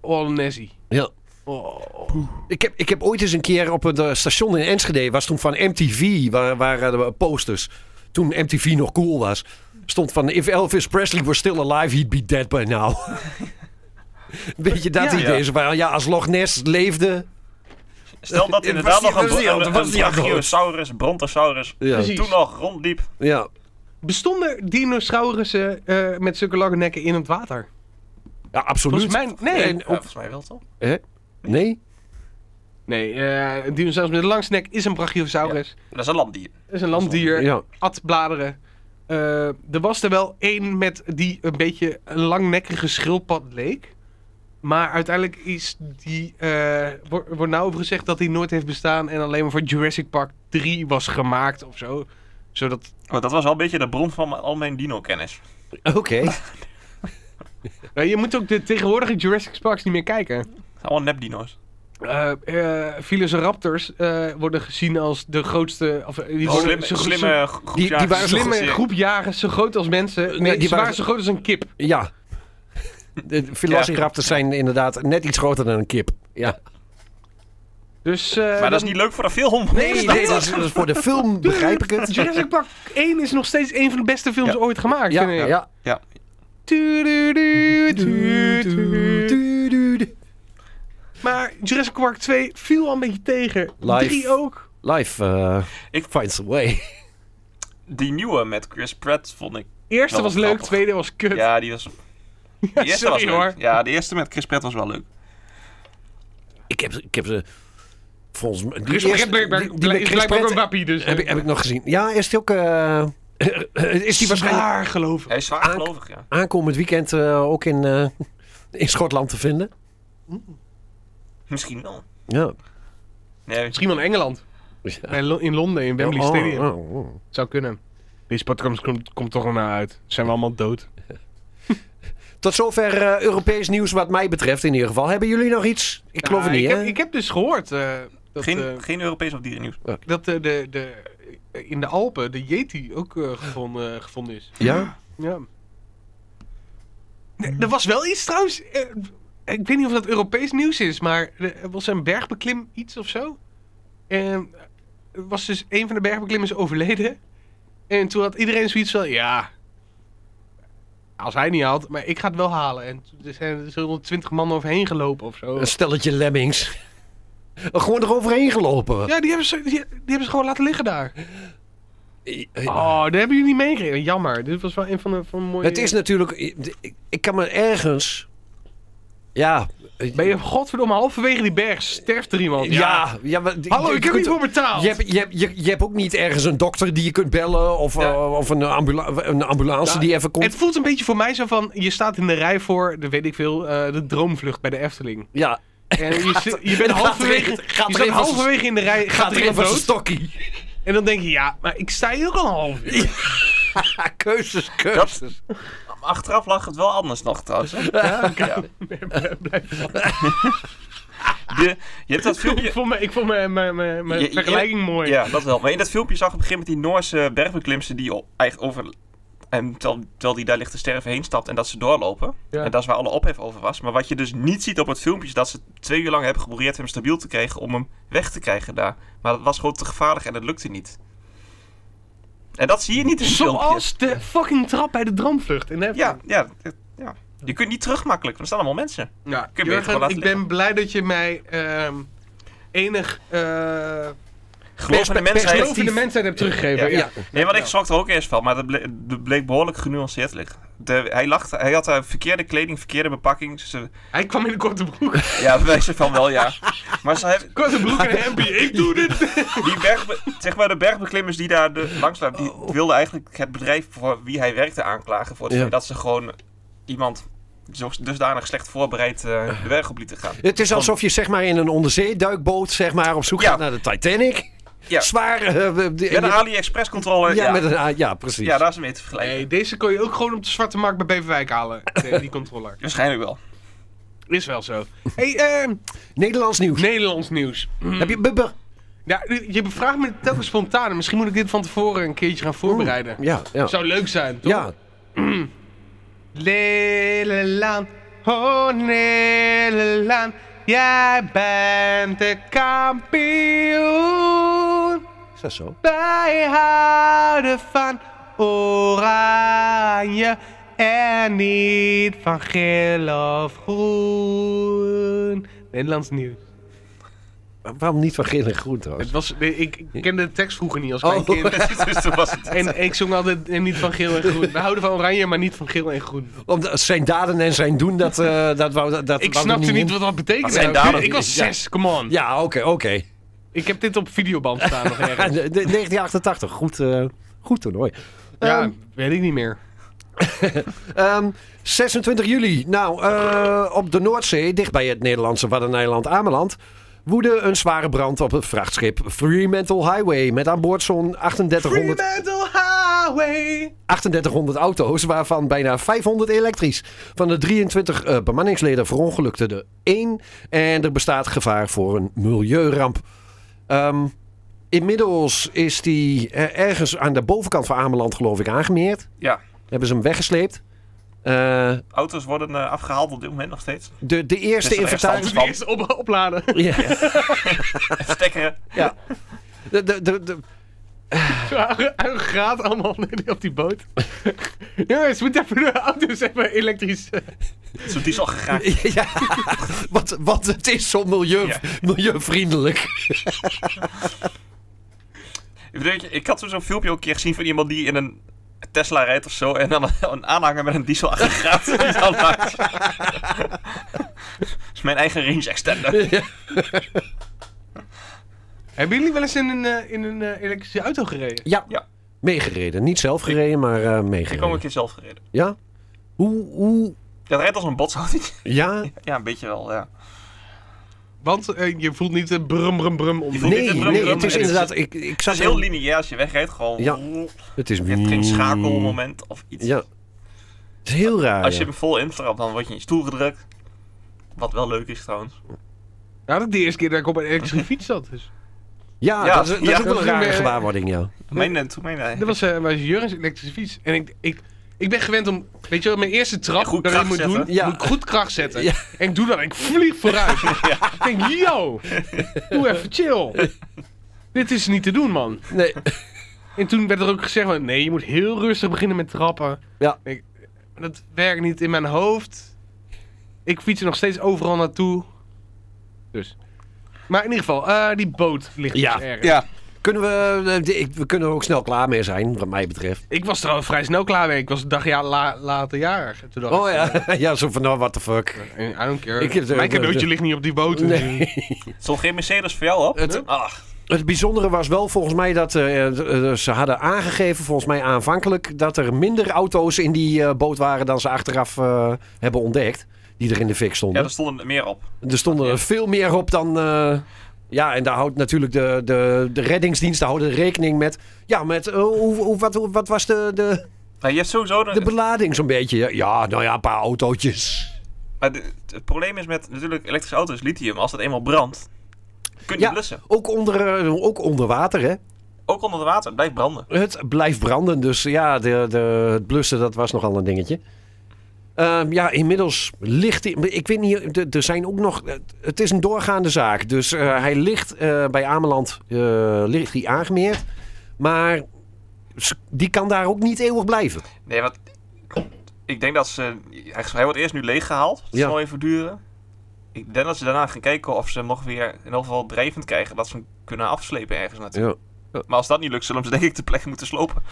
[SPEAKER 4] all Nessie.
[SPEAKER 5] Ja.
[SPEAKER 4] Oh.
[SPEAKER 5] Ik heb, ik heb ooit eens een keer op het eh, station in Enschede, was toen van MTV, waar, waren de posters. Toen MTV nog cool was, stond van If Elvis Presley were still alive, he'd be dead by now. Weet je dat
[SPEAKER 4] Ja,
[SPEAKER 5] idee?
[SPEAKER 3] ja.
[SPEAKER 5] Zo van, Ja, als Loch Ness leefde.
[SPEAKER 3] Stel dat
[SPEAKER 5] Eh,
[SPEAKER 3] inderdaad
[SPEAKER 5] was die-
[SPEAKER 3] nog een,
[SPEAKER 5] was die
[SPEAKER 3] bro-
[SPEAKER 5] al-
[SPEAKER 3] een,
[SPEAKER 5] was
[SPEAKER 3] een
[SPEAKER 5] die al dood?
[SPEAKER 3] brachiosaurus, brontosaurus,
[SPEAKER 5] Ja.
[SPEAKER 4] Precies.
[SPEAKER 3] toen nog rondliep.
[SPEAKER 5] Ja.
[SPEAKER 4] Bestonden dinosaurussen eh, met zulke lange nekken in het water?
[SPEAKER 5] ja, absoluut.
[SPEAKER 4] Volgens mij, nee.
[SPEAKER 5] En
[SPEAKER 3] Ja,
[SPEAKER 5] ook-
[SPEAKER 3] volgens mij wel toch?
[SPEAKER 5] hè? Nee?
[SPEAKER 4] Nee, eh, een dinosaurus met een lang nek is een brachiosaurus.
[SPEAKER 3] Dat is een landdier.
[SPEAKER 4] Dat is een landdier.
[SPEAKER 5] Ja.
[SPEAKER 4] At bladeren. Eh, er was er wel één met die een beetje een langnekkige schildpad leek. Maar uiteindelijk is die. eh, wordt, wordt nou over gezegd dat die nooit heeft bestaan. En alleen maar voor Jurassic Park 3 was gemaakt of zo. Zodat
[SPEAKER 3] Maar Oh, dat was wel een beetje de bron van mijn- al mijn dino-kennis.
[SPEAKER 5] Oké.
[SPEAKER 4] Nou, je moet ook de tegenwoordige Jurassic Parks niet meer kijken.
[SPEAKER 3] Allemaal nep-dino's.
[SPEAKER 4] Eh eh, Velociraptors eh, worden gezien als de grootste... Of, eh, die worden
[SPEAKER 3] Oh, Slimme,
[SPEAKER 4] zo-
[SPEAKER 3] slimme gro- groep
[SPEAKER 5] die
[SPEAKER 3] jagers.
[SPEAKER 5] waren zo-
[SPEAKER 4] slimme
[SPEAKER 3] Ja.
[SPEAKER 4] groep jagers, zo groot als mensen. Nee,
[SPEAKER 5] die
[SPEAKER 4] die
[SPEAKER 5] waren-
[SPEAKER 4] waren... zo groot als een kip.
[SPEAKER 5] Ja. De Velociraptors zijn inderdaad net iets groter dan een kip. Ja.
[SPEAKER 4] Dus, eh,
[SPEAKER 3] Maar dat is
[SPEAKER 4] dan-
[SPEAKER 3] niet leuk voor een film.
[SPEAKER 5] Nee, nee, dat, is, dat is voor de film, begrijp ik het.
[SPEAKER 4] Jurassic Park 1 is nog steeds een van de beste films
[SPEAKER 3] Ja.
[SPEAKER 4] ooit gemaakt,
[SPEAKER 5] Ja,
[SPEAKER 4] vind ik.
[SPEAKER 5] ja.
[SPEAKER 3] Ja.
[SPEAKER 4] Tududu,
[SPEAKER 5] Mm.
[SPEAKER 4] tudu, tudu. Maar Jurassic Park 2 viel al een beetje tegen.
[SPEAKER 5] Live.
[SPEAKER 4] 3 ook.
[SPEAKER 5] Life eh,
[SPEAKER 3] Ik-
[SPEAKER 5] finds a way.
[SPEAKER 3] Die nieuwe met Chris Pratt vond ik...
[SPEAKER 4] Eerste
[SPEAKER 3] Wel
[SPEAKER 4] was leuk,
[SPEAKER 3] grappig.
[SPEAKER 4] tweede was kut.
[SPEAKER 3] Ja, die was... De eerste
[SPEAKER 4] sorry,
[SPEAKER 3] was leuk.
[SPEAKER 4] hoor.
[SPEAKER 3] Ja, de eerste met Chris Pratt was wel leuk.
[SPEAKER 5] Ik heb, ik heb ze volgens mij... die
[SPEAKER 4] Chris
[SPEAKER 5] eerste-
[SPEAKER 4] Pratt blijkbaar-
[SPEAKER 5] die- die met
[SPEAKER 4] is
[SPEAKER 5] Chris
[SPEAKER 4] blijkbaar ook
[SPEAKER 5] Pratt
[SPEAKER 4] een wappie, dus...
[SPEAKER 5] heb, ik- heb ik nog gezien. Ja, is die ook... eh, is die waarschijnlijk
[SPEAKER 4] Zwaar geloven.
[SPEAKER 3] Hij is zwaar gelovig, ja.
[SPEAKER 5] aankomend weekend eh, ook in, eh, in Schotland te vinden?
[SPEAKER 3] Misschien wel.
[SPEAKER 5] Ja.
[SPEAKER 3] Nee,
[SPEAKER 4] Misschien wel in Engeland.
[SPEAKER 5] Ja.
[SPEAKER 4] Bij Lo- In Londen, in Wembley
[SPEAKER 5] Oh,
[SPEAKER 4] Stadium.
[SPEAKER 5] oh, oh.
[SPEAKER 4] Zou kunnen. Deze podcast komt, komt toch wel naar uit. Zijn we allemaal dood?
[SPEAKER 5] Tot zover eh, Europees nieuws wat mij betreft in ieder geval. Hebben jullie nog iets? Ik geloof het
[SPEAKER 4] Ja,
[SPEAKER 5] niet,
[SPEAKER 4] ik
[SPEAKER 5] hè?
[SPEAKER 4] heb, ik heb dus gehoord eh, dat,
[SPEAKER 3] geen,
[SPEAKER 4] eh,
[SPEAKER 3] geen Europees of dierennieuws.
[SPEAKER 4] dat eh, de, de, eh, in de Alpen de Yeti ook eh, gevonden, eh, gevonden is.
[SPEAKER 5] Ja?
[SPEAKER 4] Ja. Nee, er was wel iets trouwens. eh, ik weet niet of dat Europees nieuws is, maar er was een bergbeklim iets of zo. En er was dus een van de bergbeklimmers overleden. En toen had iedereen zoiets van, ja, als hij niet haalt, maar ik ga het wel halen. En toen er zijn er zo'n 120 man overheen gelopen of zo.
[SPEAKER 5] Een stelletje lemmings. Gewoon eroverheen gelopen.
[SPEAKER 4] Ja, die hebben, ze, die, die hebben ze gewoon laten liggen daar.
[SPEAKER 5] Eh,
[SPEAKER 4] Oh, daar hebben jullie niet meegekregen. Jammer. Dit was wel een van de, van de mooie...
[SPEAKER 5] Het is natuurlijk... ik- Ik kan me ergens... Ja...
[SPEAKER 4] Ben je godverdomme halverwege die berg sterft er iemand.
[SPEAKER 5] Ja, ja maar-
[SPEAKER 4] Hallo, ik heb
[SPEAKER 5] kunt-
[SPEAKER 4] niet voor betaald.
[SPEAKER 5] Je hebt, je, hebt, je, je hebt ook niet ergens een dokter die je kunt bellen of,
[SPEAKER 4] Ja.
[SPEAKER 5] eh, of een, ambula- een ambulance
[SPEAKER 4] Ja,
[SPEAKER 5] die even komt.
[SPEAKER 4] Het voelt een beetje voor mij zo van, je staat in de rij voor, de, weet ik veel, eh, de droomvlucht bij de Efteling.
[SPEAKER 5] ja,
[SPEAKER 4] En je, zit- je bent
[SPEAKER 5] gaat er
[SPEAKER 4] halverwege,
[SPEAKER 5] een- gaat
[SPEAKER 4] je
[SPEAKER 5] er
[SPEAKER 4] staat
[SPEAKER 5] een van z'n-
[SPEAKER 4] halverwege in de rij, gaat,
[SPEAKER 5] gaat
[SPEAKER 4] er
[SPEAKER 5] er even
[SPEAKER 4] iemand
[SPEAKER 5] een
[SPEAKER 4] dood.
[SPEAKER 5] stokkie.
[SPEAKER 4] En dan denk je, ja, maar ik sta hier ook al een half uur.
[SPEAKER 5] Ah, keuzes, keuzes.
[SPEAKER 3] Dat, achteraf lag het wel anders nog trouwens. hè. Ja. De, je hebt dat
[SPEAKER 4] Ik
[SPEAKER 3] filmpje...
[SPEAKER 4] vond mijn, ik vond mijn, mijn, mijn, mijn
[SPEAKER 3] Je- je-
[SPEAKER 4] vergelijking mooi.
[SPEAKER 3] Ja, dat wel. Maar in dat filmpje zag je op een gegeven moment die Noorse bergbeklimster die o- eigenlijk over... En terwijl, terwijl die daar ligt te sterven heen stapt en dat ze doorlopen.
[SPEAKER 4] Ja.
[SPEAKER 3] En dat is waar alle ophef over was. Maar wat je dus niet ziet op het filmpje is dat ze twee uur lang hebben geprobeerd hem stabiel te krijgen om hem weg te krijgen daar. Maar dat was gewoon te gevaarlijk en dat lukte niet. En dat zie je niet in het filmpje.
[SPEAKER 4] Zoals de fucking trap bij de droomvlucht in de
[SPEAKER 3] Ja,
[SPEAKER 4] Efteling.
[SPEAKER 3] ja, ja. Je kunt niet terug makkelijk, want er staan allemaal mensen.
[SPEAKER 4] Ja,
[SPEAKER 3] Kun je beter gewoon laten
[SPEAKER 4] ik ben blij dat je mij ehm, enig eh
[SPEAKER 3] Geloof in de
[SPEAKER 5] Pers-
[SPEAKER 3] mensheid.
[SPEAKER 4] geloof in de mensheid hebt teruggegeven.
[SPEAKER 3] Ja,
[SPEAKER 5] Ja.
[SPEAKER 3] Nee, want ik schrok er ook eerst van, maar dat bleek, dat bleek behoorlijk genuanceerd liggen. De, hij, lachte, hij had eh, verkeerde kleding, verkeerde bepakking. Ze,
[SPEAKER 4] Hij kwam in de korte broek.
[SPEAKER 3] ja, bewijzen van wel, ja. Maar ze hebben,
[SPEAKER 4] Korte broek en een hempie. Ik doe dit.
[SPEAKER 3] die bergbe, zeg maar, de bergbeklimmers die daar de, langs liepen, die wilden eigenlijk het bedrijf voor wie hij werkte aanklagen. Voor het
[SPEAKER 5] Oh. Ja.
[SPEAKER 3] feit dat ze gewoon iemand zo- dusdanig slecht voorbereid eh, de berg op lieten gaan.
[SPEAKER 5] Het is alsof je zeg maar in een onderzeeduikboot zeg maar, op zoek
[SPEAKER 3] Ja.
[SPEAKER 5] gaat naar de Titanic.
[SPEAKER 3] Ja.
[SPEAKER 5] Zwaar. eh, we- de-
[SPEAKER 3] Met een
[SPEAKER 5] je-
[SPEAKER 3] AliExpress-controle, ja,
[SPEAKER 5] ja,
[SPEAKER 3] ja,
[SPEAKER 5] met een a- ja, precies.
[SPEAKER 3] daar is hem mee te vergelijken.
[SPEAKER 4] Nee, deze kon je ook gewoon op de zwarte markt bij Beverwijk halen. Nee, die controller.
[SPEAKER 3] Waarschijnlijk wel.
[SPEAKER 4] Is wel zo. hey, eh,
[SPEAKER 5] Nederlands nieuws.
[SPEAKER 4] Nederlands nieuws.
[SPEAKER 5] Heb je bubber?
[SPEAKER 4] Ja, je vraagt me telkens spontaan. en Misschien moet ik dit van tevoren een keertje gaan voorbereiden.
[SPEAKER 5] Ja, ja.
[SPEAKER 4] Zou leuk zijn, toch?
[SPEAKER 5] ja.
[SPEAKER 4] Nederland, oh Nederland, jij bent de kampioen.
[SPEAKER 5] Is dat zo?
[SPEAKER 4] Wij houden van oranje en niet van geel of groen. Nederlands nieuws.
[SPEAKER 5] Maar Waarom niet van geel en groen trouwens?
[SPEAKER 4] Het was, nee, ik ik kende de tekst vroeger niet als
[SPEAKER 5] Oh.
[SPEAKER 4] klein kind.
[SPEAKER 3] dus toen was het.
[SPEAKER 4] En ik zong altijd eh, niet van geel en groen. We houden van oranje, maar niet van geel en groen.
[SPEAKER 5] Omdat zijn daden en zijn doen, dat, eh dat wou dat, dat
[SPEAKER 4] Ik
[SPEAKER 5] wou
[SPEAKER 4] snapte
[SPEAKER 5] niet
[SPEAKER 4] niet
[SPEAKER 5] in.
[SPEAKER 4] wat dat betekende.
[SPEAKER 3] Wat zijn daar dan?
[SPEAKER 4] ik was
[SPEAKER 5] Ja.
[SPEAKER 4] zes, come on.
[SPEAKER 5] Ja, oké, oké.
[SPEAKER 4] Ik heb dit op videoband staan nog
[SPEAKER 5] Ja,
[SPEAKER 4] ergens.
[SPEAKER 5] de- de- 1988, goed, eh, goed toernooi.
[SPEAKER 4] Ja,
[SPEAKER 5] Ehm,
[SPEAKER 4] weet ik niet meer.
[SPEAKER 5] Ehm, 26 juli. Nou, eh, op de Noordzee, dicht bij het Nederlandse Waddeneiland Ameland, woedde een zware brand op het vrachtschip Fremantle Highway. Met aan boord zo'n 3800,
[SPEAKER 4] Fremantle Highway.
[SPEAKER 5] 3800 auto's, waarvan bijna 500 elektrisch. Van de 23 eh, bemanningsleden verongelukte er één. En er bestaat gevaar voor een milieuramp. Ehm, inmiddels is die eh, ergens aan de bovenkant van Ameland, geloof ik, aangemeerd.
[SPEAKER 3] Ja,
[SPEAKER 5] Hebben ze hem weggesleept. Eh,
[SPEAKER 3] auto's worden eh, afgehaald op dit moment nog steeds.
[SPEAKER 5] De, de eerste
[SPEAKER 3] Dus er is
[SPEAKER 5] inventaris.
[SPEAKER 4] Die
[SPEAKER 3] altijd-
[SPEAKER 4] is op, opladen.
[SPEAKER 5] Ja.
[SPEAKER 3] Stekkeren.
[SPEAKER 5] ja. De, de, de, de-
[SPEAKER 4] Hij gaat allemaal op die boot. Jongens, moet even de auto's even elektrisch.
[SPEAKER 3] Zo'n diesel gegaan.
[SPEAKER 5] ja. Want, want het is zo milieu,
[SPEAKER 3] Ja.
[SPEAKER 5] milieuvriendelijk.
[SPEAKER 3] Ik, bedoel, ik- ik had toen zo'n filmpje ook een keer gezien van iemand die in een Tesla rijdt of zo. En dan een, een aanhanger met een dieselaggregaat. die dan maakt. Dat is mijn eigen range extender.
[SPEAKER 4] Hebben jullie wel eens in een, eh, in een eh, elektrische auto gereden?
[SPEAKER 5] Ja.
[SPEAKER 3] Ja.
[SPEAKER 5] Meegereden. Niet zelf gereden, maar eh,
[SPEAKER 3] Ik heb ook
[SPEAKER 5] meegereden.
[SPEAKER 3] een keer zelf gereden.
[SPEAKER 5] Ja? Hoe, hoe?
[SPEAKER 3] Dat rijdt als een botsautootje.
[SPEAKER 5] Ja?
[SPEAKER 3] Ja, een beetje wel, ja.
[SPEAKER 4] Want eh, je voelt niet het brum brum brum om.
[SPEAKER 3] Je voelt-
[SPEAKER 5] Nee, nee, het is inderdaad... Ik, ik
[SPEAKER 3] Het
[SPEAKER 5] zat
[SPEAKER 3] is heel
[SPEAKER 5] in-
[SPEAKER 3] lineair als je wegrijdt. Gewoon...
[SPEAKER 5] Ja.
[SPEAKER 3] Je
[SPEAKER 5] Het is... mm,
[SPEAKER 3] hebt geen schakelmoment of iets.
[SPEAKER 5] Ja. Het is heel raar.
[SPEAKER 3] Als je
[SPEAKER 5] ja.
[SPEAKER 3] hem vol intrapt, dan word je in je stoel gedrukt. Wat wel leuk is trouwens.
[SPEAKER 4] Ja, Nou, dat is de eerste keer dat ik op een elektrische fiets zat. Dus.
[SPEAKER 5] Ja,
[SPEAKER 3] Ja,
[SPEAKER 5] dat is, dat is
[SPEAKER 3] ja.
[SPEAKER 5] ook wel een
[SPEAKER 4] Dat is
[SPEAKER 5] rare
[SPEAKER 4] weer-
[SPEAKER 5] gewaarwording, ja.
[SPEAKER 3] Mijn, eh, toen mijn, eh,
[SPEAKER 4] Dat was, eh was Jurgen's elektrische fiets. En ik, ik, ik ben gewend om, weet je wel, mijn eerste trap
[SPEAKER 3] Ja, goed
[SPEAKER 4] dat ik
[SPEAKER 3] kracht
[SPEAKER 4] moet
[SPEAKER 3] zetten.
[SPEAKER 4] doen,
[SPEAKER 5] Ja.
[SPEAKER 4] moet ik goed kracht zetten.
[SPEAKER 5] Ja.
[SPEAKER 4] En ik doe dat, ik vlieg vooruit. Ik denk, yo, doe even chill. Dit is niet te doen, man.
[SPEAKER 5] Nee.
[SPEAKER 4] En toen werd er ook gezegd, van, nee, je moet heel rustig beginnen met trappen.
[SPEAKER 5] Ja.
[SPEAKER 4] Ik, dat werkt niet in mijn hoofd. Ik fiets er nog steeds overal naartoe. Dus. Maar in ieder geval, eh, die boot ligt
[SPEAKER 5] Ja.
[SPEAKER 4] dus ergens.
[SPEAKER 1] Ja,
[SPEAKER 5] Kunnen we, eh, de- ik- we kunnen er ook snel klaar mee zijn, wat mij betreft.
[SPEAKER 4] Ik was er al vrij snel klaar mee. Ik was een dag ja, la, later jarig. Toen dacht
[SPEAKER 5] Oh
[SPEAKER 4] ik,
[SPEAKER 5] ja, ja zo van, nou, what the fuck.
[SPEAKER 4] eh, I don't care.
[SPEAKER 5] Ik heb-
[SPEAKER 4] Mijn
[SPEAKER 5] eh,
[SPEAKER 4] cadeautje
[SPEAKER 5] eh,
[SPEAKER 4] ligt niet op die boot.
[SPEAKER 5] Nee.
[SPEAKER 3] Stond geen Mercedes voor jou op? Ah,
[SPEAKER 5] Het-
[SPEAKER 3] Ach,
[SPEAKER 5] Het bijzondere was wel volgens mij dat eh, eh, ze hadden aangegeven, volgens mij aanvankelijk, dat er minder auto's in die eh, boot waren dan ze achteraf eh, hebben ontdekt. Die er in de fik
[SPEAKER 3] ja,
[SPEAKER 5] stonden.
[SPEAKER 3] er stonden meer op.
[SPEAKER 5] Er stonden er veel meer op dan. eh, ja, en daar houdt natuurlijk de, de, de reddingsdiensten houden rekening met. Ja, met eh, hoe, hoe, wat, hoe- wat was de, de,
[SPEAKER 3] Maar Nou, je hebt sowieso... De,
[SPEAKER 5] de belading zo'n beetje? Ja, nou ja, een paar autootjes.
[SPEAKER 3] maar de- het probleem is met natuurlijk elektrische auto's, lithium. Als dat eenmaal brandt, kun je
[SPEAKER 5] Ja.
[SPEAKER 3] blussen.
[SPEAKER 5] Ook onder, eh, ook onder water, hè?
[SPEAKER 3] Ook onder het water, het blijft branden.
[SPEAKER 5] Het blijft branden, dus ja, de, de, het blussen, dat was nogal een dingetje. Ehm, ja, inmiddels ligt hij... Ik weet niet, er- er zijn ook nog... Het is een doorgaande zaak. Dus eh, hij ligt eh, bij Ameland eh, ligt hij aangemeerd. Maar s- die kan daar ook niet eeuwig blijven.
[SPEAKER 3] Nee, want ik denk dat ze. Hij hij wordt eerst nu leeggehaald. Dat
[SPEAKER 5] Ja.
[SPEAKER 3] zal even duren. Ik denk dat ze daarna gaan kijken of ze hem nog weer in ieder geval drijvend krijgen. Dat ze hem kunnen afslepen ergens naartoe.
[SPEAKER 5] Ja.
[SPEAKER 3] Maar als dat niet lukt, zullen ze hem denk ik de plek moeten slopen.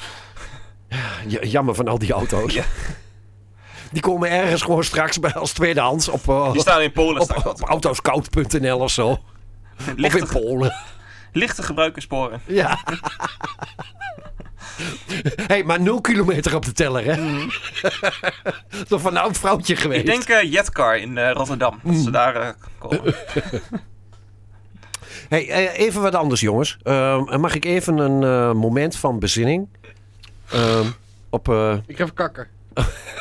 [SPEAKER 5] Ja, Jammer van al die auto's.
[SPEAKER 3] Ja.
[SPEAKER 5] Die komen ergens gewoon straks bij als tweedehands op, eh,
[SPEAKER 3] Die staan in Polen
[SPEAKER 5] op,
[SPEAKER 3] straks.
[SPEAKER 5] op autoscout.nl of zo. Of in
[SPEAKER 3] Lichte,
[SPEAKER 5] Polen.
[SPEAKER 3] lichte gebruikersporen.
[SPEAKER 5] Ja. Hé, hey, maar 0 kilometer op de teller, hè? Dat is van een oud vrouwtje geweest.
[SPEAKER 3] Mm. Ik denk eh, Jetcar in eh, Rotterdam. Dat
[SPEAKER 5] Mm.
[SPEAKER 3] ze daar eh, komen.
[SPEAKER 5] hey, eh, even wat anders, jongens. Ehm, mag ik even een eh, moment van bezinning? Ehm, op, eh,
[SPEAKER 4] Ik ga even kakken.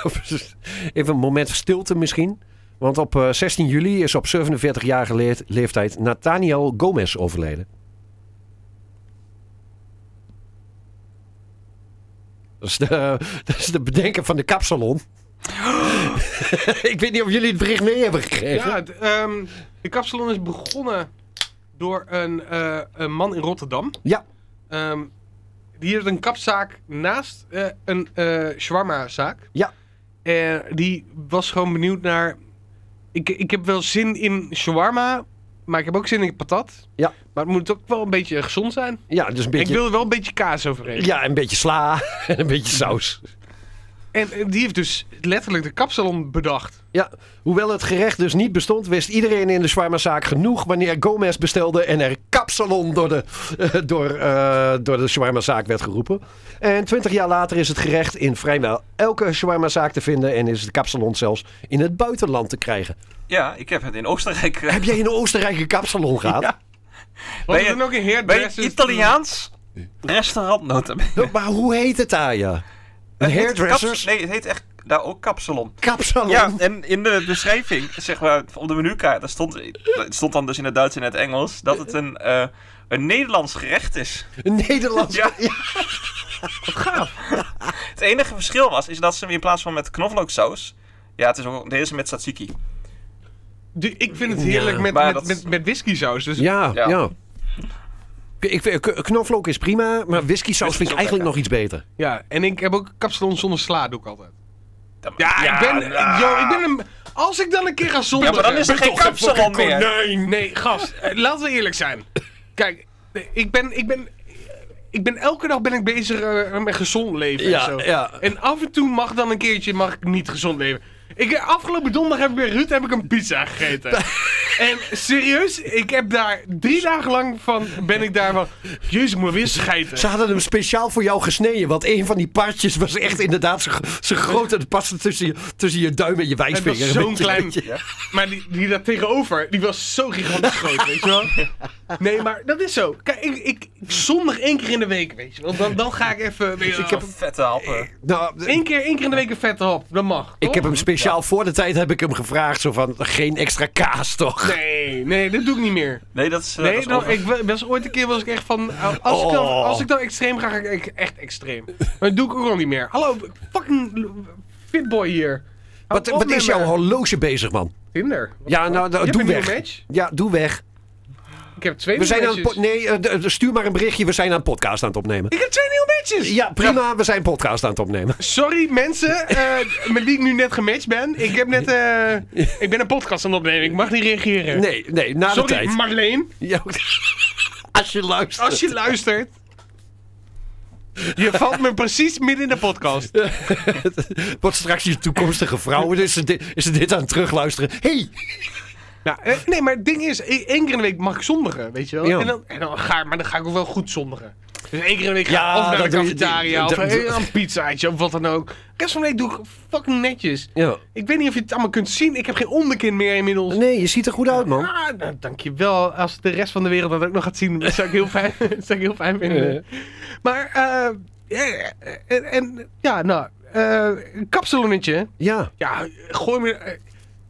[SPEAKER 5] op- even een moment stilte misschien. Want op eh, 16 juli is op 47-jarige leert- leeftijd Nathaniel Gomez overleden. Dat is, de, dat is de bedenker van de kapsalon. Ik weet niet of jullie het bericht mee hebben gekregen.
[SPEAKER 4] Ja, het, ehm, de kapsalon is begonnen door een, eh, een man in Rotterdam.
[SPEAKER 5] Ja.
[SPEAKER 4] Ehm, die heeft een kapzaak naast eh, een eh shawarma-zaak.
[SPEAKER 5] Ja.
[SPEAKER 4] En die was gewoon benieuwd naar... Ik, ik heb wel zin in shawarma, maar ik heb ook zin in patat.
[SPEAKER 5] Ja.
[SPEAKER 4] Maar het moet ook wel een beetje gezond zijn.
[SPEAKER 5] Ja, dus een beetje,
[SPEAKER 4] Ik wil er wel een beetje kaas overheen.
[SPEAKER 5] ja, een beetje sla en een beetje saus.
[SPEAKER 4] En eh, die heeft dus letterlijk de kapsalon bedacht.
[SPEAKER 5] Ja, hoewel het gerecht dus niet bestond, wist iedereen in de shawarmazaak genoeg wanneer Gomez bestelde en er kapsalon door de, eh, door, eh, door de shawarmazaak werd geroepen. En twintig jaar later is het gerecht in vrijwel elke shawarmazaak te vinden en is de kapsalon zelfs in het buitenland te krijgen.
[SPEAKER 3] Ja, ik heb het in Oostenrijk. eh,
[SPEAKER 5] Heb jij in Oostenrijk een kapsalon gehad?
[SPEAKER 3] Ja.
[SPEAKER 4] Wat
[SPEAKER 3] je-
[SPEAKER 4] er dan ook een
[SPEAKER 3] Bij een
[SPEAKER 4] hairdresser...
[SPEAKER 3] Italiaans restaurant nota bene.
[SPEAKER 5] Maar hoe heet het daar, ja? Een
[SPEAKER 3] Het heet
[SPEAKER 5] hairdressers?
[SPEAKER 3] kaps- Nee, het heet echt daar ook kapsalon.
[SPEAKER 5] Kapsalon?
[SPEAKER 3] Ja, en in de beschrijving, zeg maar, op de menukaart, daar stond, het stond dan dus in het Duits en het Engels, dat het een, eh, een Nederlands gerecht is.
[SPEAKER 5] Een Nederlands?
[SPEAKER 3] Ja. Het enige verschil was, is dat ze hem in plaats van met knoflooksaus, ja, het is ook, deze met tzatziki.
[SPEAKER 4] Die- Ik vind het heerlijk
[SPEAKER 5] Ja,
[SPEAKER 4] met,
[SPEAKER 3] maar
[SPEAKER 4] met,
[SPEAKER 3] dat-
[SPEAKER 4] met, met whiskysaus. Dus
[SPEAKER 5] Ja, ja.
[SPEAKER 3] Ja.
[SPEAKER 5] Ik, vind- k- knoflook is prima, maar whisky saus vind ik
[SPEAKER 3] ook
[SPEAKER 5] eigenlijk nog
[SPEAKER 3] lekker.
[SPEAKER 5] iets beter.
[SPEAKER 4] Ja, en ik heb ook kapsalon zonder sla, doe ik altijd.
[SPEAKER 3] Dan-
[SPEAKER 4] Ja, ik ben...
[SPEAKER 3] ja. nou.
[SPEAKER 4] Yo, ik ben een... Als ik dan een keer ga
[SPEAKER 3] Ja,
[SPEAKER 4] zondigen...
[SPEAKER 3] maar dan is er geen kapsalon meer.
[SPEAKER 4] Nee, nee, gast. eh, laten we eerlijk zijn. Kijk, eh, ik ben... Ik ben ik ben elke dag ben ik bezig eh, met gezond leven
[SPEAKER 5] Ja,
[SPEAKER 4] en zo.
[SPEAKER 5] ja.
[SPEAKER 4] En af en toe mag dan een keertje mag ik niet gezond leven. Ik, eh, afgelopen donderdag heb ik bij Ruud heb ik een pizza gegeten. En serieus, ik heb daar drie dagen lang van, ben ik daar van, jezus, ik moet weer schijten.
[SPEAKER 5] Ze hadden hem speciaal voor jou gesneden. Want een van die partjes was echt inderdaad zo, zo groot. En het paste tussen je, tussen je duim en je
[SPEAKER 4] Het
[SPEAKER 5] wijsvinger.
[SPEAKER 4] was zo'n klein.
[SPEAKER 5] Weet je.
[SPEAKER 4] Maar die, die daar tegenover, die was zo gigantisch groot, weet je wel. Nee, maar dat is zo. Kijk, ik, ik, zondag één keer in de week, weet je wel. Dan, dan ga ik even. Weet je
[SPEAKER 5] Dus
[SPEAKER 4] wel,
[SPEAKER 3] Ik heb vette
[SPEAKER 4] Eh,
[SPEAKER 3] happen.
[SPEAKER 5] Nou,
[SPEAKER 4] één keer, één keer in de week een vette hap. Dat mag.
[SPEAKER 5] ik
[SPEAKER 4] toch?
[SPEAKER 5] heb hem speciaal voor de tijd heb ik hem gevraagd. Zo van, geen extra kaas toch?
[SPEAKER 4] Nee, nee, dat doe ik niet meer.
[SPEAKER 3] Nee, dat is. eh, dat
[SPEAKER 4] Nee, nou,
[SPEAKER 3] is
[SPEAKER 4] dan,
[SPEAKER 3] over.
[SPEAKER 4] ik wa- was ooit een keer was ik echt van. uh, Als, ik dan,
[SPEAKER 5] Oh.
[SPEAKER 4] als ik dan extreem ga, ga ik e- echt extreem. Maar dat doe ik ook al niet meer. Hallo, fucking l- fitboy hier. Hou
[SPEAKER 5] Wat,
[SPEAKER 4] op
[SPEAKER 5] wat
[SPEAKER 4] met
[SPEAKER 5] is jouw
[SPEAKER 4] me.
[SPEAKER 5] horloge bezig, man?
[SPEAKER 4] Tinder? Wat-
[SPEAKER 5] Ja, nou,
[SPEAKER 4] Je
[SPEAKER 5] nou
[SPEAKER 4] hebt
[SPEAKER 5] doe
[SPEAKER 4] een nieuwe
[SPEAKER 5] weg.
[SPEAKER 4] match?
[SPEAKER 5] Ja, doe weg.
[SPEAKER 4] Ik heb twee
[SPEAKER 5] We
[SPEAKER 4] nieuwe
[SPEAKER 5] zijn aan het po-
[SPEAKER 4] matches.
[SPEAKER 5] nee, eh, d- d- stuur maar een berichtje. We zijn aan een podcast aan het opnemen.
[SPEAKER 4] Ik heb twee nieuwe matches!
[SPEAKER 5] Ja, prima. We zijn een podcast aan het opnemen.
[SPEAKER 4] Sorry mensen eh, met wie ik nu net gematcht ben. Ik heb net. eh, ik ben een podcast aan het opnemen. Ik mag niet reageren.
[SPEAKER 5] Nee, nee, na de
[SPEAKER 4] Sorry,
[SPEAKER 5] tijd.
[SPEAKER 4] Marleen.
[SPEAKER 5] Ja, als je luistert.
[SPEAKER 4] Als je luistert. Je valt me precies midden in de podcast.
[SPEAKER 5] Wordt straks je toekomstige vrouw. Is ze dit, is ze dit aan het terugluisteren? hey,
[SPEAKER 4] Nou, eh, nee, maar het ding is, e- één keer in de week mag ik zondigen, weet je wel.
[SPEAKER 5] Ja.
[SPEAKER 4] En dan, en dan ga, maar dan ga ik ook wel goed zondigen. Dus één keer in de week ga ik
[SPEAKER 5] Ja,
[SPEAKER 4] of naar de
[SPEAKER 5] dat doe je-
[SPEAKER 4] cafetaria, of
[SPEAKER 5] dat-
[SPEAKER 4] eh, een pizzaatje, of wat dan ook. De rest van de week doe ik fucking netjes.
[SPEAKER 5] Ja.
[SPEAKER 4] Ik weet niet of je het allemaal kunt zien, ik heb geen onderkin meer inmiddels.
[SPEAKER 5] Nee, je ziet er goed uit, man.
[SPEAKER 4] Ah, nou, dankjewel. Als de rest van de wereld dat ook nog gaat zien, zou ik heel fijn, zou ik heel fijn vinden. Maar, eh, ja, en, en- ja, nou, eh, een kapsalonnetje.
[SPEAKER 5] Ja.
[SPEAKER 4] Ja, gooi me. eh,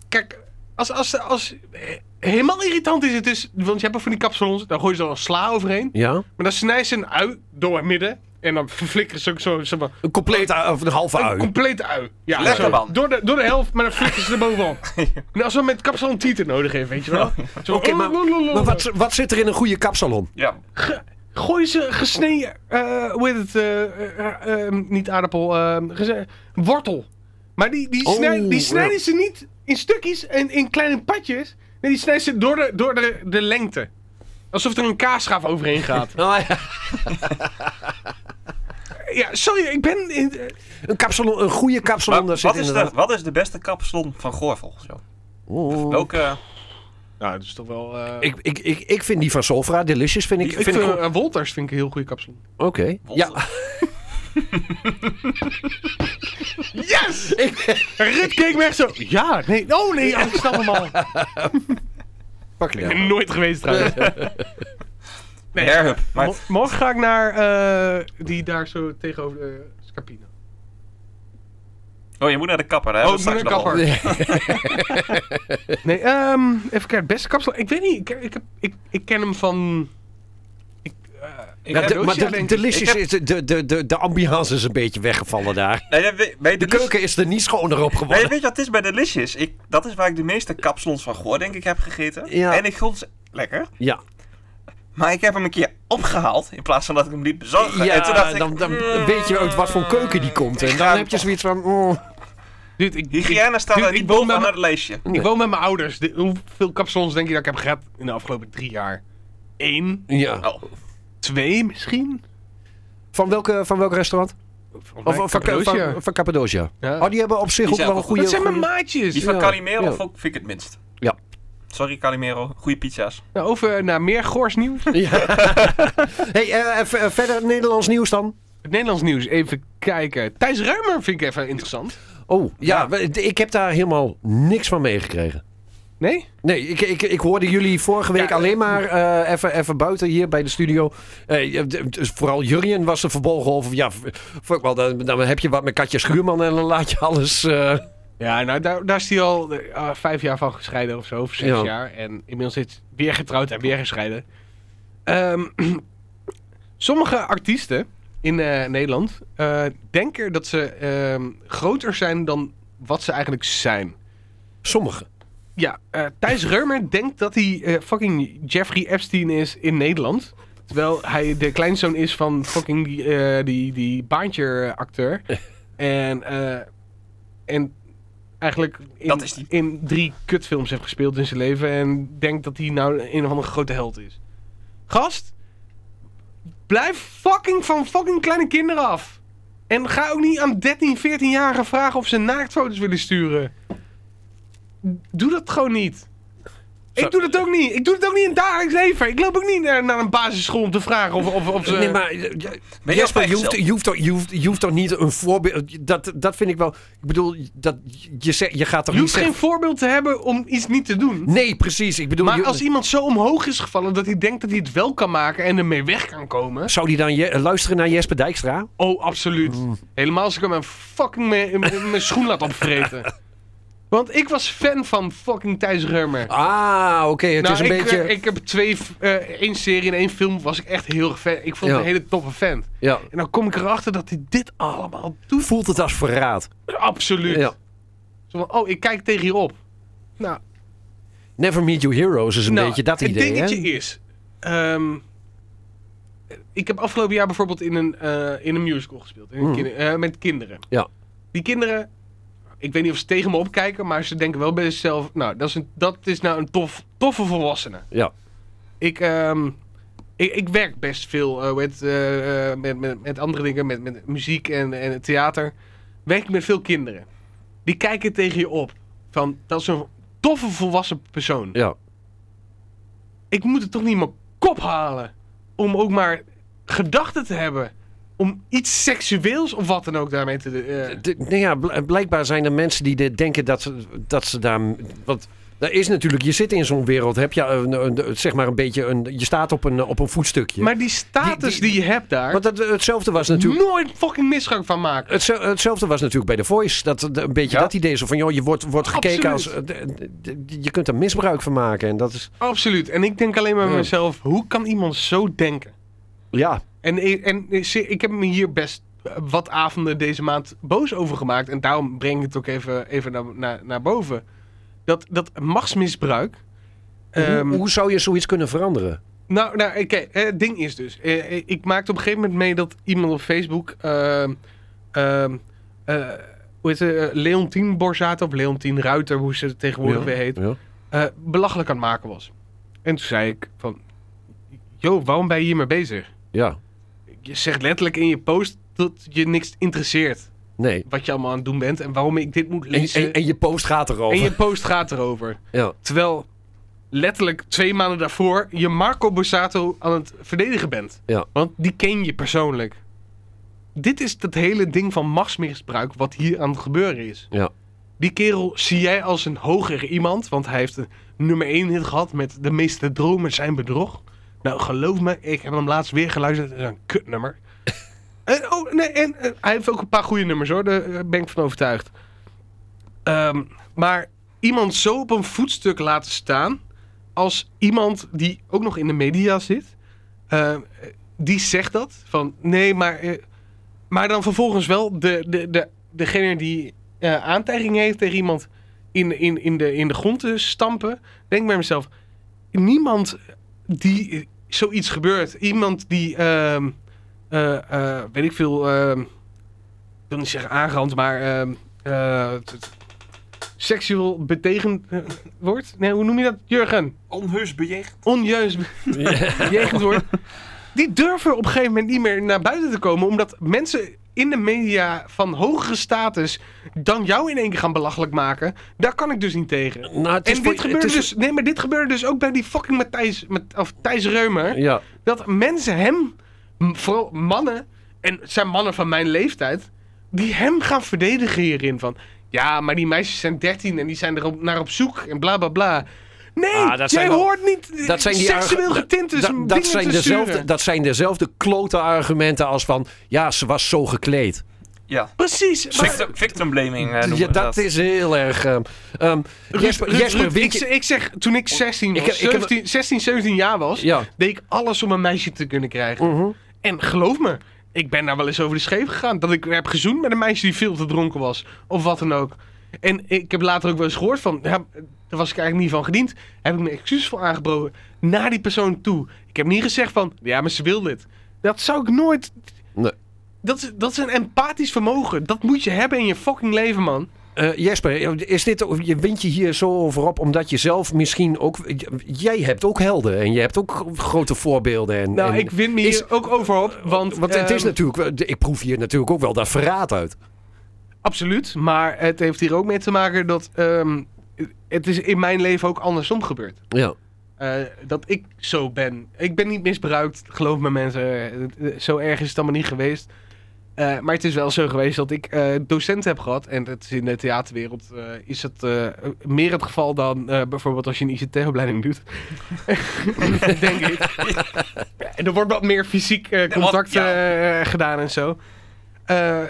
[SPEAKER 4] Kijk, als, als, als. eh, Helemaal irritant is het dus. Want je hebt er van die kapsalons. Daar gooi je dan een sla overheen.
[SPEAKER 5] Ja.
[SPEAKER 4] Maar dan snij ze een ui door het midden. En dan verflikkeren ze ook zo. Zeg maar,
[SPEAKER 5] Een complete ui, of een halve
[SPEAKER 4] een
[SPEAKER 5] ui.
[SPEAKER 4] complete ui. Ja,
[SPEAKER 3] Lekker,
[SPEAKER 4] zo,
[SPEAKER 3] man.
[SPEAKER 4] Door de, door de helft, maar dan flikkeren ze er bovenop. en als we met kapsalon tieten nodig hebben, weet je wel. Zo, oh,
[SPEAKER 5] Oké, maar,
[SPEAKER 4] lalalala.
[SPEAKER 5] maar wat, wat zit er in een goede kapsalon?
[SPEAKER 3] Ja.
[SPEAKER 4] Gooi ze gesneden. eh, hoe heet het? eh, eh, eh, niet aardappel. eh, geze- wortel. Maar die, die,
[SPEAKER 5] Oh,
[SPEAKER 4] snij- die
[SPEAKER 5] ja.
[SPEAKER 4] snijden ze niet in stukjes en in kleine patjes. Nee, die snijden ze door de, door de, de lengte. Alsof er een kaasschaaf overheen gaat. ja, sorry, ik ben. In, eh,
[SPEAKER 5] Een, kapsalon, een goede kapsalon,
[SPEAKER 3] Maar
[SPEAKER 5] daar
[SPEAKER 3] wat,
[SPEAKER 5] zit
[SPEAKER 3] is
[SPEAKER 5] inderdaad...
[SPEAKER 3] de, wat is de beste kapsalon van Goor volgens jou?
[SPEAKER 5] Oh.
[SPEAKER 3] Welke.
[SPEAKER 4] nou, dat is toch wel. eh,
[SPEAKER 5] Ik, ik, ik, ik vind die van Solvra delicious, vind ik.
[SPEAKER 4] ik,
[SPEAKER 5] Vind
[SPEAKER 4] vind,
[SPEAKER 5] ik goed.
[SPEAKER 4] eh, Wolters vind ik een heel goede kapsalon.
[SPEAKER 5] Oké. Ja.
[SPEAKER 4] Yes! Rut keek me echt zo. Ja, nee. Oh nee, oh, ik snap hem al.
[SPEAKER 5] Pak
[SPEAKER 4] Ik ben nooit geweest trouwens. Nee,
[SPEAKER 3] Herhub. Maar
[SPEAKER 4] Mo- morgen ga ik naar eh, die daar zo tegenover de Scapino.
[SPEAKER 3] Oh, je moet naar de kapper, hè?
[SPEAKER 4] Oh,
[SPEAKER 3] Dat
[SPEAKER 4] ik moet
[SPEAKER 3] straks
[SPEAKER 4] naar de
[SPEAKER 3] nog wel.
[SPEAKER 4] Nee, ehm, even kijken. Beste kapsel. Ik weet niet. Ik, ik, heb- ik, ik ken hem van. Ik, eh, ik heb
[SPEAKER 5] maar
[SPEAKER 4] Dosia,
[SPEAKER 5] Nou, de,
[SPEAKER 4] denk ik.
[SPEAKER 5] delicious
[SPEAKER 3] Ik heb-
[SPEAKER 5] is... De, de, de, de ambiance is een beetje weggevallen daar.
[SPEAKER 3] Nee, nee, bij
[SPEAKER 5] De keuken is er niet schoner op
[SPEAKER 3] Nee,
[SPEAKER 5] geworden.
[SPEAKER 3] weet je wat het is bij Delicious? Ik, dat is waar ik de meeste kapsalons van Goor, denk ik, heb gegeten.
[SPEAKER 5] Ja.
[SPEAKER 3] En ik vond ze lekker.
[SPEAKER 5] Ja.
[SPEAKER 3] Maar ik heb hem een keer opgehaald in plaats van dat ik hem liet bezorgen. en toen dacht
[SPEAKER 5] Ja,
[SPEAKER 3] ik,
[SPEAKER 5] dan, dan weet je uit wat voor keuken die komt. En dan
[SPEAKER 3] ga-
[SPEAKER 5] heb je zoiets van... mm.
[SPEAKER 4] Dude, ik, ik,
[SPEAKER 3] hygiëne staat
[SPEAKER 4] Dude,
[SPEAKER 3] daar
[SPEAKER 4] ik
[SPEAKER 3] niet
[SPEAKER 4] woon bij
[SPEAKER 3] bovenaan
[SPEAKER 4] mijn-
[SPEAKER 3] het lijstje.
[SPEAKER 4] ik woon met mijn ouders. De- hoeveel kapsalons denk je dat ik heb gehad in de afgelopen drie jaar? Eén,
[SPEAKER 5] Ja.
[SPEAKER 3] Oh,
[SPEAKER 4] twee misschien?
[SPEAKER 5] Van, welke, van welk restaurant? Of van, van,
[SPEAKER 4] Cappadocia.
[SPEAKER 5] van, van Cappadocia.
[SPEAKER 4] Ja.
[SPEAKER 5] Oh, die hebben op zich
[SPEAKER 3] Die
[SPEAKER 5] ook
[SPEAKER 3] zijn
[SPEAKER 5] wel een
[SPEAKER 3] wel
[SPEAKER 5] goede...
[SPEAKER 4] Dat zijn mijn
[SPEAKER 5] goede-
[SPEAKER 4] maatjes.
[SPEAKER 3] die van
[SPEAKER 5] Ja,
[SPEAKER 3] Calimero
[SPEAKER 5] ja.
[SPEAKER 3] vond ik- vind ik het minst.
[SPEAKER 5] Ja.
[SPEAKER 3] Sorry Calimero, goede pizza's.
[SPEAKER 4] Nou, over naar meer Goors nieuws.
[SPEAKER 5] Hey, eh, even, eh, verder Nederlands nieuws dan?
[SPEAKER 4] Het Nederlands nieuws, even kijken. Thijs Ruimer vind ik even interessant.
[SPEAKER 5] Oh, ja, we- d- ik heb daar helemaal niks van meegekregen.
[SPEAKER 4] Nee?
[SPEAKER 5] Nee, ik, ik, ik hoorde jullie vorige week
[SPEAKER 4] Ja.
[SPEAKER 5] alleen maar eh, even, even buiten hier bij de studio. Eh, je- d- dus vooral Jurjen was er verbolgen over. Ja, v- fuck wel, dan, dan heb je wat met Katja Schuurman en dan laat je alles... eh,
[SPEAKER 4] Ja, nou daar, daar is hij al eh, vijf jaar van gescheiden of zo, of zes
[SPEAKER 5] Ja.
[SPEAKER 4] jaar. En inmiddels is hij weer getrouwd en weer gescheiden. Ehm, sommige artiesten in eh, Nederland eh, denken dat ze ehm, groter zijn dan wat ze eigenlijk zijn.
[SPEAKER 5] sommigen.
[SPEAKER 4] Ja, eh, Thijs Reumer denkt dat hij eh, fucking Jeffrey Epstein is in Nederland. Terwijl hij de kleinzoon is van fucking die, eh, die, die baantje-acteur. en, eh, en eigenlijk in,
[SPEAKER 3] Dat is die.
[SPEAKER 4] in drie kutfilms heeft gespeeld in zijn leven. En denkt dat hij nou een of andere grote held is. Gast, blijf fucking van fucking kleine kinderen af. En ga ook niet aan 13, 14-jarigen vragen of ze naaktfoto's willen sturen. Doe dat gewoon niet. Ik doe dat ook niet. Ik doe het ook niet in het dagelijks leven. Ik loop ook niet naar, naar een basisschool om te vragen of, of, of ze...
[SPEAKER 5] Nee, maar eh, ja,
[SPEAKER 3] bij
[SPEAKER 5] Jesper, je hoeft,
[SPEAKER 3] jezelf?
[SPEAKER 5] je, hoeft toch, je, hoeft, je hoeft toch niet een voorbeeld... Dat, dat vind ik wel... Ik bedoel, dat, je, zegt- je gaat toch
[SPEAKER 4] je
[SPEAKER 5] niet
[SPEAKER 4] hoeft geen
[SPEAKER 5] zeggen...
[SPEAKER 4] voorbeeld te hebben om iets niet te doen.
[SPEAKER 5] Nee, precies. Ik bedoel,
[SPEAKER 4] Maar
[SPEAKER 5] je-
[SPEAKER 4] als iemand zo omhoog is gevallen dat hij denkt dat hij het wel kan maken en ermee weg kan komen.
[SPEAKER 5] zou die dan je, luisteren naar Jesper Dijkstra?
[SPEAKER 4] Oh, absoluut.
[SPEAKER 5] Mm.
[SPEAKER 4] Helemaal als ik hem mijn fucking me- me- mijn schoen laat opvreten. Want ik was fan van fucking Thijs Reumer.
[SPEAKER 5] Ah, oké. het
[SPEAKER 4] nou,
[SPEAKER 5] is een
[SPEAKER 4] ik,
[SPEAKER 5] beetje...
[SPEAKER 4] eh, ik heb twee, f- eh, één serie en één film was ik echt heel erg fan. Ik vond
[SPEAKER 5] Ja.
[SPEAKER 4] het een hele toffe fan.
[SPEAKER 5] ja.
[SPEAKER 4] En dan kom ik erachter dat hij dit allemaal doet.
[SPEAKER 5] Voelt het als verraad.
[SPEAKER 4] Absoluut.
[SPEAKER 5] Ja.
[SPEAKER 4] Zo van, oh, ik kijk tegen je op. Nou,
[SPEAKER 5] Never meet your heroes is een
[SPEAKER 4] Nou,
[SPEAKER 5] beetje dat
[SPEAKER 4] het
[SPEAKER 5] idee, hè?
[SPEAKER 4] dingetje is... ehm, ik heb afgelopen jaar bijvoorbeeld in een, eh, in een musical gespeeld. In een
[SPEAKER 5] Mhm.
[SPEAKER 4] kinder- eh, met kinderen.
[SPEAKER 5] Ja.
[SPEAKER 4] Die kinderen... Ik weet niet of ze tegen me opkijken, maar ze denken wel bij zichzelf... Nou, dat is, een, dat is nou een tof, toffe volwassene.
[SPEAKER 5] Ja.
[SPEAKER 4] Ik, ehm, ik, ik werk best veel eh, met, eh, eh, met, met, met andere dingen, met, met muziek en, en het theater. Werk ik met veel kinderen. Die kijken tegen je op. Van, dat is een toffe volwassen persoon
[SPEAKER 5] Ja.
[SPEAKER 4] ik moet het toch niet in mijn kop halen om ook maar gedachten te hebben om iets seksueels of wat dan ook daarmee te doen. eh.
[SPEAKER 5] De- nou ja, bl- blijkbaar zijn er mensen die dit denken dat ze, dat ze daar... Want daar is natuurlijk... Je zit in zo'n wereld, heb je een, een- zeg maar een beetje... Een, je staat op een, op een voetstukje.
[SPEAKER 4] Maar die status
[SPEAKER 5] Die-
[SPEAKER 4] die,
[SPEAKER 5] die-
[SPEAKER 4] je hebt daar,
[SPEAKER 5] Want dat, hetzelfde was natuurlijk...
[SPEAKER 4] nooit fucking misbruik van maken.
[SPEAKER 5] Hetze- Hetzelfde was natuurlijk bij The Voice. Dat, dat- een beetje
[SPEAKER 4] Ja.
[SPEAKER 5] dat idee. Zo van, joh, je wordt, wordt gekeken als...
[SPEAKER 4] Absoluut.
[SPEAKER 5] eh, d- d- d- Je kunt er misbruik van maken. En dat is...
[SPEAKER 4] Absoluut. En ik denk alleen maar bij
[SPEAKER 5] Ja.
[SPEAKER 4] mezelf, hoe kan iemand zo denken?
[SPEAKER 5] Ja.
[SPEAKER 4] En, ik- en ik zie- ik heb me hier best eh, wat avonden deze maand boos over gemaakt. En daarom breng ik het ook even, even naar, naar, naar boven. Dat, dat machtsmisbruik... ehm,
[SPEAKER 5] hoe, hoe zou je zoiets kunnen veranderen?
[SPEAKER 4] Nou, nou oké. eh, Het ding is dus. eh, eh, ik maakte op een gegeven moment mee dat iemand op Facebook. ehm, ehm, eh, hoe heet ze? eh, Leontien Borzato of Leontien Ruiter, hoe ze het tegenwoordig
[SPEAKER 5] Ja.
[SPEAKER 4] weer heet.
[SPEAKER 5] Ja.
[SPEAKER 4] eh, belachelijk aan het maken was. En toen zei ik: van. Yo, waarom ben je hiermee bezig?
[SPEAKER 5] ja.
[SPEAKER 4] Je zegt letterlijk in je post dat je niks interesseert.
[SPEAKER 5] Nee.
[SPEAKER 4] Wat je allemaal aan het doen bent en waarom ik dit moet
[SPEAKER 5] En,
[SPEAKER 4] lezen.
[SPEAKER 5] en, en je post gaat erover.
[SPEAKER 4] en je post gaat erover.
[SPEAKER 5] Ja.
[SPEAKER 4] Terwijl letterlijk twee maanden daarvoor je Marco Borsato aan het verdedigen bent.
[SPEAKER 5] Ja.
[SPEAKER 4] Want die ken je persoonlijk. Dit is dat hele ding van machtsmisbruik wat hier aan het gebeuren is.
[SPEAKER 5] Ja.
[SPEAKER 4] Die kerel zie jij als een hoger iemand, want hij heeft een nummer 1 hit gehad met De meeste dromen zijn bedrog. Nou, geloof me, ik heb hem laatst weer geluisterd. Dat is een kutnummer. en, oh, nee, en eh, hij heeft ook een paar goede nummers hoor, daar eh, ben ik van overtuigd. Ehm, maar iemand zo op een voetstuk laten staan, als iemand die ook nog in de media zit, eh, die zegt dat. Van nee, maar, eh, maar dan vervolgens wel de, de, de, degene die eh aantijging heeft tegen iemand in, in, in, de, in de grond te stampen. Denk bij mezelf, niemand die eh, zoiets gebeurt, iemand die, ehm, eh, eh, weet ik veel, ehm, ik wil niet zeggen aangerand, maar ehm, eh, t- t- seksueel betegend eh, wordt. Nee, hoe noem je dat, Jurgen?
[SPEAKER 3] Onheus bejegend.
[SPEAKER 4] onjuist bejegend wordt. Die durven op een gegeven moment niet meer naar buiten te komen. Omdat mensen in de media van hogere status dan jou in één keer gaan belachelijk maken. Daar kan ik dus niet tegen.
[SPEAKER 5] Nou, het is
[SPEAKER 4] En
[SPEAKER 5] voor-
[SPEAKER 4] dit
[SPEAKER 5] het
[SPEAKER 4] gebeurde
[SPEAKER 5] is-
[SPEAKER 4] dus... Nee, maar dit gebeurde dus ook bij die fucking Matthijs, Math- of Thijs Reumer.
[SPEAKER 5] Ja.
[SPEAKER 4] Dat mensen hem, m- vooral mannen, en het zijn mannen van mijn leeftijd, die hem gaan verdedigen hierin. Van, ja, maar die meisjes zijn 13 en die zijn er op, naar op zoek en bla bla bla. Nee,
[SPEAKER 5] Ah, dat
[SPEAKER 4] jij
[SPEAKER 5] zijn wel-
[SPEAKER 4] hoort niet eh,
[SPEAKER 5] Dat zijn die
[SPEAKER 4] seksueel
[SPEAKER 5] argu-
[SPEAKER 4] getint dus
[SPEAKER 5] da-
[SPEAKER 4] om
[SPEAKER 5] dat
[SPEAKER 4] dingen
[SPEAKER 5] zijn
[SPEAKER 4] te
[SPEAKER 5] dezelfde,
[SPEAKER 4] sturen.
[SPEAKER 5] Dat zijn dezelfde klote argumenten als van... Ja, ze was zo gekleed.
[SPEAKER 3] Ja.
[SPEAKER 4] Precies. Maar,
[SPEAKER 3] Victim, victim blaming eh, noemen
[SPEAKER 5] ja,
[SPEAKER 3] we
[SPEAKER 5] dat, is heel erg... ehm, ehm,
[SPEAKER 4] Ruud,
[SPEAKER 5] Jesper,
[SPEAKER 4] Ruud,
[SPEAKER 5] Jesper
[SPEAKER 4] Ruud,
[SPEAKER 5] weet
[SPEAKER 4] ik,
[SPEAKER 5] je-
[SPEAKER 4] z- ik zeg, toen ik 16 was,
[SPEAKER 5] heb- ik heb-
[SPEAKER 4] 17, 16, 17 jaar was,
[SPEAKER 5] Ja.
[SPEAKER 4] deed ik alles om een meisje te kunnen krijgen.
[SPEAKER 5] Mhm.
[SPEAKER 4] En geloof me, ik ben daar wel eens over de scheef gegaan. Dat ik heb gezoend met een meisje die veel te dronken was. Of wat dan ook. En ik heb later ook wel eens gehoord van... Ja, daar was ik eigenlijk niet van gediend. Heb ik mijn excuses voor aangeboden naar die persoon toe. Ik heb niet gezegd van... Ja, maar ze wil dit. Dat zou ik nooit...
[SPEAKER 5] Nee.
[SPEAKER 4] Dat, is- dat is een empathisch vermogen. Dat moet je hebben in je fucking leven, man.
[SPEAKER 5] Eh, Jesper, is dit, je wint je hier zo over op omdat je zelf misschien ook... Jij hebt ook helden en je hebt ook grote voorbeelden. En,
[SPEAKER 4] Nou,
[SPEAKER 5] en-
[SPEAKER 4] ik win me hier
[SPEAKER 5] is-
[SPEAKER 4] ook over op. Want,
[SPEAKER 5] Want het is
[SPEAKER 4] ehm,
[SPEAKER 5] natuurlijk... wel- Ik proef hier natuurlijk ook wel dat verraad uit.
[SPEAKER 4] Absoluut, maar het heeft hier ook mee te maken dat ehm, het is in mijn leven ook andersom gebeurd.
[SPEAKER 5] Ja.
[SPEAKER 4] Eh, dat ik zo ben. Ik ben niet misbruikt, geloof me mensen. Het- eh, Zo erg is het allemaal niet geweest. Eh, maar het is wel zo geweest dat ik eh docenten heb gehad. En dat is in de theaterwereld eh, is het eh, meer het geval dan eh, bijvoorbeeld als je een ICT-opleiding doet. Denk ik. En er wordt wat meer fysiek eh,
[SPEAKER 3] wat-
[SPEAKER 4] contact
[SPEAKER 3] ja.
[SPEAKER 4] eh, gedaan en zo. Eh, eh,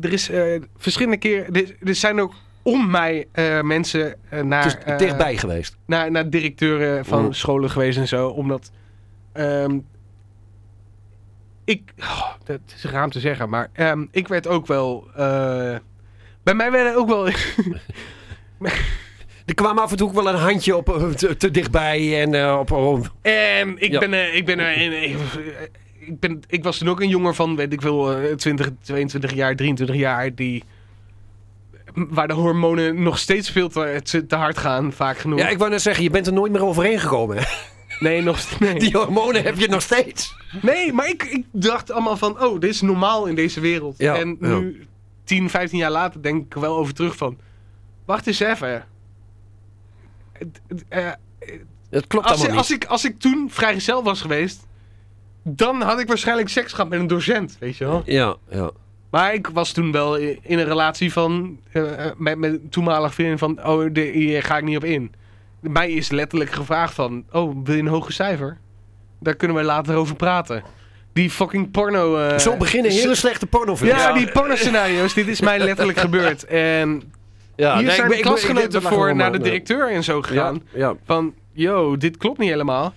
[SPEAKER 4] er is eh, verschillende keren... Er, er zijn ook om mij eh, mensen eh, naar...
[SPEAKER 5] het is
[SPEAKER 4] eh,
[SPEAKER 5] dichtbij geweest.
[SPEAKER 4] naar, naar directeuren van
[SPEAKER 5] Mm.
[SPEAKER 4] scholen geweest en zo. Omdat. ehm, ik. oh, dat is raar om te zeggen, maar. ehm, ik werd ook wel. eh, bij mij werden ook wel.
[SPEAKER 5] Er kwam af en toe ook wel een handje op, eh, te, te dichtbij. En, eh, op, op-
[SPEAKER 4] en ik
[SPEAKER 5] Ja.
[SPEAKER 4] ben. eh, ik ben er. in- ik- ik, ben, ik was toen ook een jonger van, weet ik veel, eh, 20, 22 jaar, 23 jaar. Die. Waar de hormonen nog steeds veel te, te- te hard gaan, vaak genoeg.
[SPEAKER 5] ja, ik wou net zeggen, je bent er nooit meer overheen gekomen. hè?
[SPEAKER 4] Nee, nog steeds. Nee.
[SPEAKER 5] Die hormonen heb je nog steeds.
[SPEAKER 4] Nee, maar ik, ik dacht allemaal van, oh, dit is normaal in deze wereld.
[SPEAKER 5] Ja,
[SPEAKER 4] en
[SPEAKER 5] ja.
[SPEAKER 4] nu, 10, 15 jaar later, denk ik er wel over terug van, wacht eens even. Het- het, eh,
[SPEAKER 5] Dat klopt
[SPEAKER 4] als, ik-
[SPEAKER 5] allemaal
[SPEAKER 4] als, ik, als ik toen vrijgezel was geweest, dan had ik waarschijnlijk seks gehad met een docent, weet je wel.
[SPEAKER 5] niet. Ja, ja.
[SPEAKER 4] Maar ik was toen wel i- in een relatie van, eh, eh, met mijn toenmalige vriendin van, oh, de- hier ga ik niet op in. Mij is letterlijk gevraagd van, oh, wil je een hoger cijfer? Daar kunnen we later over praten. Die fucking porno... eh,
[SPEAKER 5] Zo beginnen
[SPEAKER 4] zo-
[SPEAKER 5] hele slechte pornofilms.
[SPEAKER 4] Ja,
[SPEAKER 3] Ja.
[SPEAKER 4] die porno-scenario's, dit is mij letterlijk gebeurd. En
[SPEAKER 5] Ja, Ah,
[SPEAKER 4] hier
[SPEAKER 5] nee,
[SPEAKER 4] zijn
[SPEAKER 5] ik ben- ik ben- ik
[SPEAKER 4] klasgenoten
[SPEAKER 5] ben-
[SPEAKER 4] voor naar de
[SPEAKER 5] Ja.
[SPEAKER 4] directeur en zo gegaan.
[SPEAKER 5] Ja,
[SPEAKER 4] Van, yo, dit klopt niet helemaal.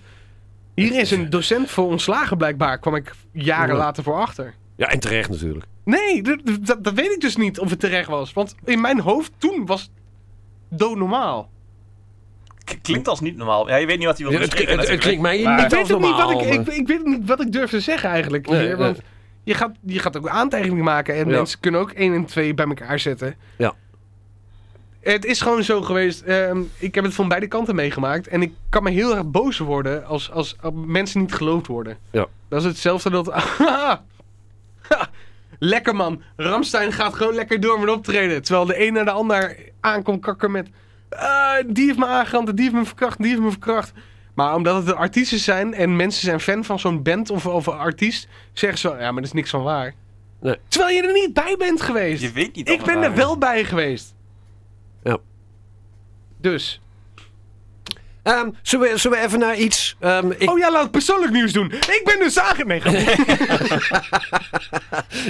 [SPEAKER 4] Hier is een docent voor ontslagen blijkbaar, kwam ik jaren
[SPEAKER 5] Ja.
[SPEAKER 4] later voor achter.
[SPEAKER 5] ja, en terecht natuurlijk.
[SPEAKER 4] Nee, d- d- dat, dat weet ik dus niet of het terecht was. Want in mijn hoofd toen was het doodnormaal.
[SPEAKER 3] K- Klinkt als niet normaal. Ja, je weet niet wat hij wil
[SPEAKER 5] het,
[SPEAKER 3] beschrijven
[SPEAKER 5] het- het
[SPEAKER 3] natuurlijk.
[SPEAKER 5] klinkt mij niet
[SPEAKER 4] ik, weet
[SPEAKER 5] als
[SPEAKER 4] ook niet
[SPEAKER 5] normaal.
[SPEAKER 4] wat ik, ik, ik weet ook niet wat ik durf te zeggen eigenlijk.
[SPEAKER 5] Nee,
[SPEAKER 4] hier,
[SPEAKER 5] nee.
[SPEAKER 4] want Je, gaat, je gaat ook aantekeningen maken en
[SPEAKER 5] Ja.
[SPEAKER 4] mensen kunnen ook één en twee bij elkaar zetten.
[SPEAKER 5] Ja.
[SPEAKER 4] Het is gewoon zo geweest. ehm, ik heb het van beide kanten meegemaakt. En ik kan me heel erg boos worden als, als, als mensen niet geloofd worden.
[SPEAKER 5] Ja.
[SPEAKER 4] Dat is hetzelfde dat... lekker man. Ramstein gaat gewoon lekker door met optreden. Terwijl de een naar de ander aankomt kakken met... "Ah, die heeft me aangerand, en die heeft me verkracht, en die heeft me verkracht. Maar omdat het de artiesten zijn en mensen zijn fan van zo'n band of, of een artiest... zeggen ze wel, ja, maar dat is niks van waar.
[SPEAKER 5] Nee.
[SPEAKER 4] Terwijl je er niet bij bent geweest.
[SPEAKER 3] Je weet niet
[SPEAKER 4] Ik ben
[SPEAKER 3] allemaal.
[SPEAKER 4] er wel bij geweest.
[SPEAKER 5] Ja.
[SPEAKER 4] Dus.
[SPEAKER 5] Ehm, zullen, we, zullen we even naar iets... ehm, ik,
[SPEAKER 4] Oh ja, laat ik persoonlijk nieuws doen. Ik ben dus aange... Nee, grapje.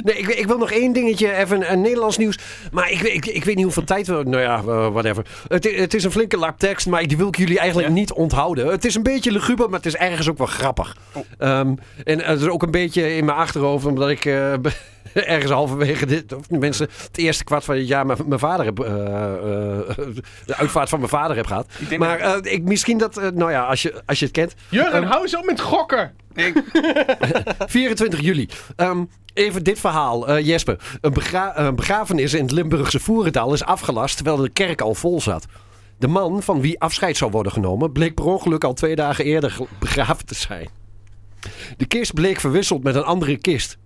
[SPEAKER 5] nee, ik, ik wil nog één dingetje, even een, Nederlands nieuws. Maar ik, ik, ik weet niet hoeveel tijd we... Nou ja, eh, whatever. Het, i- het is een flinke lap tekst, maar die wil ik jullie eigenlijk
[SPEAKER 3] Ja.
[SPEAKER 5] niet onthouden. Het is een beetje luguber, maar het is ergens ook wel grappig.
[SPEAKER 3] Oh.
[SPEAKER 5] Ehm, en het is ook een beetje in mijn achterhoofd, omdat ik... eh, Ergens halverwege dit, of mensen, het eerste kwart van het jaar mijn, mijn vader heb, eh, eh, de uitvaart van mijn vader heb gehad.
[SPEAKER 3] Ik denk
[SPEAKER 5] Maar eh, ik, misschien dat, eh, nou ja, als je, als je het kent,
[SPEAKER 4] Jurgen, hou eens op met gokken.
[SPEAKER 5] 24 juli. Ehm, even dit verhaal, eh, Jesper. Een, begra- een begrafenis in het Limburgse Voerendaal is afgelast terwijl de kerk al vol zat. De man van wie afscheid zou worden genomen bleek per ongeluk al twee dagen eerder ge- begraven te zijn. De kist bleek verwisseld met een andere kist.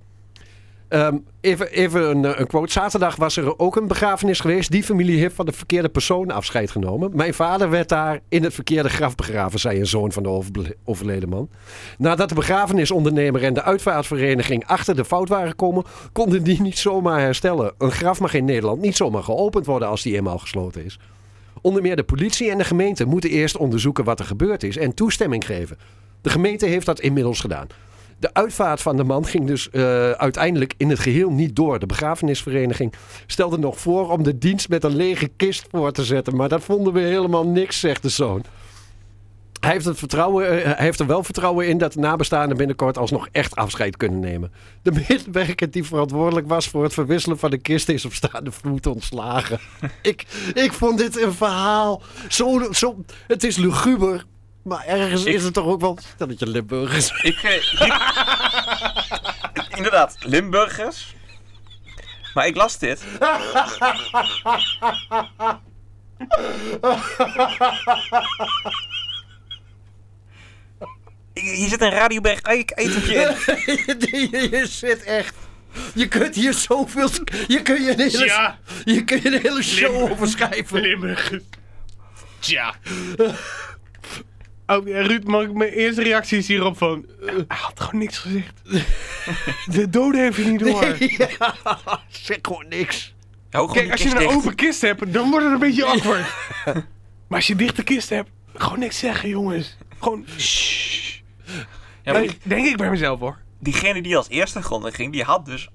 [SPEAKER 5] Ehm, even even een, eh, een quote. Zaterdag was er ook een begrafenis geweest. Die familie heeft van de verkeerde persoon afscheid genomen. Mijn vader werd daar in het verkeerde graf begraven, zei een zoon van de overble- overleden man. Nadat de begrafenisondernemer en de uitvaartvereniging achter de fout waren gekomen, konden die niet zomaar herstellen. Een graf mag in Nederland niet zomaar geopend worden als die eenmaal gesloten is. Onder meer de politie en de gemeente moeten eerst onderzoeken wat er gebeurd is en toestemming geven. De gemeente heeft dat inmiddels gedaan. De uitvaart van de man ging dus eh, uiteindelijk in het geheel niet door. De begrafenisvereniging stelde nog voor om de dienst met een lege kist voor te zetten. Maar dat vonden we helemaal niks, zegt de zoon. Hij heeft, het vertrouwen, eh, hij heeft er wel vertrouwen in dat de nabestaanden binnenkort alsnog echt afscheid kunnen nemen. De medewerker die verantwoordelijk was voor het verwisselen van de kist is op staande voet ontslagen. ik, ik vond dit een verhaal. Zo, zo, het is luguber, maar ergens
[SPEAKER 3] Ik-
[SPEAKER 5] is het toch ook wel. Dat je Limburgers.
[SPEAKER 3] Ik, eh, hier- Inderdaad, Limburgers. Maar ik las dit. Hier hier zit een Radioberg Eik etentje in.
[SPEAKER 5] je, je zit echt. Je kunt hier zoveel. Je kunt je een hele,
[SPEAKER 4] Ja,
[SPEAKER 5] je kunt je een hele show over schrijven.
[SPEAKER 4] Limburgers. Tja. Oh, eh, Ruud, mag ik mijn eerste reacties hierop van... eh, hij had gewoon niks gezegd. De dode heeft het niet door.
[SPEAKER 5] zeg gewoon niks.
[SPEAKER 3] Hou gewoon
[SPEAKER 4] Kijk,
[SPEAKER 3] die
[SPEAKER 4] als je
[SPEAKER 3] kist
[SPEAKER 4] een
[SPEAKER 3] dicht.
[SPEAKER 4] open kist hebt, dan wordt het een beetje awkward. maar als je een dichte kist hebt, gewoon niks zeggen, jongens. Gewoon... shh.
[SPEAKER 3] Ja, maar
[SPEAKER 4] Denk- Denk ik bij mezelf, hoor.
[SPEAKER 3] diegene die als eerste de grond in ging, die had dus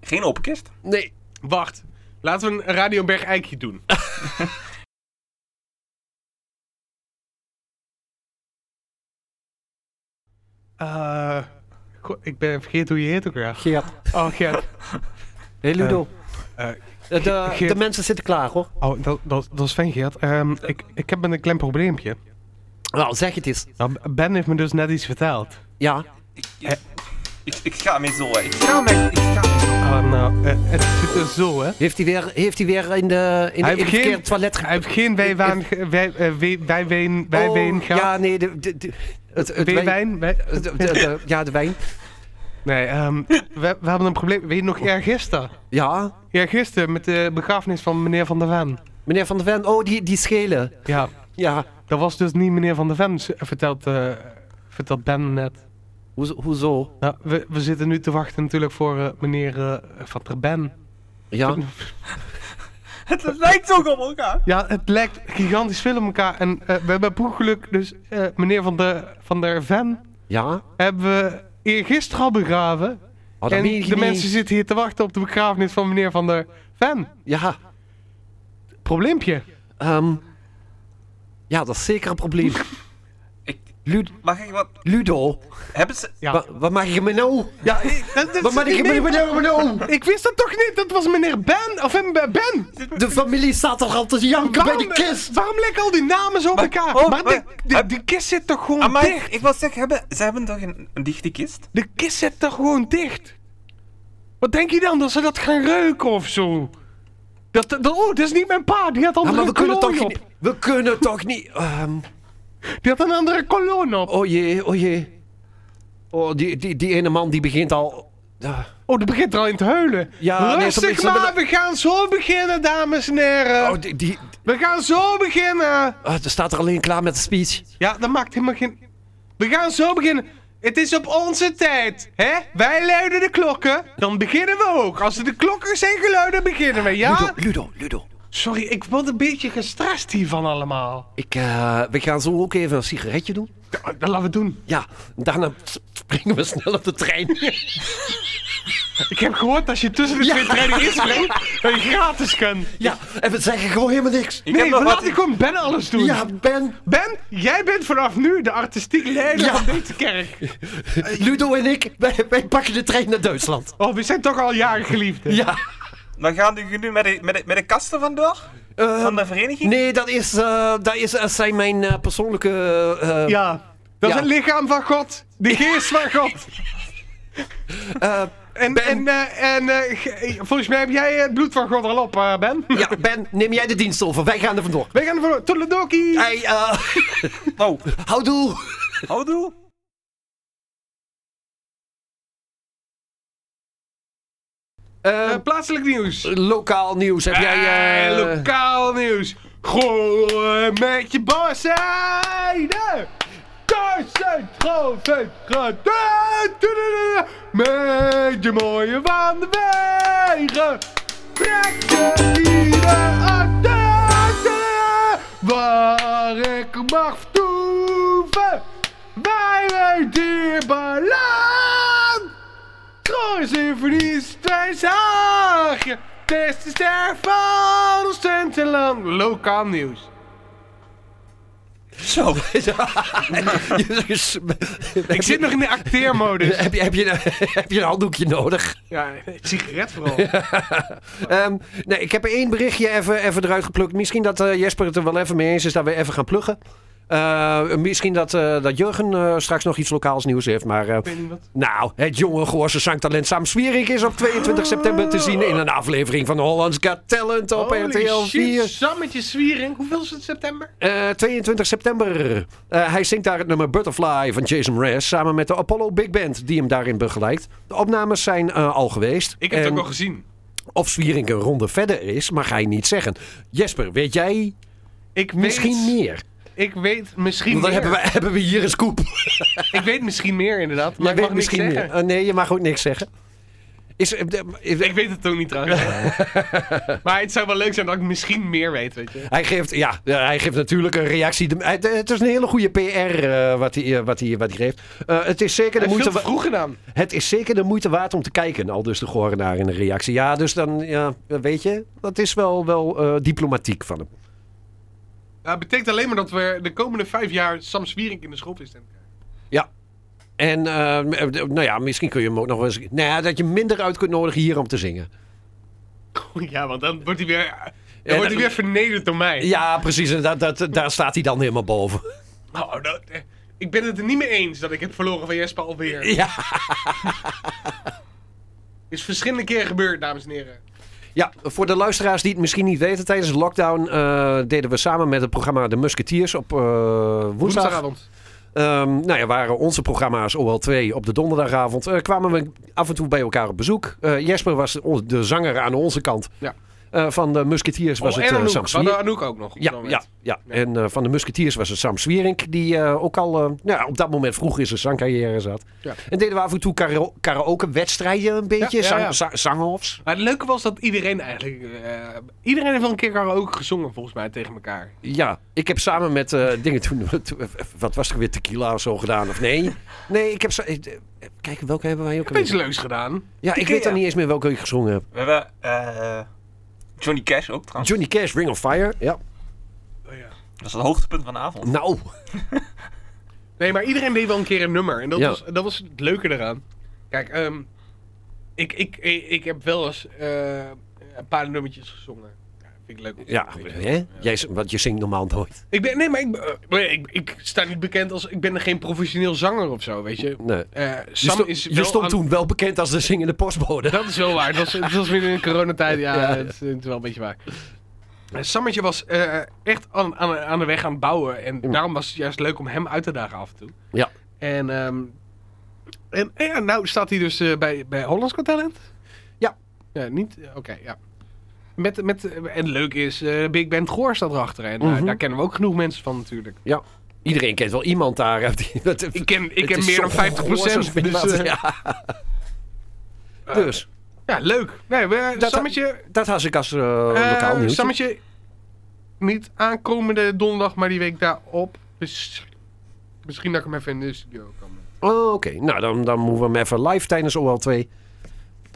[SPEAKER 3] geen open kist.
[SPEAKER 5] Nee.
[SPEAKER 4] Wacht, laten we een Radio Berg Eikje doen. Eh, goh, ik ben vergeet hoe je heet ook weer.
[SPEAKER 5] Geert.
[SPEAKER 4] Oh, Gert.
[SPEAKER 5] Hé Ludo.
[SPEAKER 4] Eh,
[SPEAKER 5] de, de,
[SPEAKER 4] Geert.
[SPEAKER 5] mensen zitten klaar hoor.
[SPEAKER 4] Oh, dat, dat, dat is fijn, Gert. Ehm, ik, ik heb een klein probleempje.
[SPEAKER 5] Nou, zeg het eens.
[SPEAKER 4] Nou, ben heeft me dus net iets verteld.
[SPEAKER 5] Ja.
[SPEAKER 3] Ik, ik, ik, ik ga hem eens door. Ik
[SPEAKER 4] Ah, nou, eh, het zit dus zo, hè.
[SPEAKER 5] Heeft hij weer, heeft hij weer in de in, de,
[SPEAKER 4] Hij
[SPEAKER 5] in het
[SPEAKER 4] heeft geen-
[SPEAKER 5] verkeerde toilet ge-
[SPEAKER 4] Hij heeft geen wijwaan... ge- Wij, eh, wij, wij, wijn- wij,
[SPEAKER 5] Oh,
[SPEAKER 4] wijn
[SPEAKER 5] Ja,
[SPEAKER 4] gehad.
[SPEAKER 5] nee. De, de, de- het, het
[SPEAKER 4] Wij-
[SPEAKER 5] wijn-
[SPEAKER 4] wijn? Eh, Wij-
[SPEAKER 5] het- Eh, de- de- ja, de wijn.
[SPEAKER 4] Nee, ehm, we, we hebben een probleem. Weet je nog eergisteren?
[SPEAKER 5] Ja.
[SPEAKER 4] Ja, gisteren met de begrafenis van meneer Van der Ven.
[SPEAKER 5] Meneer Van der Ven. Oh, die, die schelen.
[SPEAKER 4] Ja,
[SPEAKER 5] Ja.
[SPEAKER 4] dat was dus niet meneer Van der Ven, s- vertelt, eh, vertelt Ben net.
[SPEAKER 5] Hoezo? hoezo?
[SPEAKER 4] Nou, we, we zitten nu te wachten natuurlijk voor eh, meneer eh, Van der Ben.
[SPEAKER 5] Ja.
[SPEAKER 3] Het lijkt ook op elkaar.
[SPEAKER 4] Ja, het lijkt gigantisch veel op elkaar. En eh, we hebben per ongeluk dus eh, meneer Van der, van der Ven
[SPEAKER 5] Ja.
[SPEAKER 4] hebben we eergisteren al begraven.
[SPEAKER 5] Oh, dat
[SPEAKER 4] en
[SPEAKER 5] meen je
[SPEAKER 4] de
[SPEAKER 5] niet.
[SPEAKER 4] mensen zitten hier te wachten op de begrafenis van meneer Van der Ven.
[SPEAKER 5] Ja.
[SPEAKER 4] Probleempje.
[SPEAKER 5] ehm, ja, dat is zeker een probleem.
[SPEAKER 3] Ik,
[SPEAKER 5] Lu-
[SPEAKER 3] mag ik wat?
[SPEAKER 5] Ludo.
[SPEAKER 3] Hebben ze...
[SPEAKER 4] Ja.
[SPEAKER 5] Wa- wat mag je me nou?
[SPEAKER 4] Ja, ik, dat- dat-
[SPEAKER 5] Wat mag je me nou? nou?
[SPEAKER 4] Ik wist dat toch niet? Dat was meneer Ben. Of hem, eh, Ben.
[SPEAKER 5] De familie staat toch al te janken bij de kist?
[SPEAKER 4] Waarom lekken al die namen zo op elkaar?
[SPEAKER 3] oh,
[SPEAKER 4] maar de,
[SPEAKER 3] maar-
[SPEAKER 4] de, de kist zit toch gewoon
[SPEAKER 5] Ah,
[SPEAKER 3] Amai,
[SPEAKER 4] dicht?
[SPEAKER 3] ik was zeggen, hebben, ze hebben toch een, een dichte kist?
[SPEAKER 4] De kist zit toch gewoon dicht? Wat denk je dan? Dat ze dat gaan reuken of zo? Dat, dat, oh, dat is niet mijn pa. Die had
[SPEAKER 5] Ja,
[SPEAKER 4] andere
[SPEAKER 5] maar we kunnen
[SPEAKER 4] kolonie
[SPEAKER 5] toch
[SPEAKER 4] op.
[SPEAKER 5] niet... We kunnen toch niet... ehm,
[SPEAKER 4] Die had een andere koloon op.
[SPEAKER 5] oh jee, oh jee. Oh, die, die, die ene man die begint al... Ah,
[SPEAKER 4] Oh, die begint er al in te huilen.
[SPEAKER 5] Ja, nee,
[SPEAKER 4] Rustig
[SPEAKER 5] sommige-
[SPEAKER 4] maar, we gaan zo beginnen, dames en heren.
[SPEAKER 5] oh, die, die,
[SPEAKER 4] We gaan zo beginnen.
[SPEAKER 5] ah, er staat er alleen klaar met de speech.
[SPEAKER 4] Ja, dat maakt helemaal geen... We gaan zo beginnen. Het is op onze tijd, hè? Wij luiden de klokken, dan beginnen we ook. Als er de klokken zijn geluiden, beginnen we, ja?
[SPEAKER 5] Ludo, Ludo, Ludo.
[SPEAKER 4] Sorry, ik word een beetje gestrest hiervan allemaal.
[SPEAKER 5] Ik, eh, we gaan zo ook even een sigaretje doen.
[SPEAKER 4] Ja, Oh, Dat laten we doen.
[SPEAKER 5] Ja, daarna springen we snel op de trein.
[SPEAKER 4] Ik heb gehoord dat je tussen de twee trainingen inspringt, dat je gratis kan.
[SPEAKER 5] Ja, en we zeggen gewoon helemaal niks.
[SPEAKER 3] Ik
[SPEAKER 4] Nee,
[SPEAKER 3] heb nog
[SPEAKER 4] we
[SPEAKER 3] wat...
[SPEAKER 4] laten gewoon Ben alles doen.
[SPEAKER 5] Ja, Ben,
[SPEAKER 4] Ben, jij bent vanaf nu de artistiek leider
[SPEAKER 5] Ja.
[SPEAKER 4] van deze kerk.
[SPEAKER 5] eh, Ludo en ik, wij, wij pakken de trein naar Duitsland.
[SPEAKER 4] Oh, we zijn toch al jaren geliefd. hè?
[SPEAKER 5] Ja.
[SPEAKER 3] Maar gaan jullie nu met de, met de, met de kasten vandoor?
[SPEAKER 5] eh,
[SPEAKER 3] Van de vereniging?
[SPEAKER 5] nee, dat, is, eh, dat, is, dat zijn mijn eh, persoonlijke... eh,
[SPEAKER 4] Ja, dat
[SPEAKER 5] Ja.
[SPEAKER 4] is het lichaam van God, de geest van God.
[SPEAKER 5] eh,
[SPEAKER 4] En,
[SPEAKER 5] Ben.
[SPEAKER 4] en, eh, en eh, ge- volgens mij heb jij het bloed van God al op, eh, Ben.
[SPEAKER 5] ja, Ben, neem jij de dienst over. Wij gaan er vandoor.
[SPEAKER 4] Wij gaan ervoor. Toedeledokie!
[SPEAKER 5] Hey, eh,
[SPEAKER 3] Oh,
[SPEAKER 5] houdoe.
[SPEAKER 3] houdoe.
[SPEAKER 5] Eh,
[SPEAKER 4] Eh, plaatselijk nieuws.
[SPEAKER 5] lokaal nieuws. Heb jij... eh,
[SPEAKER 4] Eh, lokaal nieuws. Gooi met je boszijde! Duizend groven gedaan! Met je mooie van de wegen! Trek je ieder aan de Waar ik mag vertoeven! Bij mijn dierbaar land! Trouwens, in verlies twee zagen. Des de ster van ons tenteland. Lokaal nieuws.
[SPEAKER 3] Zo.
[SPEAKER 5] dus,
[SPEAKER 4] Ik zit nog in de acteermodus.
[SPEAKER 5] heb, je, heb, je, heb je een handdoekje nodig?
[SPEAKER 4] Ja, sigaret vooral.
[SPEAKER 5] Ehm, nee, ik heb er één berichtje even, even eruit geplukt. Misschien dat eh, Jesper het er wel even mee eens is dat we even gaan pluggen. Eh, misschien dat, eh, dat Jurgen eh, straks nog iets lokaals nieuws heeft. Maar eh,
[SPEAKER 4] weet niet wat.
[SPEAKER 5] nou, het jonge Goorse zangtalent Sam Swierik is op 22 september te zien in een aflevering van Holland's Got Talent op RTL 4.
[SPEAKER 4] Sammetje Zwiering. Hoeveel is het september?
[SPEAKER 5] Eh, 22 september. Eh, hij zingt daar het nummer Butterfly van Jason Mraz samen met de Apollo Big Band die hem daarin begeleidt. De opnames zijn eh, al geweest.
[SPEAKER 4] Ik heb het
[SPEAKER 5] En-
[SPEAKER 4] ook al gezien.
[SPEAKER 5] of Zwierink een ronde verder is, mag hij niet zeggen. Jesper, weet jij?
[SPEAKER 4] Ik weet,
[SPEAKER 5] Misschien meer.
[SPEAKER 4] Ik weet misschien
[SPEAKER 5] Want dan
[SPEAKER 4] meer.
[SPEAKER 5] hebben we, hebben we hier een scoop.
[SPEAKER 4] Ik weet misschien meer inderdaad, maar
[SPEAKER 5] Jij
[SPEAKER 4] ik
[SPEAKER 5] weet
[SPEAKER 4] mag niks
[SPEAKER 5] misschien
[SPEAKER 4] zeggen.
[SPEAKER 5] meer. Oh, nee, je mag ook niks zeggen. Is, eh, de- is-
[SPEAKER 4] Ik weet het ook niet trouwens. maar het zou wel leuk zijn dat ik misschien meer weet, weet je.
[SPEAKER 5] hij, geeft, ja, ja, hij geeft natuurlijk een reactie. De- hij- de- het is een hele goede PR eh, wat, hij, eh, wat, hij, wat hij geeft. Eh, het, is zeker de
[SPEAKER 4] Dat is
[SPEAKER 5] moeite
[SPEAKER 4] veel te
[SPEAKER 5] wa-
[SPEAKER 4] vroeg gedaan.
[SPEAKER 5] het is zeker de moeite waard om te kijken. Al dus de Gorenaar in de reactie. Ja, dus dan ja, weet je, dat is wel, wel eh, diplomatiek van hem.
[SPEAKER 4] Dat betekent alleen maar dat we de komende vijf jaar Sam Swierink in de schoolvis hebben.
[SPEAKER 5] En eh, m- eh, nou ja, misschien kun je hem ook nog wel eens. Nou ja, dat je hem minder uit kunt nodigen hier om te zingen.
[SPEAKER 4] Ja, want dan wordt hij weer,
[SPEAKER 5] Ja,
[SPEAKER 4] dan wordt
[SPEAKER 5] dat-
[SPEAKER 4] hij weer vernederd door mij.
[SPEAKER 5] Ja, precies. En dat, dat, daar staat hij dan helemaal boven.
[SPEAKER 4] Oh, dat- eh, ik ben het er niet mee eens dat ik heb verloren van Jesper alweer.
[SPEAKER 5] Ja.
[SPEAKER 4] Is verschillende keren gebeurd, dames en heren.
[SPEAKER 5] Ja, voor de luisteraars die het misschien niet weten, tijdens de lockdown eh, deden we samen met het programma De Musketeers op eh, woensdag.
[SPEAKER 4] Woensdagavond.
[SPEAKER 5] Ehm, nou ja, waren onze programma's OL2 op de donderdagavond. Eh, kwamen we af en toe bij elkaar op bezoek. Eh, Jesper was on- de zanger aan onze kant.
[SPEAKER 4] Ja.
[SPEAKER 5] Eh, van de Musketeers was
[SPEAKER 4] Oh,
[SPEAKER 5] het
[SPEAKER 4] en
[SPEAKER 5] eh,
[SPEAKER 4] Anouk.
[SPEAKER 5] Sam
[SPEAKER 4] We hadden
[SPEAKER 5] Swier.
[SPEAKER 4] Anouk ook nog. op
[SPEAKER 5] Ja,
[SPEAKER 4] dat moment.
[SPEAKER 5] ja, ja.
[SPEAKER 4] Ja.
[SPEAKER 5] En eh, van de Musketeers was het Sam Swierink, die eh, ook al eh, nou ja, op dat moment vroeg in zijn zangcarrière zat.
[SPEAKER 4] Ja.
[SPEAKER 5] En deden we af en toe kara- karaoke-wedstrijden een beetje,
[SPEAKER 4] ja, ja.
[SPEAKER 5] zang- za- zang-offs.
[SPEAKER 4] Maar het leuke was dat iedereen eigenlijk... eh, iedereen heeft wel een keer ook gezongen, volgens mij, tegen elkaar.
[SPEAKER 5] Ja, ik heb samen met eh, dingen toen, toen- Wat was er weer tequila of zo gedaan? Of nee? Nee, ik heb. sa- eh, Kijk, welke hebben wij ook?
[SPEAKER 4] Heb je iets
[SPEAKER 5] alweer?
[SPEAKER 4] leuks gedaan?
[SPEAKER 5] Ja, ik weet dan niet eens meer welke ik gezongen heb.
[SPEAKER 3] We hebben eh, Johnny Cash ook trouwens.
[SPEAKER 5] Johnny Cash, Ring of Fire. Ja.
[SPEAKER 3] Dat is het hoogtepunt van de avond.
[SPEAKER 5] Nou,
[SPEAKER 4] Nee, maar iedereen deed wel een keer een nummer. En dat,
[SPEAKER 5] Ja.
[SPEAKER 4] was, dat was het leuke eraan. Kijk, ehm, ik, ik, ik, ik heb wel eens eh, een paar nummertjes gezongen. Ja, vind ik leuk. om te
[SPEAKER 5] ja.
[SPEAKER 4] doen, weet je.
[SPEAKER 5] Hè? Jij, z- want je zingt normaal nooit.
[SPEAKER 4] Ik ben, nee, maar ik, eh, maar ik, ik sta niet bekend als... Ik ben geen professioneel zanger of zo, weet je.
[SPEAKER 5] Nee.
[SPEAKER 4] Eh,
[SPEAKER 5] Je,
[SPEAKER 4] Sam
[SPEAKER 5] sto-
[SPEAKER 4] is
[SPEAKER 5] je
[SPEAKER 4] wel
[SPEAKER 5] stond
[SPEAKER 4] aan-
[SPEAKER 5] toen wel bekend als de zingende postbode.
[SPEAKER 4] Dat is wel waar. Dat was, dat was weer in de coronatijd. Ja, Het, is, het is wel een beetje waar. Eh, Sammetje was eh, echt aan, aan, aan de weg aan het bouwen. En daarom was het juist leuk om hem uit te dagen af en toe.
[SPEAKER 5] Ja.
[SPEAKER 4] En, ehm, en eh, ja, nou staat hij dus eh, bij, bij Hollands Got Talent?
[SPEAKER 5] Ja.
[SPEAKER 4] Ja, niet? eh, Oké, ja. Met, met, en leuk is, eh, Big Band Goor staat erachter. En eh,
[SPEAKER 5] Mhm.
[SPEAKER 4] daar kennen we ook genoeg mensen van natuurlijk.
[SPEAKER 5] Iedereen kent wel iemand daar. hè, die- dat-
[SPEAKER 4] Ik ken, ik
[SPEAKER 5] het
[SPEAKER 4] ken
[SPEAKER 5] is
[SPEAKER 4] meer
[SPEAKER 5] zo
[SPEAKER 4] dan 50%.
[SPEAKER 5] goor, zo'n
[SPEAKER 4] Dus,
[SPEAKER 5] spinplaat,
[SPEAKER 4] eh, Ah.
[SPEAKER 5] ja. dus,
[SPEAKER 4] ja, leuk. Nee, we,
[SPEAKER 5] Dat-
[SPEAKER 4] Sammetje,
[SPEAKER 5] dat had ik als eh,
[SPEAKER 4] Eh,
[SPEAKER 5] lokaal nieuws.
[SPEAKER 4] Sammetje, niet aankomende donderdag, maar die week daarop. Dus misschien dat ik hem even in de studio kan.
[SPEAKER 5] Oh, oké. Nou, dan, dan moeten we hem even live tijdens OL2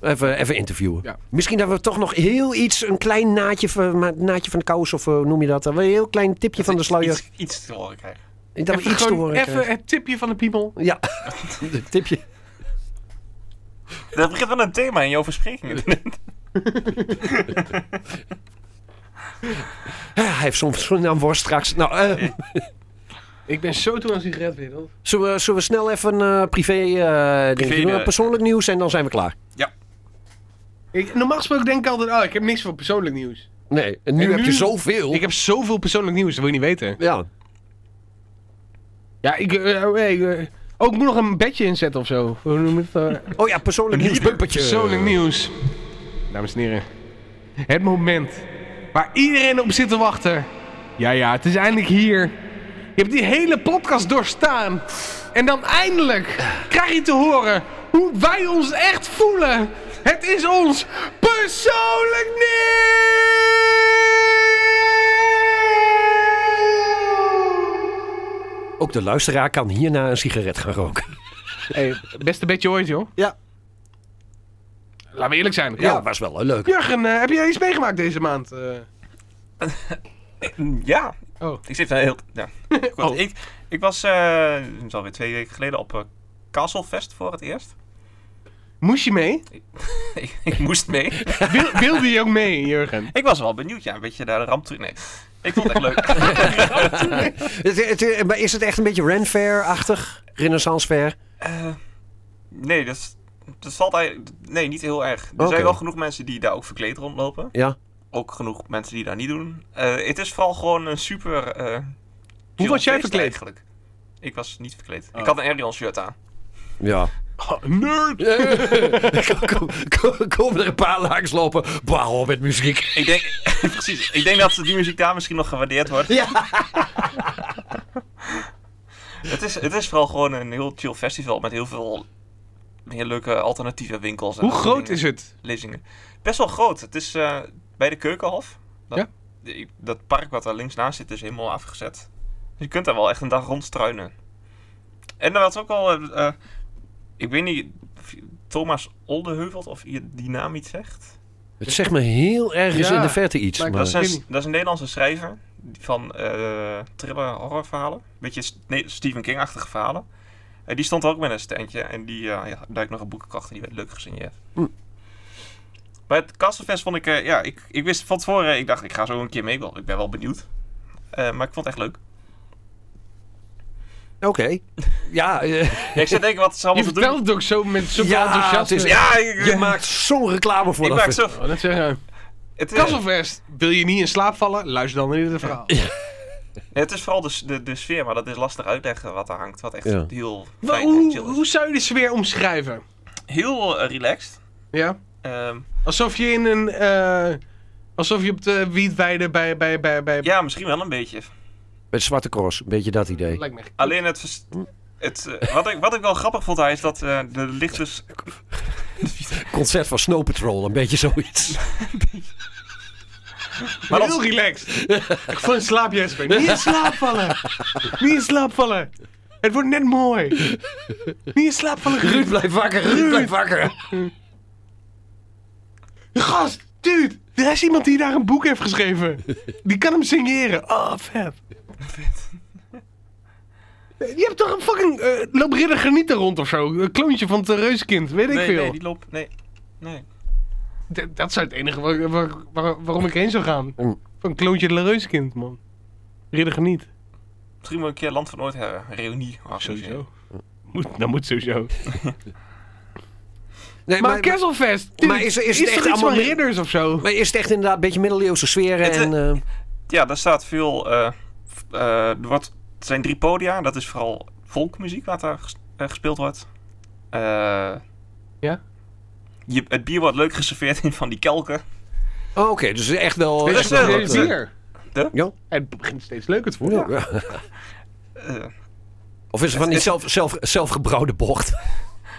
[SPEAKER 5] even, even interviewen.
[SPEAKER 4] Ja.
[SPEAKER 5] Misschien dat we toch nog heel iets, een klein naadje van, maar- naadje van de kous, of eh, hoe noem je dat? Een heel klein tipje van de sluier.
[SPEAKER 3] Iets, iets te horen krijgen.
[SPEAKER 5] Dat we
[SPEAKER 4] even
[SPEAKER 5] iets te
[SPEAKER 4] gewoon
[SPEAKER 5] horen
[SPEAKER 4] even
[SPEAKER 5] krijgen.
[SPEAKER 4] het tipje van de piemel.
[SPEAKER 5] Ja, een tipje.
[SPEAKER 3] Dat begint wel een thema in je oversprekingen.
[SPEAKER 5] Ah, hij heeft soms zo'n naamworst straks. Nou, eh,
[SPEAKER 4] Ik ben zo toe aan sigaretwereld.
[SPEAKER 5] zullen, we, zullen we snel even eh privé, eh, dingetje
[SPEAKER 3] Privé,
[SPEAKER 5] doen?
[SPEAKER 3] eh,
[SPEAKER 5] persoonlijk nieuws en dan zijn we klaar.
[SPEAKER 4] Ik, normaal gesproken denk ik altijd, oh, ik heb niks van persoonlijk nieuws.
[SPEAKER 5] Nee, en nu
[SPEAKER 4] En
[SPEAKER 5] heb
[SPEAKER 4] nu?
[SPEAKER 5] je zoveel.
[SPEAKER 4] Ik heb zoveel persoonlijk nieuws, dat wil je niet weten.
[SPEAKER 5] Ja,
[SPEAKER 4] Ja, ik... eh, oh, hey, eh, oh, ik moet nog een bedje inzetten of zo. Hoe noem je het? eh?
[SPEAKER 5] oh ja, persoonlijk nieuws, bumpertje.
[SPEAKER 4] Persoonlijk nieuws. Dames en heren. Het moment waar iedereen op zit te wachten. Ja, ja, het is eindelijk hier. Je hebt die hele podcast doorstaan. En dan eindelijk krijg je te horen hoe wij ons echt voelen. Het is ons persoonlijk nieuws.
[SPEAKER 5] Ook de luisteraar kan hierna een sigaret gaan roken.
[SPEAKER 4] Hey, beste bedje ooit, joh.
[SPEAKER 5] Ja.
[SPEAKER 4] Laten we eerlijk zijn.
[SPEAKER 5] Ja,
[SPEAKER 4] Ja.
[SPEAKER 5] was wel eh, leuk.
[SPEAKER 4] Jurgen, eh, heb jij iets meegemaakt deze maand? eh?
[SPEAKER 3] ja,
[SPEAKER 4] Oh.
[SPEAKER 3] ik zit daar heel... Ja. Goed,
[SPEAKER 4] Oh.
[SPEAKER 3] ik, ik was eh, het is alweer twee weken geleden op eh, Castlefest voor het eerst.
[SPEAKER 4] Moest je mee?
[SPEAKER 3] ik, ik moest mee.
[SPEAKER 4] Wil, wilde je ook mee, Jurgen?
[SPEAKER 3] Ik was wel benieuwd, ja, een beetje naar de ramp toe. Nee, ik vond het echt leuk.
[SPEAKER 5] Het- het- maar is het echt een beetje Renfair-achtig? Renaissance-fair?
[SPEAKER 3] Eh, nee, dat, is- dat valt eigenlijk... Nee, niet heel erg. Er
[SPEAKER 5] Oké.
[SPEAKER 3] zijn wel genoeg mensen die daar ook verkleed rondlopen.
[SPEAKER 5] Ja.
[SPEAKER 3] Ook genoeg mensen die daar niet doen. Eh, het is vooral gewoon een super... eh, chill
[SPEAKER 4] was jij
[SPEAKER 3] feest
[SPEAKER 4] verkleed?
[SPEAKER 3] Eigenlijk. Ik was niet verkleed. Ik had een Arion shirt aan.
[SPEAKER 5] Ja.
[SPEAKER 6] Oh, nerd!
[SPEAKER 5] Kom- kom- Komen er een paar langs lopen. Wauw, met muziek.
[SPEAKER 3] Ik denk, precies, ik denk dat die muziek daar misschien nog gewaardeerd wordt.
[SPEAKER 5] Ja.
[SPEAKER 3] Het is, het is vooral gewoon een heel chill festival met heel veel heel leuke alternatieve winkels. en
[SPEAKER 6] Hoe
[SPEAKER 3] dat soort
[SPEAKER 6] groot
[SPEAKER 3] dingen.
[SPEAKER 6] is het?
[SPEAKER 3] Lezingen. Best wel groot. Het is eh, bij de Keukenhof. Dat,
[SPEAKER 6] Ja.
[SPEAKER 3] die- dat park wat daar links naast zit is helemaal afgezet. Dus je kunt daar wel echt een dag rondstruinen. En dan was ook al... eh, eh, ik weet niet of je Thomas Oldeheuvelt of je die naam iets zegt.
[SPEAKER 5] Het zegt me heel ergens
[SPEAKER 6] Ja.
[SPEAKER 5] in de verte iets.
[SPEAKER 6] Maar ik
[SPEAKER 5] Maar...
[SPEAKER 3] Dat is, een,
[SPEAKER 6] weet niet.
[SPEAKER 3] dat is een Nederlandse schrijver van eh thriller horrorverhalen. Beetje S- nee, Stephen King-achtige verhalen. Eh, die stond er ook met een standje en die eh, ja, duikt nog een boekenkracht en die werd leuk gesigneerd.
[SPEAKER 5] Hm.
[SPEAKER 3] Bij het Kasselfest vond ik, eh, ja, ik, ik wist van tevoren, eh, ik dacht ik ga zo een keer mee, want ik ben wel benieuwd. Eh, maar ik vond het echt leuk.
[SPEAKER 5] Oké. Ja, eh,
[SPEAKER 3] Ja, ik zit te denken, wat ze
[SPEAKER 6] Je
[SPEAKER 3] allemaal te
[SPEAKER 6] vertelt
[SPEAKER 3] doen.
[SPEAKER 6] het ook zo met zoveel
[SPEAKER 5] Ja,
[SPEAKER 6] enthousiasme.
[SPEAKER 5] het is-
[SPEAKER 3] Ja, ik,
[SPEAKER 5] je maakt zo'n reclame voor
[SPEAKER 3] ik
[SPEAKER 5] dat
[SPEAKER 3] maak
[SPEAKER 5] ver-
[SPEAKER 3] zo.
[SPEAKER 6] Oh, dat zeggen.
[SPEAKER 3] Het, is-
[SPEAKER 6] Kasselfest, wil je niet in slaap vallen? Luister dan naar dit verhaal.
[SPEAKER 3] nee, het is vooral de, s- de, de sfeer, maar dat is lastig uitleggen wat er hangt. Wat echt
[SPEAKER 5] Ja.
[SPEAKER 3] heel
[SPEAKER 6] Wa-
[SPEAKER 3] fijn en
[SPEAKER 6] hoe,
[SPEAKER 3] chill is.
[SPEAKER 6] hoe zou je de sfeer omschrijven?
[SPEAKER 3] Heel eh, relaxed.
[SPEAKER 6] Ja?
[SPEAKER 3] Ehm,
[SPEAKER 6] Alsof je in een... eh, alsof je op de wietweide bij... bij, bij, bij
[SPEAKER 3] ja, misschien wel een beetje.
[SPEAKER 5] Met Zwarte Cross, een beetje dat idee.
[SPEAKER 6] Lijkt me echt-
[SPEAKER 3] Alleen het... vers- het eh, wat, ik, wat ik wel grappig vond, hij is dat eh de licht dus...
[SPEAKER 5] Concert van Snow Patrol, een beetje zoiets.
[SPEAKER 3] Maar
[SPEAKER 6] heel
[SPEAKER 3] dat-
[SPEAKER 6] relaxed. Echt Van slaap, Jesper. Niet in slaap vallen. Niet in slaap vallen. Het wordt net mooi. Niet in slaap vallen,
[SPEAKER 5] Ruud
[SPEAKER 6] Ruud.
[SPEAKER 5] blijf wakker, Ruud blijf wakker.
[SPEAKER 6] Gast, dude. Er is iemand die daar een boek heeft geschreven. Die kan hem signeren. Oh, vet. Je hebt toch een fucking... eh loop Ridder Genieten rond of zo. Een kloontje van het eh, reuzenkind. Weet ik
[SPEAKER 3] Nee,
[SPEAKER 6] veel.
[SPEAKER 3] nee, die loopt... Nee, nee.
[SPEAKER 6] D- Dat is het enige waar, waar- waar- waarom ik heen zou gaan.
[SPEAKER 5] Mm.
[SPEAKER 6] Van kloontje de reuzenkind, man. Ridder Geniet.
[SPEAKER 3] Misschien moet ik een keer Land van Ooit hebben. Een reunie. organiseren.
[SPEAKER 6] Moet, dat moet sowieso.
[SPEAKER 5] Nee,
[SPEAKER 6] Maar, Kerselfest! dude,
[SPEAKER 5] maar is er- is het
[SPEAKER 6] er
[SPEAKER 5] echt
[SPEAKER 6] iets
[SPEAKER 5] allemaal
[SPEAKER 6] van
[SPEAKER 5] meer-
[SPEAKER 6] ridders of zo?
[SPEAKER 5] maar is het echt inderdaad een beetje middeleeuwse sfeer?
[SPEAKER 3] Het,
[SPEAKER 5] en, eh,
[SPEAKER 3] Ja, daar staat veel... eh, f- eh, er, wordt, er zijn drie podia. Dat is vooral volkmuziek wat daar ges- eh, gespeeld wordt. Eh,
[SPEAKER 6] Ja?
[SPEAKER 3] Je, het bier wordt leuk geserveerd in van die kelken.
[SPEAKER 5] oh, Oké, dus echt wel...
[SPEAKER 3] Weet
[SPEAKER 5] echt
[SPEAKER 3] je
[SPEAKER 5] wel
[SPEAKER 3] wel,
[SPEAKER 5] wat,
[SPEAKER 6] Is
[SPEAKER 5] eh,
[SPEAKER 6] bier.
[SPEAKER 5] ja?
[SPEAKER 6] Het begint steeds leuker te worden.
[SPEAKER 5] Ja.
[SPEAKER 3] Eh,
[SPEAKER 5] Of is het van die zelf, zelf, zelfgebrouwde bocht?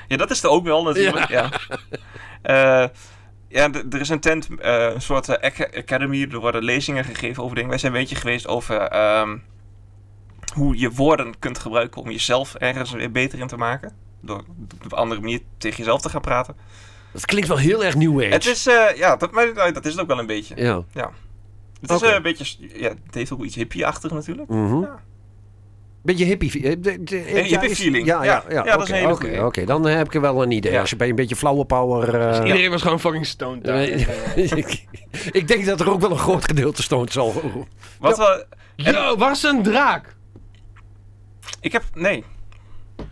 [SPEAKER 3] Ja, dat is er ook wel natuurlijk. Ja, ja. Eh, ja d- er is een tent, eh, een soort eh, ac- academy. Er worden lezingen gegeven over dingen. Wij zijn een beetje geweest over ehm, hoe je woorden kunt gebruiken om jezelf ergens weer beter in te maken. Door op een andere manier tegen jezelf te gaan praten.
[SPEAKER 5] Dat klinkt wel heel erg New Age.
[SPEAKER 3] Het is, eh, ja, dat, maar, nou, dat is het ook wel een beetje.
[SPEAKER 5] Ja.
[SPEAKER 3] Het is
[SPEAKER 5] oké.
[SPEAKER 3] eh, een beetje, s- ja, het heeft ook iets hippie-achtig natuurlijk.
[SPEAKER 5] Mhm.
[SPEAKER 3] Ja.
[SPEAKER 5] Beetje hippie... eh, de- de- ja, is-
[SPEAKER 3] feeling.
[SPEAKER 5] Ja, ja,
[SPEAKER 3] Ja,
[SPEAKER 5] ja.
[SPEAKER 3] ja, dat is
[SPEAKER 5] oké,
[SPEAKER 3] een hele
[SPEAKER 5] oké,
[SPEAKER 3] goeie.
[SPEAKER 5] Oké, dan heb ik er wel een idee.
[SPEAKER 3] Ja.
[SPEAKER 5] Als je bij een beetje flauwe power... eh,
[SPEAKER 6] Iedereen was gewoon fucking stoned. daar.
[SPEAKER 5] ik, ik denk dat er ook wel een groot gedeelte stoont zal.
[SPEAKER 3] Wat wel,
[SPEAKER 6] Yo, waar is een draak?
[SPEAKER 3] ik heb, nee.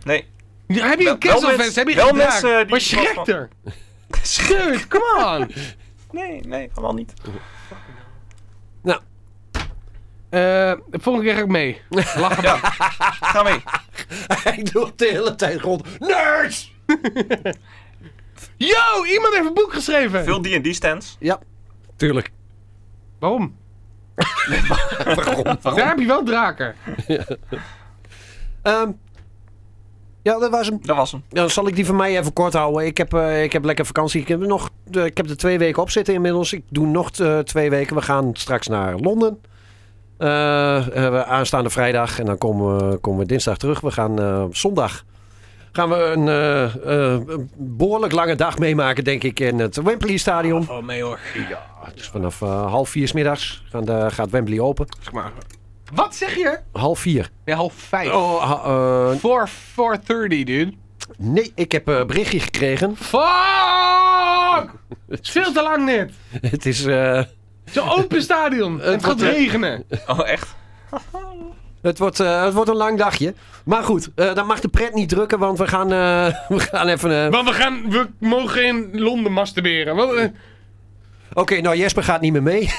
[SPEAKER 3] Nee.
[SPEAKER 6] Ja, Heb je een
[SPEAKER 3] Wel- wel
[SPEAKER 6] Kerselfest?
[SPEAKER 3] mensen-
[SPEAKER 6] Heb je
[SPEAKER 3] wel
[SPEAKER 6] een draak?
[SPEAKER 3] mensen die-
[SPEAKER 6] Maar Shrek er? Dude, come on!
[SPEAKER 3] Nee, nee, allemaal niet.
[SPEAKER 6] Eh, de volgende keer ga ik mee. Lachen.
[SPEAKER 3] Ja, ga mee.
[SPEAKER 5] Hij doet de hele tijd rond. Nerds!
[SPEAKER 6] Yo, iemand heeft een boek geschreven!
[SPEAKER 3] Veel D&D-stands.
[SPEAKER 5] Ja, tuurlijk.
[SPEAKER 6] Waarom?
[SPEAKER 5] Waarom?
[SPEAKER 6] Daar heb je wel draken.
[SPEAKER 5] Ehm, ja, dat was hem.
[SPEAKER 3] Dat was hem.
[SPEAKER 5] Dan zal ik die van mij even kort houden. Ik heb, eh, ik heb lekker vakantie. Ik heb, nog, eh, ik heb er twee weken op zitten inmiddels. Ik doe nog eh, twee weken. We gaan straks naar Londen. Eh, eh, we- aanstaande vrijdag. En dan komen we, komen we dinsdag terug. We gaan eh, op zondag. Gaan we een eh, eh, een behoorlijk lange dag meemaken, denk ik, in het Wembley Stadion.
[SPEAKER 6] Oh, nee hoor.
[SPEAKER 5] Dus vanaf eh, half vier 's middags gaan de, gaat Wembley open.
[SPEAKER 6] Zeg maar. Wat zeg je?
[SPEAKER 5] Half vier.
[SPEAKER 6] Nee, half vijf.
[SPEAKER 5] Oh, ha- eh,
[SPEAKER 6] 4, 4.30, dude.
[SPEAKER 5] nee, ik heb eh, een berichtje gekregen.
[SPEAKER 6] Fuck! Het is veel te lang net.
[SPEAKER 5] het is... eh,
[SPEAKER 6] Zo'n open stadion. En het gaat regenen.
[SPEAKER 3] Oh, echt?
[SPEAKER 5] Het wordt, eh, het wordt een lang dagje. Maar goed, eh, dan mag de pret niet drukken, want we gaan, eh, we gaan even... eh,
[SPEAKER 6] Want we, gaan, we mogen in Londen masturberen. Wel, eh,
[SPEAKER 5] Oké, nou Jesper gaat niet meer mee.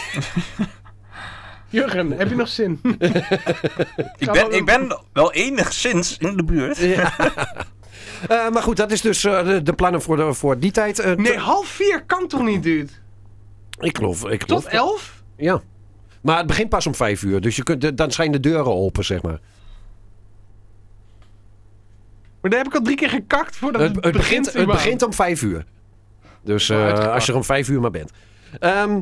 [SPEAKER 6] Jurgen, heb je nog zin?
[SPEAKER 3] Ik ben, ik ben wel enigszins in de buurt.
[SPEAKER 5] Eh, maar goed, dat is dus eh, de, de plannen voor, de- voor die tijd. Eh,
[SPEAKER 6] Nee,
[SPEAKER 5] t-
[SPEAKER 6] half vier kan toch niet, dude?
[SPEAKER 5] Ik geloof, ik geloof.
[SPEAKER 6] Tot elf?
[SPEAKER 5] Ja. Maar het begint pas om vijf uur. Dus je kunt, de- dan zijn de deuren open, zeg maar.
[SPEAKER 6] Maar daar heb ik al drie keer gekakt voordat
[SPEAKER 5] Het,
[SPEAKER 6] het,
[SPEAKER 5] het begint, het
[SPEAKER 6] überhaupt.
[SPEAKER 5] begint om vijf uur. Dus
[SPEAKER 6] Maar
[SPEAKER 5] eh,
[SPEAKER 6] uitgepakt.
[SPEAKER 5] als je er om vijf uur maar bent. Ehm,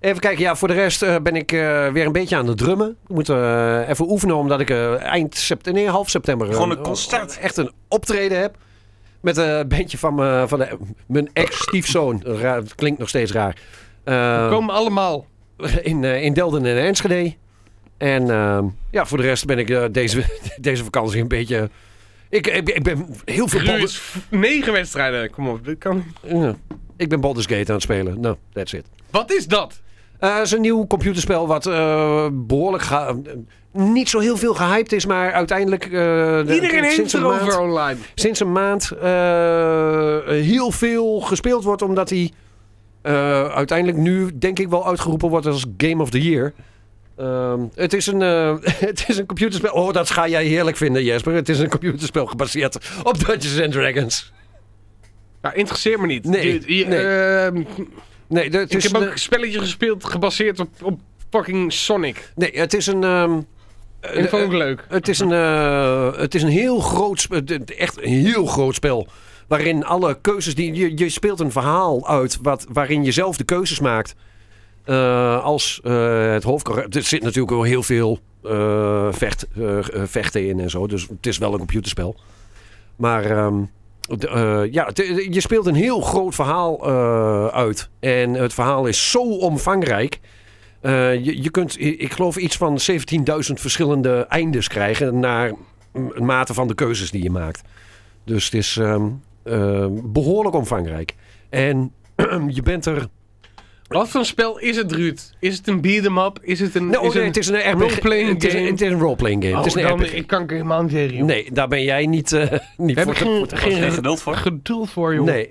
[SPEAKER 5] even kijken. Ja, voor de rest eh, ben ik eh, weer een beetje aan het drummen. We moeten eh, even oefenen omdat ik eh, eind september, nee, half september... eh,
[SPEAKER 3] Gewoon een concert.
[SPEAKER 5] Echt een optreden heb. Met eh, een bandje van, me- van de- mijn ex-stiefzoon. Raar, het klinkt nog steeds raar. Eh,
[SPEAKER 6] Komen allemaal.
[SPEAKER 5] in, eh, in Delden en Enschede. En ehm, ja, voor de rest ben ik eh, deze, deze vakantie een beetje... eh, Ik, ik, ik ben heel veel...
[SPEAKER 6] Er
[SPEAKER 5] ballen-
[SPEAKER 6] is v- negen wedstrijden. Kom op, dit kan niet.
[SPEAKER 5] ja. Ik ben Baldur's Gate aan het spelen. Nou, that's it.
[SPEAKER 6] Wat is dat?
[SPEAKER 5] Eh, Het is een nieuw computerspel wat eh, behoorlijk... ge- eh, niet zo heel veel gehyped is, maar uiteindelijk... eh, de-
[SPEAKER 6] Iedereen
[SPEAKER 5] sinds
[SPEAKER 6] heeft
[SPEAKER 5] een
[SPEAKER 6] erover
[SPEAKER 5] maand-
[SPEAKER 6] online.
[SPEAKER 5] Sinds een maand eh, heel veel gespeeld wordt, omdat hij eh, uiteindelijk nu denk ik wel uitgeroepen wordt als Game of the Year. Ehm, het, is een, eh, het is een computerspel. Oh, dat ga jij heerlijk vinden, Jesper. Het is een computerspel gebaseerd op Dungeons and Dragons.
[SPEAKER 6] Nou, interesseert me niet.
[SPEAKER 5] Nee,
[SPEAKER 6] Je- je-
[SPEAKER 5] nee.
[SPEAKER 6] ehm,
[SPEAKER 5] Nee, de- het
[SPEAKER 6] ik
[SPEAKER 5] is
[SPEAKER 6] heb ook
[SPEAKER 5] een- eh,
[SPEAKER 6] een spelletje gespeeld gebaseerd op, op fucking Sonic.
[SPEAKER 5] nee, het is een. ehm, eh,
[SPEAKER 6] En dat vond ik leuk.
[SPEAKER 5] Het is een, eh, het is een heel groot, sp- het- het- echt een heel groot spel. Waarin alle keuzes die. Je, je speelt een verhaal uit wat, waarin je zelf de keuzes maakt. eh, als eh, het hoofdkarakter. Er zit natuurlijk wel heel veel eh, vecht, eh, eh, vechten in en zo. Dus het is wel een computerspel. Maar ehm, de- eh, ja, het- eh, je speelt een heel groot verhaal eh, uit. En het verhaal is zo omvangrijk. Eh, je, je kunt, i- ik geloof, iets van 17.000 verschillende eindes krijgen. naar m- mate van de keuzes die je maakt. Dus het is ehm, ehm, behoorlijk omvangrijk. En je bent er.
[SPEAKER 6] Wat voor een spel is het, Ruud? Is het een beat-em-up? Is het een...
[SPEAKER 5] Nou,
[SPEAKER 6] is
[SPEAKER 5] oh nee,
[SPEAKER 6] een-
[SPEAKER 5] het is een RPG.
[SPEAKER 6] roleplaying
[SPEAKER 5] het, is een,
[SPEAKER 6] game.
[SPEAKER 5] het is een roleplaying game.
[SPEAKER 6] Oh,
[SPEAKER 5] het is een
[SPEAKER 6] dan
[SPEAKER 5] RPG.
[SPEAKER 6] kan ik helemaal niet tegen, joh.
[SPEAKER 5] Nee, daar ben jij niet, eh, niet
[SPEAKER 6] We
[SPEAKER 5] voor
[SPEAKER 6] hebben
[SPEAKER 5] te- voor
[SPEAKER 6] geen,
[SPEAKER 5] te
[SPEAKER 3] Geen
[SPEAKER 6] geen
[SPEAKER 3] geduld voor.
[SPEAKER 6] geduld voor, joh.
[SPEAKER 5] Nee,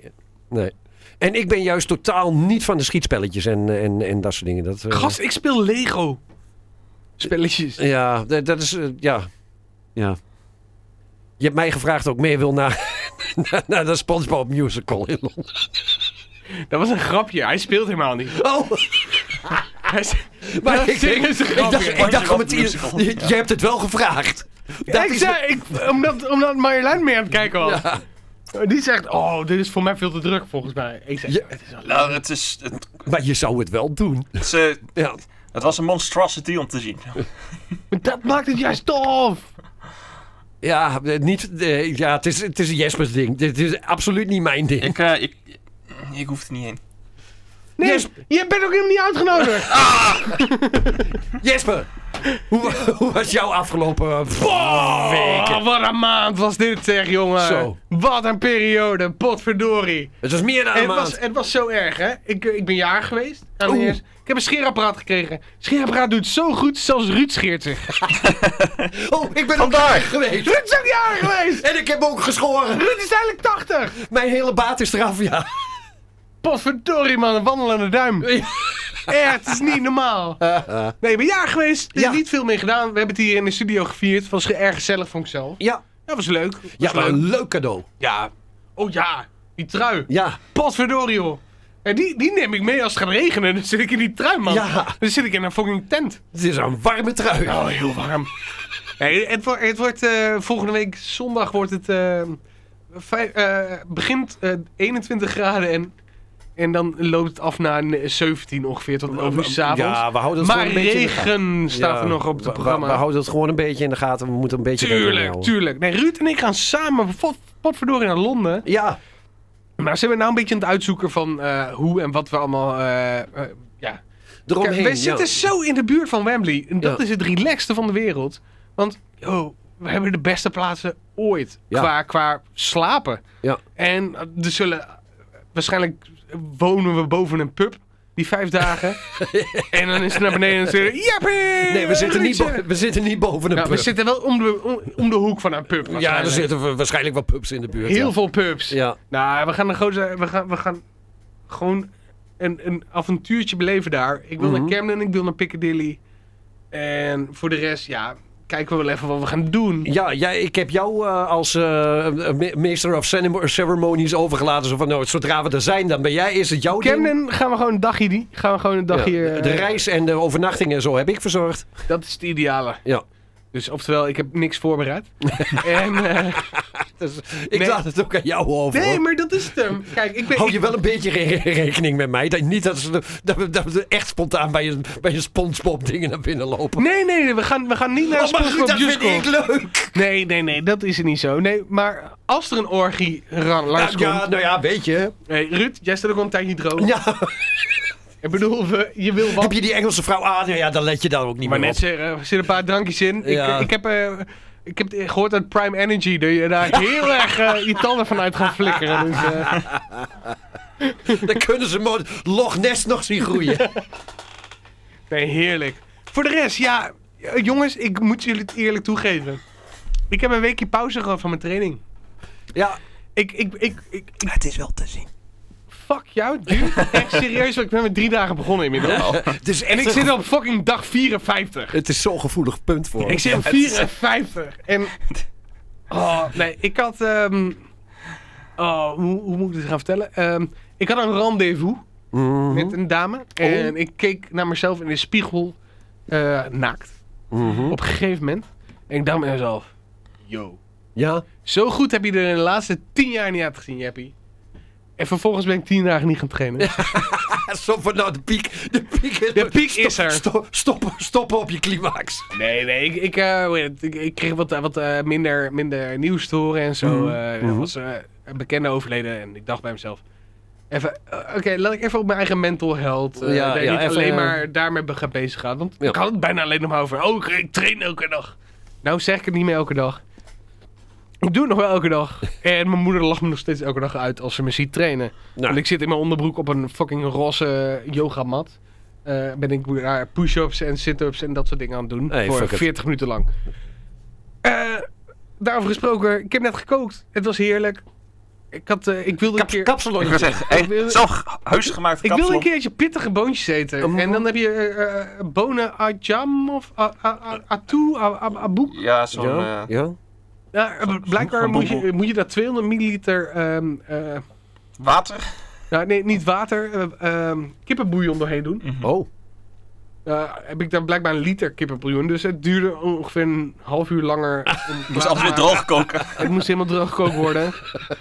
[SPEAKER 5] nee. En ik ben juist totaal niet van de schietspelletjes en, en, en dat soort dingen. Dat, eh,
[SPEAKER 6] Gast, ik speel Lego. Spelletjes.
[SPEAKER 5] Ja, d- dat is... eh, ja. ja. Je hebt mij gevraagd of ik mee wil naar, naar, naar de Spongebob musical in Londen.
[SPEAKER 6] Dat was een grapje. Hij speelt helemaal niet.
[SPEAKER 5] Oh,
[SPEAKER 6] Hij is,
[SPEAKER 5] maar
[SPEAKER 6] dat
[SPEAKER 5] ik,
[SPEAKER 6] is
[SPEAKER 5] ik,
[SPEAKER 6] een
[SPEAKER 5] ik
[SPEAKER 6] grapje.
[SPEAKER 5] dacht, ik dacht om het
[SPEAKER 3] musical.
[SPEAKER 5] je, je hebt het wel gevraagd.
[SPEAKER 6] Ja,
[SPEAKER 5] Dat
[SPEAKER 6] ik
[SPEAKER 5] is-
[SPEAKER 6] zei, ik, omdat, omdat Marjolein mee aan het kijken was.
[SPEAKER 5] Ja.
[SPEAKER 6] Die zegt, oh, dit is voor mij veel te druk, volgens mij. Ik zeg,
[SPEAKER 5] Ja.
[SPEAKER 6] het is wel leuk.
[SPEAKER 3] Nou, het, is, het,
[SPEAKER 5] Maar je zou het wel doen.
[SPEAKER 3] het is, eh,
[SPEAKER 5] Ja.
[SPEAKER 3] het was een monstrosity om te zien.
[SPEAKER 6] Maar dat maakt het juist tof.
[SPEAKER 5] Ja, eh, niet, eh, ja het, is, het is een Jespers ding. Dit is absoluut niet mijn ding.
[SPEAKER 3] Ik, eh, ik, ik hoef er niet heen.
[SPEAKER 6] Nee,
[SPEAKER 5] Yes.
[SPEAKER 6] je bent ook helemaal niet uitgenodigd.
[SPEAKER 5] Jesper, hoe, hoe was jouw afgelopen eh,
[SPEAKER 6] Oh,
[SPEAKER 5] weken?
[SPEAKER 6] wat een maand was dit zeg, jongen.
[SPEAKER 5] Zo.
[SPEAKER 6] Wat een periode, potverdorie.
[SPEAKER 5] Het was meer dan een
[SPEAKER 6] Het
[SPEAKER 5] maand.
[SPEAKER 6] was, het was zo erg, hè. Ik, eh, ik ben jaar geweest. Aan de
[SPEAKER 5] Oeh.
[SPEAKER 6] eerste- Ik heb een scheerapparaat gekregen. Scheerapparaat doet zo goed, zelfs Ruud scheert zich.
[SPEAKER 5] Oh, ik ben vandaag geweest.
[SPEAKER 6] Ruud is ook jaar geweest.
[SPEAKER 5] En ik heb ook geschoren.
[SPEAKER 6] Ruud is eigenlijk 80.
[SPEAKER 5] Mijn hele baat is eraf, ja.
[SPEAKER 6] Potverdorie man, een wandelende duim. Echt, het is niet normaal. Nee, ik ben jaar geweest. Er is
[SPEAKER 5] Ja.
[SPEAKER 6] niet veel mee gedaan. We hebben het hier in de studio gevierd. Het was ge- erg gezellig, vond ik zelf.
[SPEAKER 5] Ja,
[SPEAKER 6] Dat was leuk. Was
[SPEAKER 5] ja maar
[SPEAKER 6] leuk.
[SPEAKER 5] een leuk cadeau.
[SPEAKER 6] Ja. Oh ja, die trui.
[SPEAKER 5] Ja,
[SPEAKER 6] Potverdorie joh. En die, die neem ik mee als het gaat regenen. Dan zit ik in die trui, man.
[SPEAKER 5] Ja.
[SPEAKER 6] Dan zit ik in een fucking tent.
[SPEAKER 5] het is een warme trui.
[SPEAKER 6] Oh, heel warm. Nee, het, wordt- het wordt eh, volgende week zondag wordt het eh, vijf- eh, begint eh, 21 graden en, en dan loopt het af naar een 17 ongeveer tot 11 uur 's avonds.
[SPEAKER 5] Ja, we houden het
[SPEAKER 6] maar
[SPEAKER 5] gewoon een beetje in de gaten.
[SPEAKER 6] regen staat er
[SPEAKER 5] Ja,
[SPEAKER 6] nog op het
[SPEAKER 5] we- we-
[SPEAKER 6] programma.
[SPEAKER 5] We, houden het gewoon een beetje in de gaten. We moeten een beetje rekening
[SPEAKER 6] tuurlijk,
[SPEAKER 5] houden.
[SPEAKER 6] tuurlijk. Nee, Ruud en ik gaan samen pot- potverdorie naar Londen.
[SPEAKER 5] Ja,
[SPEAKER 6] Maar zijn we nou een beetje aan het uitzoeken van eh, hoe en wat we allemaal... eh, eh, ja,
[SPEAKER 5] eromheen.
[SPEAKER 6] Kijk,
[SPEAKER 5] ja.
[SPEAKER 6] wij zitten zo in de buurt van Wembley. En dat
[SPEAKER 5] Ja.
[SPEAKER 6] is het relaxste van de wereld. Want yo, we hebben de beste plaatsen ooit.
[SPEAKER 5] Ja.
[SPEAKER 6] Qua, qua slapen.
[SPEAKER 5] Ja.
[SPEAKER 6] En eh, er zullen... Waarschijnlijk wonen we boven een pub. Die vijf dagen. en dan is het naar beneden en zeggen... Jappie!
[SPEAKER 5] Nee, we zitten, niet
[SPEAKER 6] Ruudje!"
[SPEAKER 5] bo- we zitten niet boven een
[SPEAKER 6] Ja,
[SPEAKER 5] pub.
[SPEAKER 6] we zitten wel om de, om, om de hoek van een pub.
[SPEAKER 5] ja, er
[SPEAKER 6] waarschijnlijk.
[SPEAKER 5] zitten wa- waarschijnlijk wel pubs in de buurt.
[SPEAKER 6] Heel
[SPEAKER 5] ja.
[SPEAKER 6] veel pubs.
[SPEAKER 5] Ja.
[SPEAKER 6] Nou, we gaan, een grote, we gaan, we gaan gewoon een, een avontuurtje beleven daar. Ik wil
[SPEAKER 5] Mhm.
[SPEAKER 6] naar Camden, ik wil naar Piccadilly. En voor de rest, ja,
[SPEAKER 4] kijken we wel even wat we gaan doen.
[SPEAKER 5] Ja, ja, ik heb jou eh, als eh, me- meester of ceremo- ceremonies overgelaten. Zo van, nou, zodra we er zijn, dan ben jij, is het jouw ding.
[SPEAKER 4] Camden gaan we gewoon een dagje die. Gaan we gewoon een
[SPEAKER 5] Ja,
[SPEAKER 4] dagje...
[SPEAKER 5] de-
[SPEAKER 4] eh,
[SPEAKER 5] de reis en de overnachting en zo heb ik verzorgd.
[SPEAKER 4] Dat is het ideale.
[SPEAKER 5] Ja.
[SPEAKER 4] Dus oftewel, ik heb niks voorbereid. en, eh,
[SPEAKER 5] Dus ik
[SPEAKER 4] Nee.
[SPEAKER 5] laat het ook aan jou over.
[SPEAKER 4] nee,
[SPEAKER 5] hoor.
[SPEAKER 4] maar dat is het hem. Kijk, ik ben...
[SPEAKER 5] Hou
[SPEAKER 4] ik-
[SPEAKER 5] je wel een beetje re- rekening met mij. Dat, niet dat ze dat, we- dat we echt spontaan bij je, bij je SpongeBob dingen naar binnen lopen.
[SPEAKER 4] Nee, nee, nee, we gaan, we gaan niet naar de
[SPEAKER 5] oh, maar goed,
[SPEAKER 4] SpongeBob
[SPEAKER 5] dat vind
[SPEAKER 4] musical.
[SPEAKER 5] ik leuk.
[SPEAKER 4] Nee, nee, nee, dat is het niet zo. Nee, maar als er een orgie ra-
[SPEAKER 5] Ja,
[SPEAKER 4] langskomt...
[SPEAKER 5] ja, nou ja, weet je.
[SPEAKER 4] Hey, Ruud, jij staat ook al een tijdje droog.
[SPEAKER 5] Ja,
[SPEAKER 4] Ik bedoel, we- je wil wat.
[SPEAKER 5] heb je die Engelse vrouw aan? Nou ja, dan let je daar ook niet
[SPEAKER 4] maar
[SPEAKER 5] meer
[SPEAKER 4] net
[SPEAKER 5] op.
[SPEAKER 4] zeggen, er zitten een paar drankjes in.
[SPEAKER 5] Ja.
[SPEAKER 4] Ik, ik heb... eh, ik heb gehoord uit Prime Energy dat je daar heel erg eh, je tanden van uit gaat flikkeren. Dus, eh,
[SPEAKER 5] Dan kunnen ze mo- Loch Ness nog zien groeien.
[SPEAKER 4] nee, heerlijk. Voor de rest, ja, eh, jongens, ik moet jullie het eerlijk toegeven. Ik heb een weekje pauze gehad van mijn training.
[SPEAKER 5] Ja,
[SPEAKER 4] Ik, ik, ik, ik, ik-
[SPEAKER 3] Het is wel te zien.
[SPEAKER 4] fuck jou, dude. Echt serieus, want ik ben met drie dagen begonnen inmiddels.
[SPEAKER 5] het is echt
[SPEAKER 4] En ik
[SPEAKER 5] een-
[SPEAKER 4] zit op fucking dag 54.
[SPEAKER 5] Het is zo'n gevoelig punt voor
[SPEAKER 4] Ik
[SPEAKER 5] ons.
[SPEAKER 4] zit op
[SPEAKER 3] het-
[SPEAKER 4] 54. En. Oh, nee, ik had. ehm, oh, hoe, hoe moet ik dit gaan vertellen? Ehm, ik had een rendezvous
[SPEAKER 5] Mhm,
[SPEAKER 4] met een dame. En ik keek naar mezelf in de spiegel eh, naakt.
[SPEAKER 5] mhm.
[SPEAKER 4] Op een gegeven moment. En ik dacht bij mezelf: Yo.
[SPEAKER 5] Ja,
[SPEAKER 4] Zo goed heb je er in de laatste 10 jaar niet uit gezien, Jeppie. En vervolgens ben ik 10 dagen niet gaan trainen.
[SPEAKER 5] zo van nou de piek. De piek is,
[SPEAKER 4] De piek is er.
[SPEAKER 5] Stop, stoppen, stoppen op je climax.
[SPEAKER 4] Nee, nee, ik, ik, eh, hoe heet het, ik, ik kreeg wat, eh, wat eh, minder, minder nieuws te horen en zo. eh,
[SPEAKER 5] mhm.
[SPEAKER 4] Er was eh, een bekende overleden en ik dacht bij mezelf... Even, eh, oké, laat ik even op mijn eigen mental health. eh,
[SPEAKER 5] Ja,
[SPEAKER 4] daar
[SPEAKER 5] ja,
[SPEAKER 4] niet
[SPEAKER 5] even,
[SPEAKER 4] alleen
[SPEAKER 5] eh,
[SPEAKER 4] maar daarmee be- gaan bezig gaan. Want
[SPEAKER 5] Ja.
[SPEAKER 4] ik had het bijna alleen nog maar over... Oh, ik- ik train elke dag. Nou zeg ik het niet meer elke dag. Ik doe het nog wel elke dag. en mijn moeder lacht me nog steeds elke dag uit als ze me ziet trainen.
[SPEAKER 5] Nou,
[SPEAKER 4] Want ik zit in mijn onderbroek op een fucking roze yogamat. Eh, ben ik daar push-ups en sit-ups en dat soort dingen aan het doen.
[SPEAKER 5] Hey,
[SPEAKER 4] voor
[SPEAKER 5] fuck it.
[SPEAKER 4] 40 minuten lang. Eh, daarover gesproken, ik heb net gekookt. Het was heerlijk. Ik, had, eh, ik wilde een keer...
[SPEAKER 3] Ik
[SPEAKER 5] kapsalon.
[SPEAKER 3] wil zeggen, hey,
[SPEAKER 4] Ik wil-
[SPEAKER 3] zelf huisgemaakt
[SPEAKER 4] ik wilde
[SPEAKER 3] kapsalon.
[SPEAKER 4] een keertje pittige boontjes eten.
[SPEAKER 5] Een
[SPEAKER 4] en dan heb je eh, eh, bonen ajam of a- a- a- atu, a- a- aboe.
[SPEAKER 3] Ja, zo'n...
[SPEAKER 5] Ja,
[SPEAKER 3] eh,
[SPEAKER 5] ja.
[SPEAKER 4] Ja, eh, blijkbaar
[SPEAKER 3] Zo'n
[SPEAKER 4] moet je,
[SPEAKER 3] boemboe.
[SPEAKER 4] moet je daar 200 milliliter... ehm, eh,
[SPEAKER 3] water.
[SPEAKER 4] nou, nee, niet water. eh, ehm, kippenbouillon doorheen doen.
[SPEAKER 5] Oh,
[SPEAKER 4] Eh, heb ik daar blijkbaar een liter kippenbouillon. Dus het duurde ongeveer een half uur langer. om klaar
[SPEAKER 3] Moest alles
[SPEAKER 4] te
[SPEAKER 3] weer
[SPEAKER 4] maken.
[SPEAKER 3] droog koken.
[SPEAKER 4] Het moest helemaal droog gekookt worden.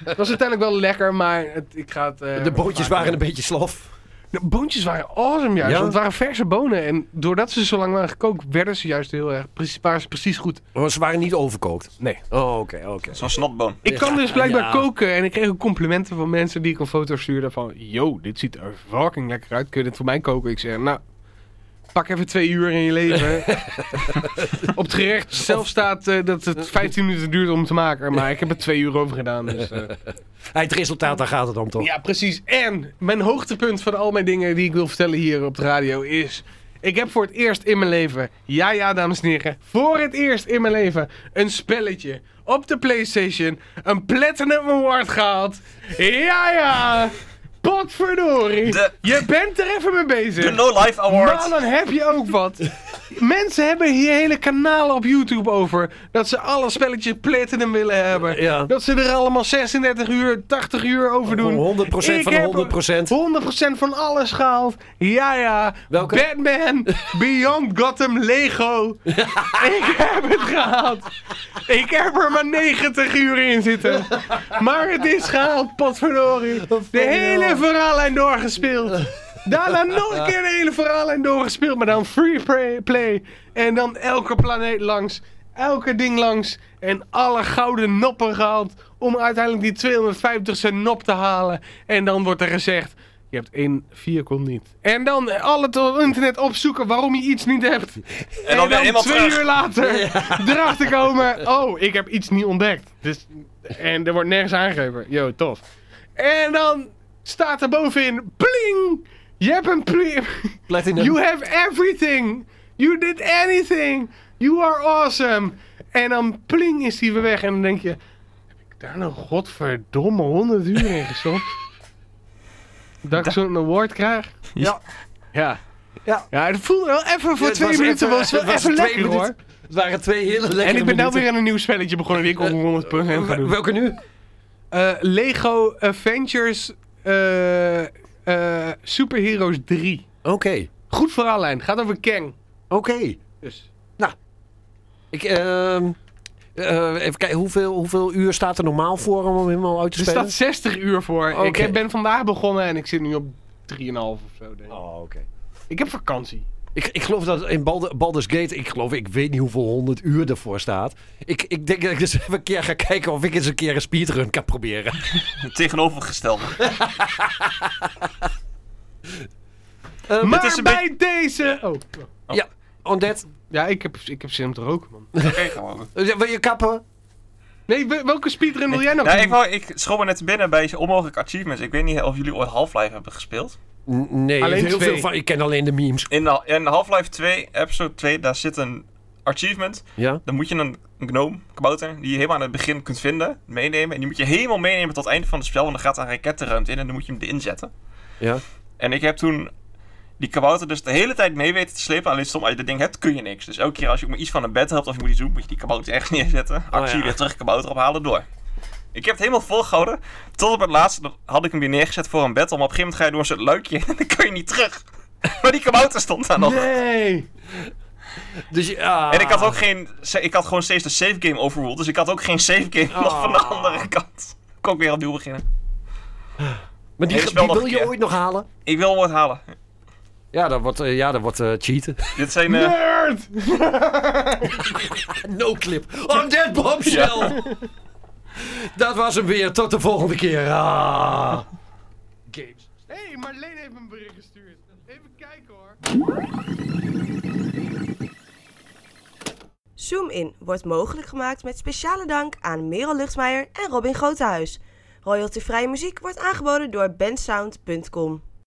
[SPEAKER 4] Het was uiteindelijk wel lekker, maar het, ik ga het... eh,
[SPEAKER 5] de bootjes
[SPEAKER 4] vaker-
[SPEAKER 5] waren een beetje slof.
[SPEAKER 4] De boontjes waren awesome juist,
[SPEAKER 5] Ja?
[SPEAKER 4] want het waren verse bonen. En doordat ze zo lang waren gekookt, werden ze juist heel erg... Precies, waren ze precies goed.
[SPEAKER 5] Maar ze waren niet overkookt.
[SPEAKER 4] Nee.
[SPEAKER 5] Oh, oké, oké.
[SPEAKER 3] Zo'n snotboon.
[SPEAKER 4] Ik kan dus blijkbaar
[SPEAKER 5] ja.
[SPEAKER 4] koken en ik kreeg ook complimenten van mensen die ik een foto stuurde van... Yo, dit ziet er fucking lekker uit. Kun je dit voor mij koken? Ik zeg, nou, pak even twee uur in je leven. Op het gerecht zelf staat eh, dat het 15 minuten duurt om te maken, maar ik heb er twee uur over gedaan. Dus, eh.
[SPEAKER 5] Hey, Het resultaat, daar gaat het om toch?
[SPEAKER 4] Ja, precies. En mijn hoogtepunt van al mijn dingen die ik wil vertellen hier op de radio is... Ik heb voor het eerst in mijn leven, ja ja dames en heren, voor het eerst in mijn leven een spelletje op de Playstation een Platinum Award gehaald. Ja ja, potverdorie.
[SPEAKER 3] De-
[SPEAKER 4] Je bent er even mee bezig.
[SPEAKER 3] De No Life
[SPEAKER 4] Maar
[SPEAKER 3] Award.
[SPEAKER 4] dan heb je ook wat. Mensen hebben hier hele kanalen op YouTube over. Dat ze alle spelletjes platinum willen hebben.
[SPEAKER 5] Ja.
[SPEAKER 4] Dat ze er allemaal 36 uur, 80 uur over doen.
[SPEAKER 5] 100%
[SPEAKER 4] Ik
[SPEAKER 5] van
[SPEAKER 4] heb
[SPEAKER 5] 100%.
[SPEAKER 4] 100% van alles gehaald. Ja, ja.
[SPEAKER 5] Welke?
[SPEAKER 4] Batman, Beyond Gotham, Lego. Ik heb het gehaald. Ik heb er maar 90 uur in zitten. Maar het is gehaald, potverdorie. De hele verhaallijn doorgespeeld. Daarna nog een keer de hele verhaallijn doorgespeeld. Maar dan free play, play. En dan elke planeet langs. Elke ding langs. En alle gouden noppen gehaald. Om uiteindelijk die 250ste nop te halen. En dan wordt er gezegd. Je hebt één vierkon niet. En dan alle het op internet opzoeken waarom je iets niet hebt. En,
[SPEAKER 3] weer helemaal
[SPEAKER 4] twee
[SPEAKER 3] terug.
[SPEAKER 4] uur later erachter komen. Oh, ik heb iets niet ontdekt. Dus, en er wordt nergens aangegeven. Yo, tof. En dan staat er bovenin. Pling! Je hebt een pli-
[SPEAKER 5] Platinum.
[SPEAKER 4] You have everything. You did anything. You are awesome. En dan pling is die weer weg. En dan denk je, heb ik daar nou godverdomme 100 uur in gestopt? Dat ik zo'n award krijg?
[SPEAKER 5] Ja.
[SPEAKER 4] Ja.
[SPEAKER 5] Ja.
[SPEAKER 4] ja, het voelde wel even voor
[SPEAKER 5] Ja, het
[SPEAKER 4] twee
[SPEAKER 5] was
[SPEAKER 4] minuten
[SPEAKER 5] even-
[SPEAKER 4] was wel
[SPEAKER 5] het was
[SPEAKER 4] even
[SPEAKER 5] twee
[SPEAKER 4] lekker
[SPEAKER 5] minuten.
[SPEAKER 4] hoor.
[SPEAKER 5] Het Het waren twee hele lekkere
[SPEAKER 4] En ik ben nou
[SPEAKER 5] minuten.
[SPEAKER 4] weer aan een nieuw spelletje begonnen die ik op 100% ga
[SPEAKER 5] Wel-
[SPEAKER 4] doen.
[SPEAKER 5] Welke nu?
[SPEAKER 4] Eh, Lego Avengers eh eh Super Heroes 3.
[SPEAKER 5] Oké,
[SPEAKER 4] Goed verhaallijn. Gaat over Kang.
[SPEAKER 5] oké. Nou,
[SPEAKER 4] Dus.
[SPEAKER 5] Ik, ehm, eh, even kijken, hoeveel, hoeveel uur staat er normaal voor om hem helemaal uit te
[SPEAKER 4] Er
[SPEAKER 5] spelen?
[SPEAKER 4] staat 60 uur voor.
[SPEAKER 5] Oké.
[SPEAKER 4] Ik ben vandaag begonnen en ik zit nu op 3,5 of zo. Denk ik.
[SPEAKER 5] Oh, oké.
[SPEAKER 4] ik heb vakantie.
[SPEAKER 5] Ik, ik geloof dat in Baldur- Baldur's Gate, ik geloof, ik weet niet hoeveel honderd uur ervoor staat. Ik, ik denk dat ik eens even een keer ga kijken of ik eens een keer een speedrun kan proberen.
[SPEAKER 3] Het tegenovergestelde.
[SPEAKER 5] maar...
[SPEAKER 4] maar
[SPEAKER 3] is een
[SPEAKER 4] bij deze... Oh.
[SPEAKER 5] Ja, on that.
[SPEAKER 4] Ja, ik heb, ik heb zin om te roken, man.
[SPEAKER 3] Oké, gewoon.
[SPEAKER 5] Eh, Wil je kappen?
[SPEAKER 4] Nee, we- welke speedrun wil jij nog
[SPEAKER 3] Nou,
[SPEAKER 4] doen?
[SPEAKER 3] ik, wou, ik schoot me net binnen bij onmogelijk achievements. Ik weet niet of jullie ooit Half-Life hebben gespeeld.
[SPEAKER 5] N- Nee,
[SPEAKER 4] Alleen
[SPEAKER 5] heel
[SPEAKER 4] twee.
[SPEAKER 5] veel van, ik ken alleen de memes.
[SPEAKER 3] In, Hal- in Half-Life 2, episode 2, daar zit een achievement.
[SPEAKER 5] Ja?
[SPEAKER 3] Dan moet je een, een gnome, kabouter, die je helemaal aan het begin kunt vinden, meenemen. En die moet je helemaal meenemen tot het einde van het spel, want dan gaat er een raket de ruimte in en dan moet je hem erin zetten.
[SPEAKER 5] Ja.
[SPEAKER 3] En ik heb toen die kabouter dus de hele tijd mee weten te slepen. Alleen soms als je dat ding hebt, kun je niks. Dus elke keer als je ook maar iets van een bed helpt of je moet iets doen, moet je die kabouter ergens neerzetten. Actie,
[SPEAKER 5] Oh ja.
[SPEAKER 3] weer terug, kabouter ophalen, door. Ik heb het helemaal volgehouden. Tot op het laatste dan had ik hem weer neergezet voor een bed. Om op een gegeven moment ga je door een soort luikje en dan kun je niet terug. Maar die kabouter stond daar nog.
[SPEAKER 4] Nee.
[SPEAKER 5] Dus, je- ah.
[SPEAKER 3] En ik had ook geen... Ik had gewoon steeds de save game overruled. Dus ik had ook geen save game nog van de
[SPEAKER 5] Ah.
[SPEAKER 3] andere kant. Kon ik weer opnieuw beginnen.
[SPEAKER 5] Maar die,
[SPEAKER 3] Hij is wel
[SPEAKER 5] die
[SPEAKER 3] nog
[SPEAKER 5] wil
[SPEAKER 3] een
[SPEAKER 5] je
[SPEAKER 3] keer.
[SPEAKER 5] ooit nog halen?
[SPEAKER 3] Ik wil hem ooit halen.
[SPEAKER 5] Ja, dat wordt, eh, ja, dat wordt eh, cheaten.
[SPEAKER 3] Dit zijn... eh,
[SPEAKER 4] Nerd!
[SPEAKER 5] No clip. On that bombshell. Dat was hem weer. Tot de volgende keer. Ah.
[SPEAKER 4] Games. Hé, hey, Marleen heeft een bericht gestuurd. Even kijken hoor.
[SPEAKER 2] Zoom In wordt mogelijk gemaakt met speciale dank aan Merel Luchtmeijer en Robin Grotehuis. Royaltyvrije muziek wordt aangeboden door bensound.com.